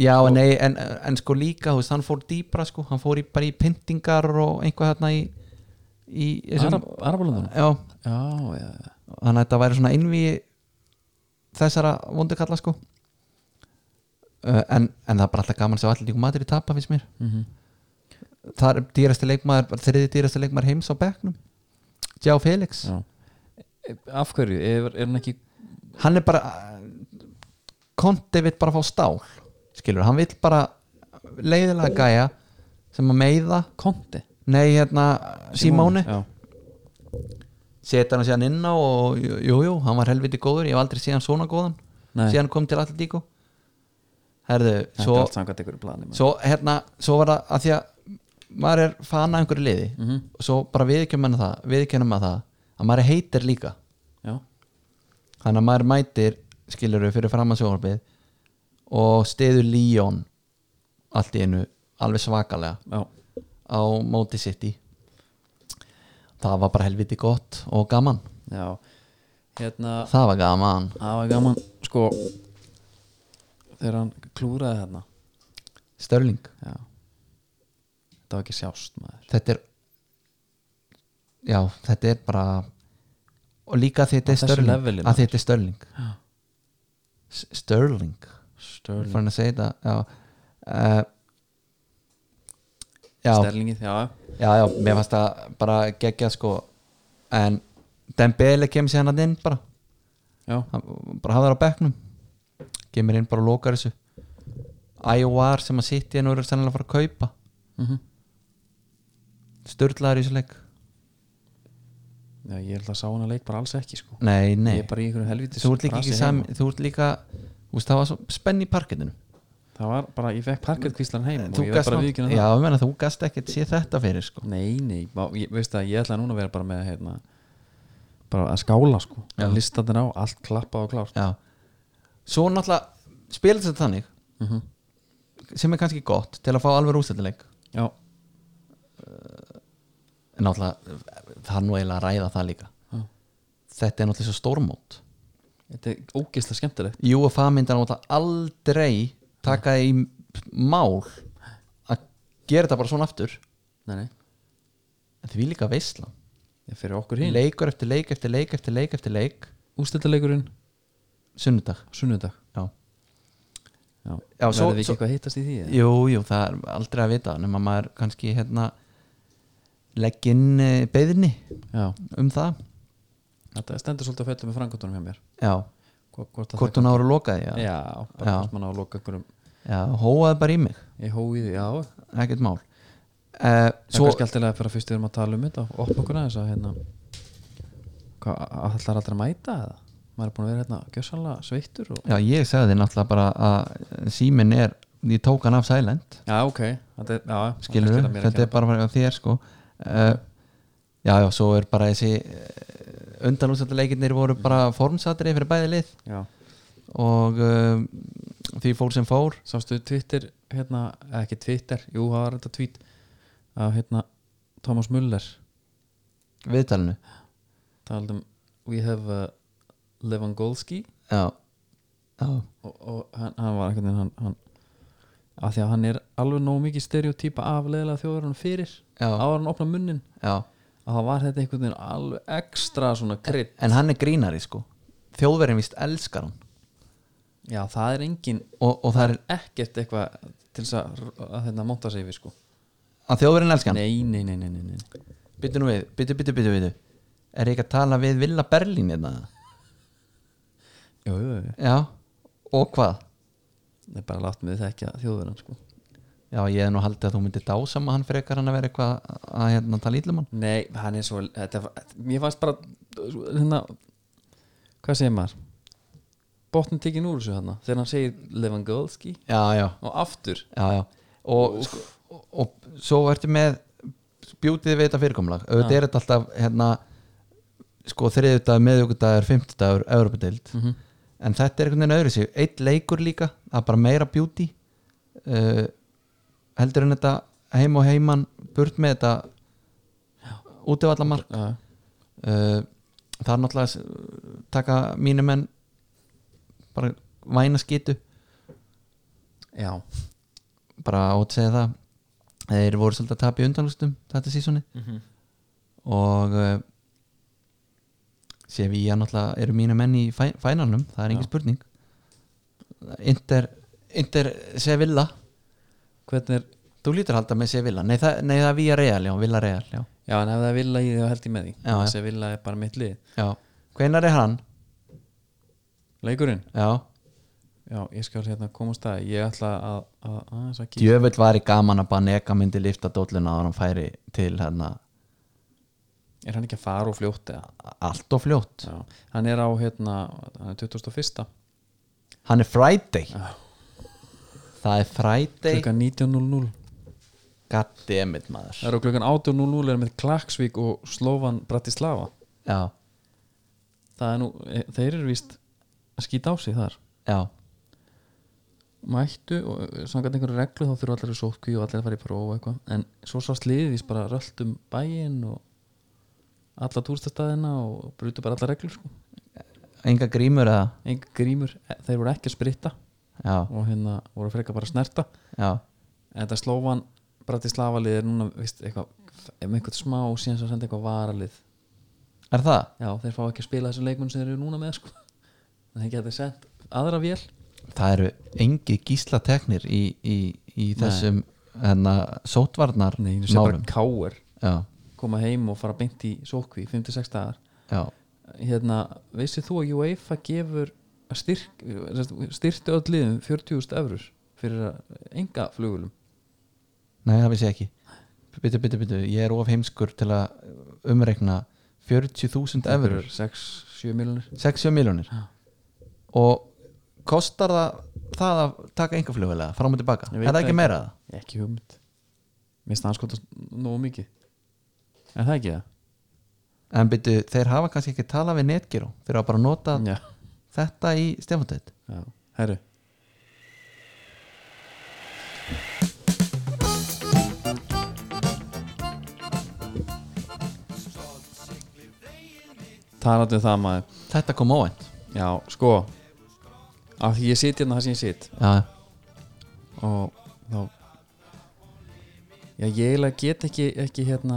Speaker 3: Já, og, nei, en, en sko líka, þú veist, hann fór dýpra sko, hann fór í, bara í pyntingar og einhvað hérna í, í
Speaker 2: Arab, Arabalundunum
Speaker 3: já,
Speaker 2: já, já, já,
Speaker 3: þannig að þetta væri svona innví þessara vondukalla sko uh, en, en það er bara alltaf gaman sem allir líka matur í tapa finnst mér,
Speaker 2: mm
Speaker 3: það er dýrasti leikmaður bara þriði dýrasti leikmaður heims á bekknum Gjá Felix,
Speaker 2: já. af hverju, er, er hann ekki
Speaker 3: hann er bara Konti vill bara fá stál skilur, hann vill bara leiðilega gæja sem að meiða
Speaker 2: konti
Speaker 3: Nei, hérna, Simóni
Speaker 2: já,
Speaker 3: Seta hann síðan inn á og jú, jú, jú, hann var helviti góður Ég hef aldrei séð hann svona góðan
Speaker 2: nei,
Speaker 3: Síðan kom til Atletico Herðu,
Speaker 2: þetta
Speaker 3: svo,
Speaker 2: er allt samkvæmt einhverju plani
Speaker 3: svo hérna Svo var það að því að maður er fana einhverju liði
Speaker 2: mm
Speaker 3: og svo bara viðkjum hann það viðkjum hann það að maður er heitir líka
Speaker 2: já,
Speaker 3: þannig að maður mætir skilur við fyrir fram að sjónarbið og stiður Líón allt í einu alveg svakalega
Speaker 2: já,
Speaker 3: á móti City það var bara helviti gott og gaman
Speaker 2: já hérna,
Speaker 3: það var gaman
Speaker 2: það var gaman sko þegar hann klúraði hérna
Speaker 3: Störling,
Speaker 2: já þetta var ekki sjást maður
Speaker 3: þetta er já, þetta er bara og líka því
Speaker 2: Á
Speaker 3: þetta er
Speaker 2: þessu
Speaker 3: Störling að
Speaker 2: leveli,
Speaker 3: því þetta er Störling
Speaker 2: Já.
Speaker 3: S- Störling,
Speaker 2: Störling,
Speaker 3: fann að segja þetta já uh, já,
Speaker 2: Störlingi, já,
Speaker 3: já, já, mér fannst það bara geggja sko en Dembele kemur sér hann inn bara
Speaker 2: já
Speaker 3: Hann- bara hafa það á bekknum kemur inn bara og lokar þessu IOR sem að sitt í en eru sennilega að fara að kaupa
Speaker 2: mm
Speaker 3: störlaðar í þessu leik
Speaker 2: já, ég held að sá hann að leik bara alls ekki sko
Speaker 3: nei,
Speaker 2: ég
Speaker 3: nei,
Speaker 2: er bara í einhverju helvitis
Speaker 3: þú ert líka
Speaker 2: brasi hérna.
Speaker 3: ekki
Speaker 2: heima.
Speaker 3: sami þú ert líka, þú veist það var svo spenn í parketinu
Speaker 2: það var bara, ég fekk parketkvíslan heim og
Speaker 3: þú
Speaker 2: ég var
Speaker 3: gast,
Speaker 2: bara
Speaker 3: nú-
Speaker 2: viðkynna
Speaker 3: já,
Speaker 2: það
Speaker 3: ég meina, þú gast ekkert sé þetta fyrir sko
Speaker 2: nei, nei, má, ég, veist að ég ætla núna að vera bara með hérna, bara að skála sko
Speaker 3: Já.
Speaker 2: listatin á, allt klappað og klárt
Speaker 3: já. svo náttúrulega spilast þetta þannig
Speaker 2: mm
Speaker 3: sem er kannski gott til að fá alveg rústættileik
Speaker 2: já,
Speaker 3: en náttúrulega það er nú eiginlega að ræða það líka
Speaker 2: Já.
Speaker 3: þetta er náttúrulega svo stórmót
Speaker 2: þetta er ógeðslega skemmtilegt
Speaker 3: UFA myndi hann alltaf aldrei taka í mál að gera þetta bara svona aftur
Speaker 2: nei, nei,
Speaker 3: en því líka veisla
Speaker 2: ég fyrir okkur hinn
Speaker 3: leikur eftir leik eftir leik eftir leik eftir leik
Speaker 2: ústættaleikurinn
Speaker 3: sunnudag
Speaker 2: sunnudag
Speaker 3: já.
Speaker 2: Já.
Speaker 3: Já, svo-
Speaker 2: verðum við ekki
Speaker 3: svo-
Speaker 2: eitthvað að hittast í því eða?
Speaker 3: Jú, jú, það er aldrei að vita nema maður kannski hérna legg inn eh, beiðni
Speaker 2: já,
Speaker 3: um það
Speaker 2: þetta stendur svolítið að fellum með frangöndunum hjá mér
Speaker 3: Já,
Speaker 2: Hvo- hvort, að
Speaker 3: hvort hún ára lokaði
Speaker 2: það,
Speaker 3: Já,
Speaker 2: já, bara
Speaker 3: Já.
Speaker 2: hvort mann á að loka einhverjum
Speaker 3: já hóaði bara í mig,
Speaker 2: í hóið, já,
Speaker 3: ekkert mál uh,
Speaker 2: svo,
Speaker 3: Svo,
Speaker 2: eitthvað skemmtilega bara fyrst við erum að tala um þetta og opna okkur aðeins að hérna hvað, allar allar að mæta eða? maður er búin að vera hérna gjössanlega sveittur og,
Speaker 3: já, ég sagði þér náttúrulega bara að síminn er, ég tók hann af silent
Speaker 2: já, ok, þetta er, já, þetta
Speaker 3: skilur
Speaker 2: skilur mér
Speaker 3: þetta
Speaker 2: ekki
Speaker 3: er bara fyrir þér sko uh, já, já, svo er bara þessi undanústættuleikirnir voru bara formsatri fyrir bæði lið
Speaker 2: já,
Speaker 3: og uh, því fór sem fór
Speaker 2: sástu Twitter hérna, eða ekki Twitter, jú, það var þetta tweet af hérna Thomas Müller
Speaker 3: viðtalinu
Speaker 2: talað um we have uh, Lewandowski
Speaker 3: já, já,
Speaker 2: og, og hann, hann var einhvern veginn hann, hann, að því að hann er alveg nógu mikið stereotýpa af leðilega þjóðurinn fyrir
Speaker 3: já,
Speaker 2: áður en opna munnin
Speaker 3: já.
Speaker 2: að það var þetta einhvern veginn alveg ekstra svona krydd
Speaker 3: en hann er grínari sko þjóðverðin vist elskar hann
Speaker 2: já það er engin
Speaker 3: og, og það er
Speaker 2: ekkert eitthvað til þess að, að þetta monta sig við sko
Speaker 3: að þjóðverðin elskar hann
Speaker 2: nei nei nei nei nei, nei.
Speaker 3: byttu nú við, byttu, byttu, byttu, byttu er ég ekki að tala við Villa Berlín hérna
Speaker 2: Jú, jú, jú.
Speaker 3: já, og hvað
Speaker 2: það er bara látt með þekkja þjóðurinn sko
Speaker 3: Já, ég hef nú haldið að þú myndir dásama hann frekar hann að vera eitthvað að, að hérna, tala ítlum hann
Speaker 2: Nei, hann er svo þetta, Mér fannst bara hérna, Hvað segir maður? Botnin tekin úr þessu hann Þegar hann segir Lewandowski
Speaker 3: Já, já,
Speaker 2: Og aftur
Speaker 3: já, já Og, sko, og, og svo ertu með bjútið við þetta fyrirkomlag auðvitað er þetta alltaf hérna, sko þriðudagur, meðugudagur, fimmtudagur Evropadeild
Speaker 2: Mhm.
Speaker 3: en þetta er einhvern veginn öðru sig eitt leikur líka, það er bara meira bjúti uh, heldur en þetta heim og heiman burt með þetta útivallamar
Speaker 2: Já,
Speaker 3: uh, það er náttúrulega s- taka mínu menn bara væna skitu
Speaker 2: já.
Speaker 3: bara átt segja það þeir voru svolítið að tapa í undanlustum þetta sísoni og uh, sé við ég náttúrulega eru mínu menn í fæ, fænalnum, það er engin
Speaker 2: Já.
Speaker 3: spurning Inter, Inter Sevilla,
Speaker 2: Hvernig er
Speaker 3: þú lítur að halda með Sevilla nei það, nei, það er Vía Real, já, Villa Real já.
Speaker 2: Já, en ef það er vilja í því þá held ég með því
Speaker 3: Já, já.
Speaker 2: Þessi vilja er bara mitt lið
Speaker 3: já, hvenær er hann?
Speaker 2: Leikurinn,
Speaker 3: já,
Speaker 2: já, ég skal hérna koma á stað Ég ætla að, að, að, að kíkja.
Speaker 3: djöfull var í gaman að Banega myndi lifta dólluna að hann færi til hérna
Speaker 2: Er hann ekki að fara og fljótt eða?
Speaker 3: allt og fljótt
Speaker 2: Já, hann er á hérna Hann er 2001
Speaker 3: hann er Friday
Speaker 2: Já.
Speaker 3: það er Friday
Speaker 2: Klukkan 19.00
Speaker 3: goddammit maður
Speaker 2: Það eru klukkan 18.00 er með Klaksvík og Slóvan Bratislava
Speaker 3: já,
Speaker 2: það er nú, e- þeir eru víst að skýta á sig þar
Speaker 3: já,
Speaker 2: mættu og e, samkvæmt einhverju reglu þá þurfa allir að sótkví og allir að fara í próf og eitthvað en svo sást liðið víst bara rölt um bæinn og alla túrstastæðina og brutu bara alla reglur sko.
Speaker 3: enga grímur eða
Speaker 2: enga grímur, e- þeir voru ekki að spritta
Speaker 3: já,
Speaker 2: og hérna voru freka bara að snerta
Speaker 3: já,
Speaker 2: en þetta slóvan Bratislava lið er núna víst eitthvað, með einhvern smá síðan sem senda eitthvað varalið
Speaker 3: er það?
Speaker 2: já, þeir fá ekki að spila þessu leikmenn sem þeir eru núna með sko. en þeir geta sett aðra vél
Speaker 3: það eru engi gíslateknir í, í, í þessum hérna, sótvarnar
Speaker 2: Nei, þú sé bara
Speaker 3: málum
Speaker 2: káir
Speaker 3: já,
Speaker 2: koma heim og fara beint í sókvi 5-6 dagar
Speaker 3: já,
Speaker 2: hérna, vissið þú að UEFA gefur að styrk, styrktu öll liðum 40.000 eurur fyrir að enga flugulum
Speaker 3: nei það vissi ég ekki byttu, byttu, byttu, ég er of heimskur til að umreikna 40.000 efur
Speaker 2: 6-7 miljonir
Speaker 3: 60 miljónir
Speaker 2: Já.
Speaker 3: og kostar það það að taka einhver flugvelega fram og tilbaka,
Speaker 2: Ég
Speaker 3: er
Speaker 2: veit
Speaker 3: það
Speaker 2: það
Speaker 3: ekki
Speaker 2: ekki.
Speaker 3: meira það?
Speaker 2: ekki hugmynd mér finnst það anskotast nógu mikið er það ekki það?
Speaker 3: en byrju, þeir hafa kannski ekki talað við netgyró fyrir að bara nota
Speaker 2: já,
Speaker 3: þetta í stefantætt
Speaker 2: já, herru talandi um það maður
Speaker 3: þetta kom óvænt
Speaker 2: Já, sko af því ég sit hérna það sem ég sit
Speaker 3: já,
Speaker 2: og þá já, ég eiginlega get ekki ekki hérna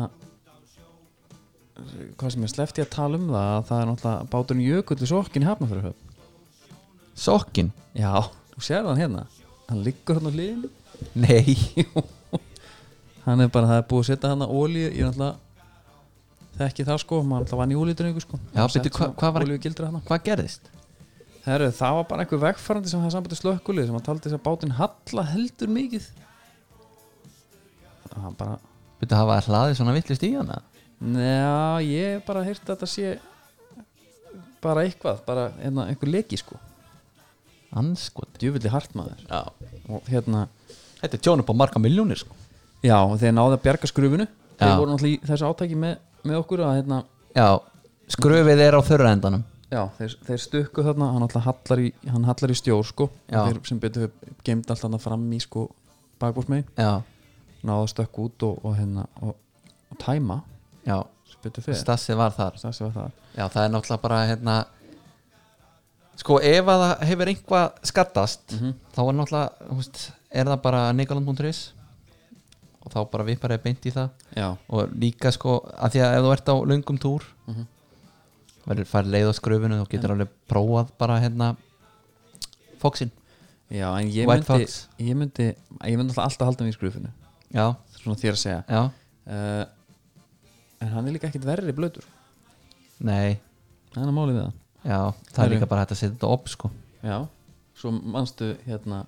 Speaker 2: hvað sem er slefti að tala um það að það er náttúrulega báturinn Jökull í sokkin í Hafnarfjörðhöfn
Speaker 3: sokkin
Speaker 2: Já, þú sér þann hérna hann liggur hann á liðinu
Speaker 3: Nei
Speaker 2: hann er bara, það er búið að setja hann að olíu ég er alltaf þekki það sko, maður alltaf vann í olíutröngu sko
Speaker 3: Já, bíddu, hva- hvað var-
Speaker 2: olíu gildra hann
Speaker 3: Hvað gerðist?
Speaker 2: Herru, það var bara einhver vegfærandi sem það sambandi slökkulið sem hann taldi þess að bátinn halla heldur mikið það var bara
Speaker 3: Byrju, hafa þær hlaðið svona vittlist í hana
Speaker 2: Njá, ég hef bara heyrt að þetta sé bara eitthvað, bara hérna, einhver leki sko
Speaker 3: Anskot
Speaker 2: djúvillig hartmaður
Speaker 3: Já
Speaker 2: og hérna,
Speaker 3: Þetta er tjón upp á marga miljónir sko
Speaker 2: já, og þeir náðu að bjarga skrufinu þeir
Speaker 3: Já.
Speaker 2: voru náttúrulega í þessu átæki með, með okkur að hérna,
Speaker 3: Já Skröfið er á þurra endanum
Speaker 2: já, þeir, þeir stukku þarna hann alltaf hallar í, hann hallar í stjór sko
Speaker 3: Já.
Speaker 2: þeir sem betur við gemd alltaf þarna fram í sko bakbórsmegin,
Speaker 3: Já
Speaker 2: náðu að stökku út og, og hérna, og, og tæma
Speaker 3: Já
Speaker 2: sem betur fyrir,
Speaker 3: Stassið var þar
Speaker 2: það sem var það
Speaker 3: Já það er náttúrulega bara hérna Sko ef að það hefur einhvað skattast Þá er náttúrulega húst, Er það bara nikoland.is Og þá bara vippar eða beint í það
Speaker 2: já,
Speaker 3: Og líka sko að Því að ef þú ert á löngum túr
Speaker 2: Mhm.
Speaker 3: Verður farið leið á skröfinu Þú getur alveg prófað bara hérna Foxin
Speaker 2: já, en ég
Speaker 3: White
Speaker 2: myndi
Speaker 3: Fox.
Speaker 2: ég myndi, ég myndi alltaf alltaf halda mig í skrufinu
Speaker 3: Já,
Speaker 2: svona þér að segja
Speaker 3: já,
Speaker 2: uh, en hann er líka ekkit verri blöður
Speaker 3: nei
Speaker 2: hann er málið við það
Speaker 3: Já, það er
Speaker 2: Herru.
Speaker 3: líka bara hægt að setja þetta upp sko
Speaker 2: já, svo manstu hérna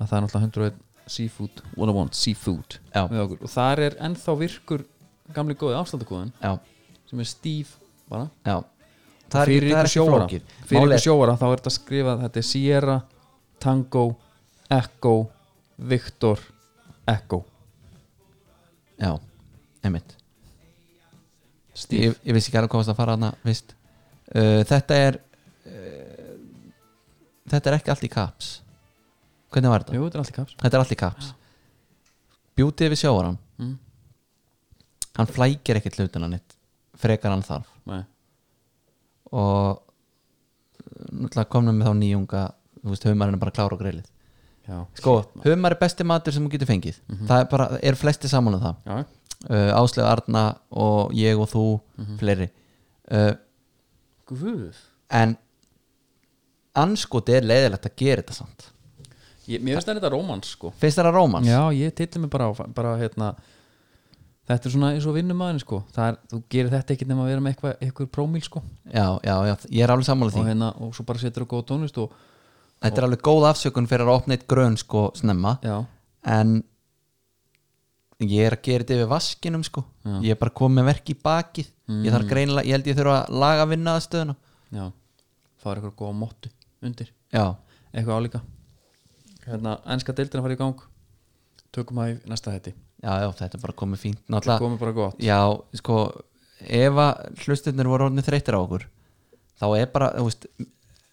Speaker 2: að það er náttúrulega 101 seafood 101 seafood
Speaker 3: Já.
Speaker 2: með okkur og þar er ennþá virkur gamli góði afslandakóðin
Speaker 3: Já,
Speaker 2: sem er stíf bara
Speaker 3: já
Speaker 2: Og fyrir ykkur sjóara fyrir
Speaker 3: Máli
Speaker 2: ykkur
Speaker 3: er,
Speaker 2: sjóara þá er þetta skrifað þetta er Sierra, Tango Echo, Victor Echo,
Speaker 3: já, einmitt
Speaker 2: stíf
Speaker 3: ég, ég vissi ekki alveg hvað það fara hana vist. Uh, Þetta er uh, Þetta er ekki allt í kaps Hvernig var þetta?
Speaker 2: jú, þetta er allt í kaps
Speaker 3: Þetta er allt í kaps Beauty við sjóaran
Speaker 2: Mm.
Speaker 3: Hann flækir ekkert hlutina nýtt Frekar hann þarf
Speaker 2: Nei.
Speaker 3: Og eh, náttúrulega komnum við þá nýjunga Þú veist, humarinn er bara klár og greilið
Speaker 2: já,
Speaker 3: Sko, humar er besti matur sem þú getur fengið
Speaker 2: Mhm.
Speaker 3: Það er bara, er flesti saman um það
Speaker 2: já,
Speaker 3: uh, Áslega Arna og ég og þú
Speaker 2: Mhm.
Speaker 3: fleiri uh,
Speaker 2: guð
Speaker 3: en anskoti er leiðilegt að gera þetta samt
Speaker 2: Ég, mér finnst það þetta rómans sko
Speaker 3: finnst þér að rómans?
Speaker 2: Já, ég tilli mig bara á bara, hérna, Þetta er svona eins og vinnumæðin sko það er, Þú gerir þetta ekki nema að vera með eitthvað, eitthvað prómíl sko
Speaker 3: já, já, já, ég er alveg sammála því
Speaker 2: og, hérna, og svo bara setur þú góð tónlist og,
Speaker 3: þetta er alveg góð afsökun fyrir að opna eitt grön sko snemma
Speaker 2: Já,
Speaker 3: en ég er að gera þetta yfir vaskinum sko ég er bara komið með verk í bakið ég þarf greinilega, ég held ég þurfa að laga vinna að stöðuna
Speaker 2: já Það var eitthvað góð móttu undir
Speaker 3: já,
Speaker 2: Eitthvað álíka hérna, Enska deildina farið í gang Tökum það í næsta hætti
Speaker 3: já, já, þetta er bara komið fínt
Speaker 2: Það
Speaker 3: náttúrulega
Speaker 2: komið bara gott
Speaker 3: Já, sko ef að hlustirnir voru orðinu þreytir á okkur þá er bara, þú veist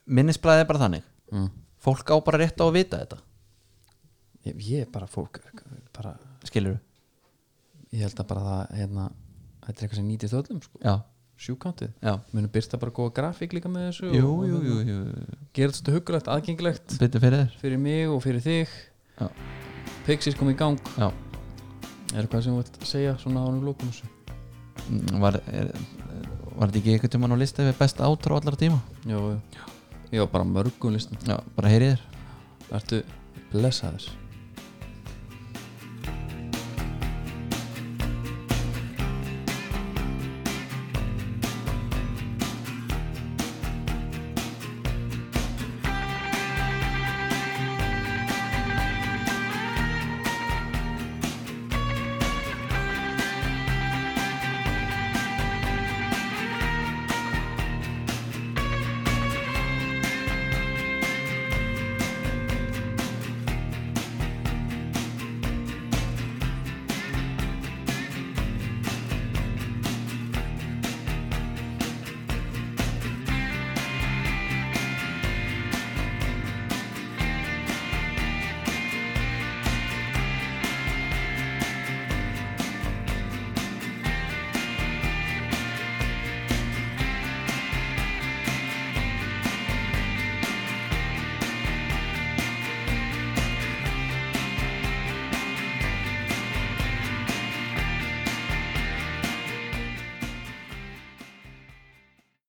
Speaker 3: minnisblæði er bara þannig
Speaker 2: mm.
Speaker 3: fólk á bara rétt á að vita þetta,
Speaker 2: ég, ég er bara fólk bara,
Speaker 3: skilur
Speaker 2: Ég held að bara það hérna, Þetta er eitthvað sem nýtist öllum sko
Speaker 3: Já,
Speaker 2: Sjúkántið
Speaker 3: já
Speaker 2: Munu byrta bara góða grafík líka með þessu
Speaker 3: Jú,
Speaker 2: og, hérna,
Speaker 3: jú, jú, jú
Speaker 2: gera þetta huggulegt, aðgengilegt
Speaker 3: Byttu fyrir þér
Speaker 2: fyrir mig og fyrir þig
Speaker 3: Já.
Speaker 2: Pixis kom í gang
Speaker 3: Já,
Speaker 2: er eitthvað sem þú vilt segja svona ánum lókum þessu
Speaker 3: Mm, var, er, var þetta ekki eitthvað tíma á lista við best átrá allar tíma?
Speaker 2: já, já. já, bara mörgum listum
Speaker 3: Já, bara heyrið þér
Speaker 2: ertu blessaður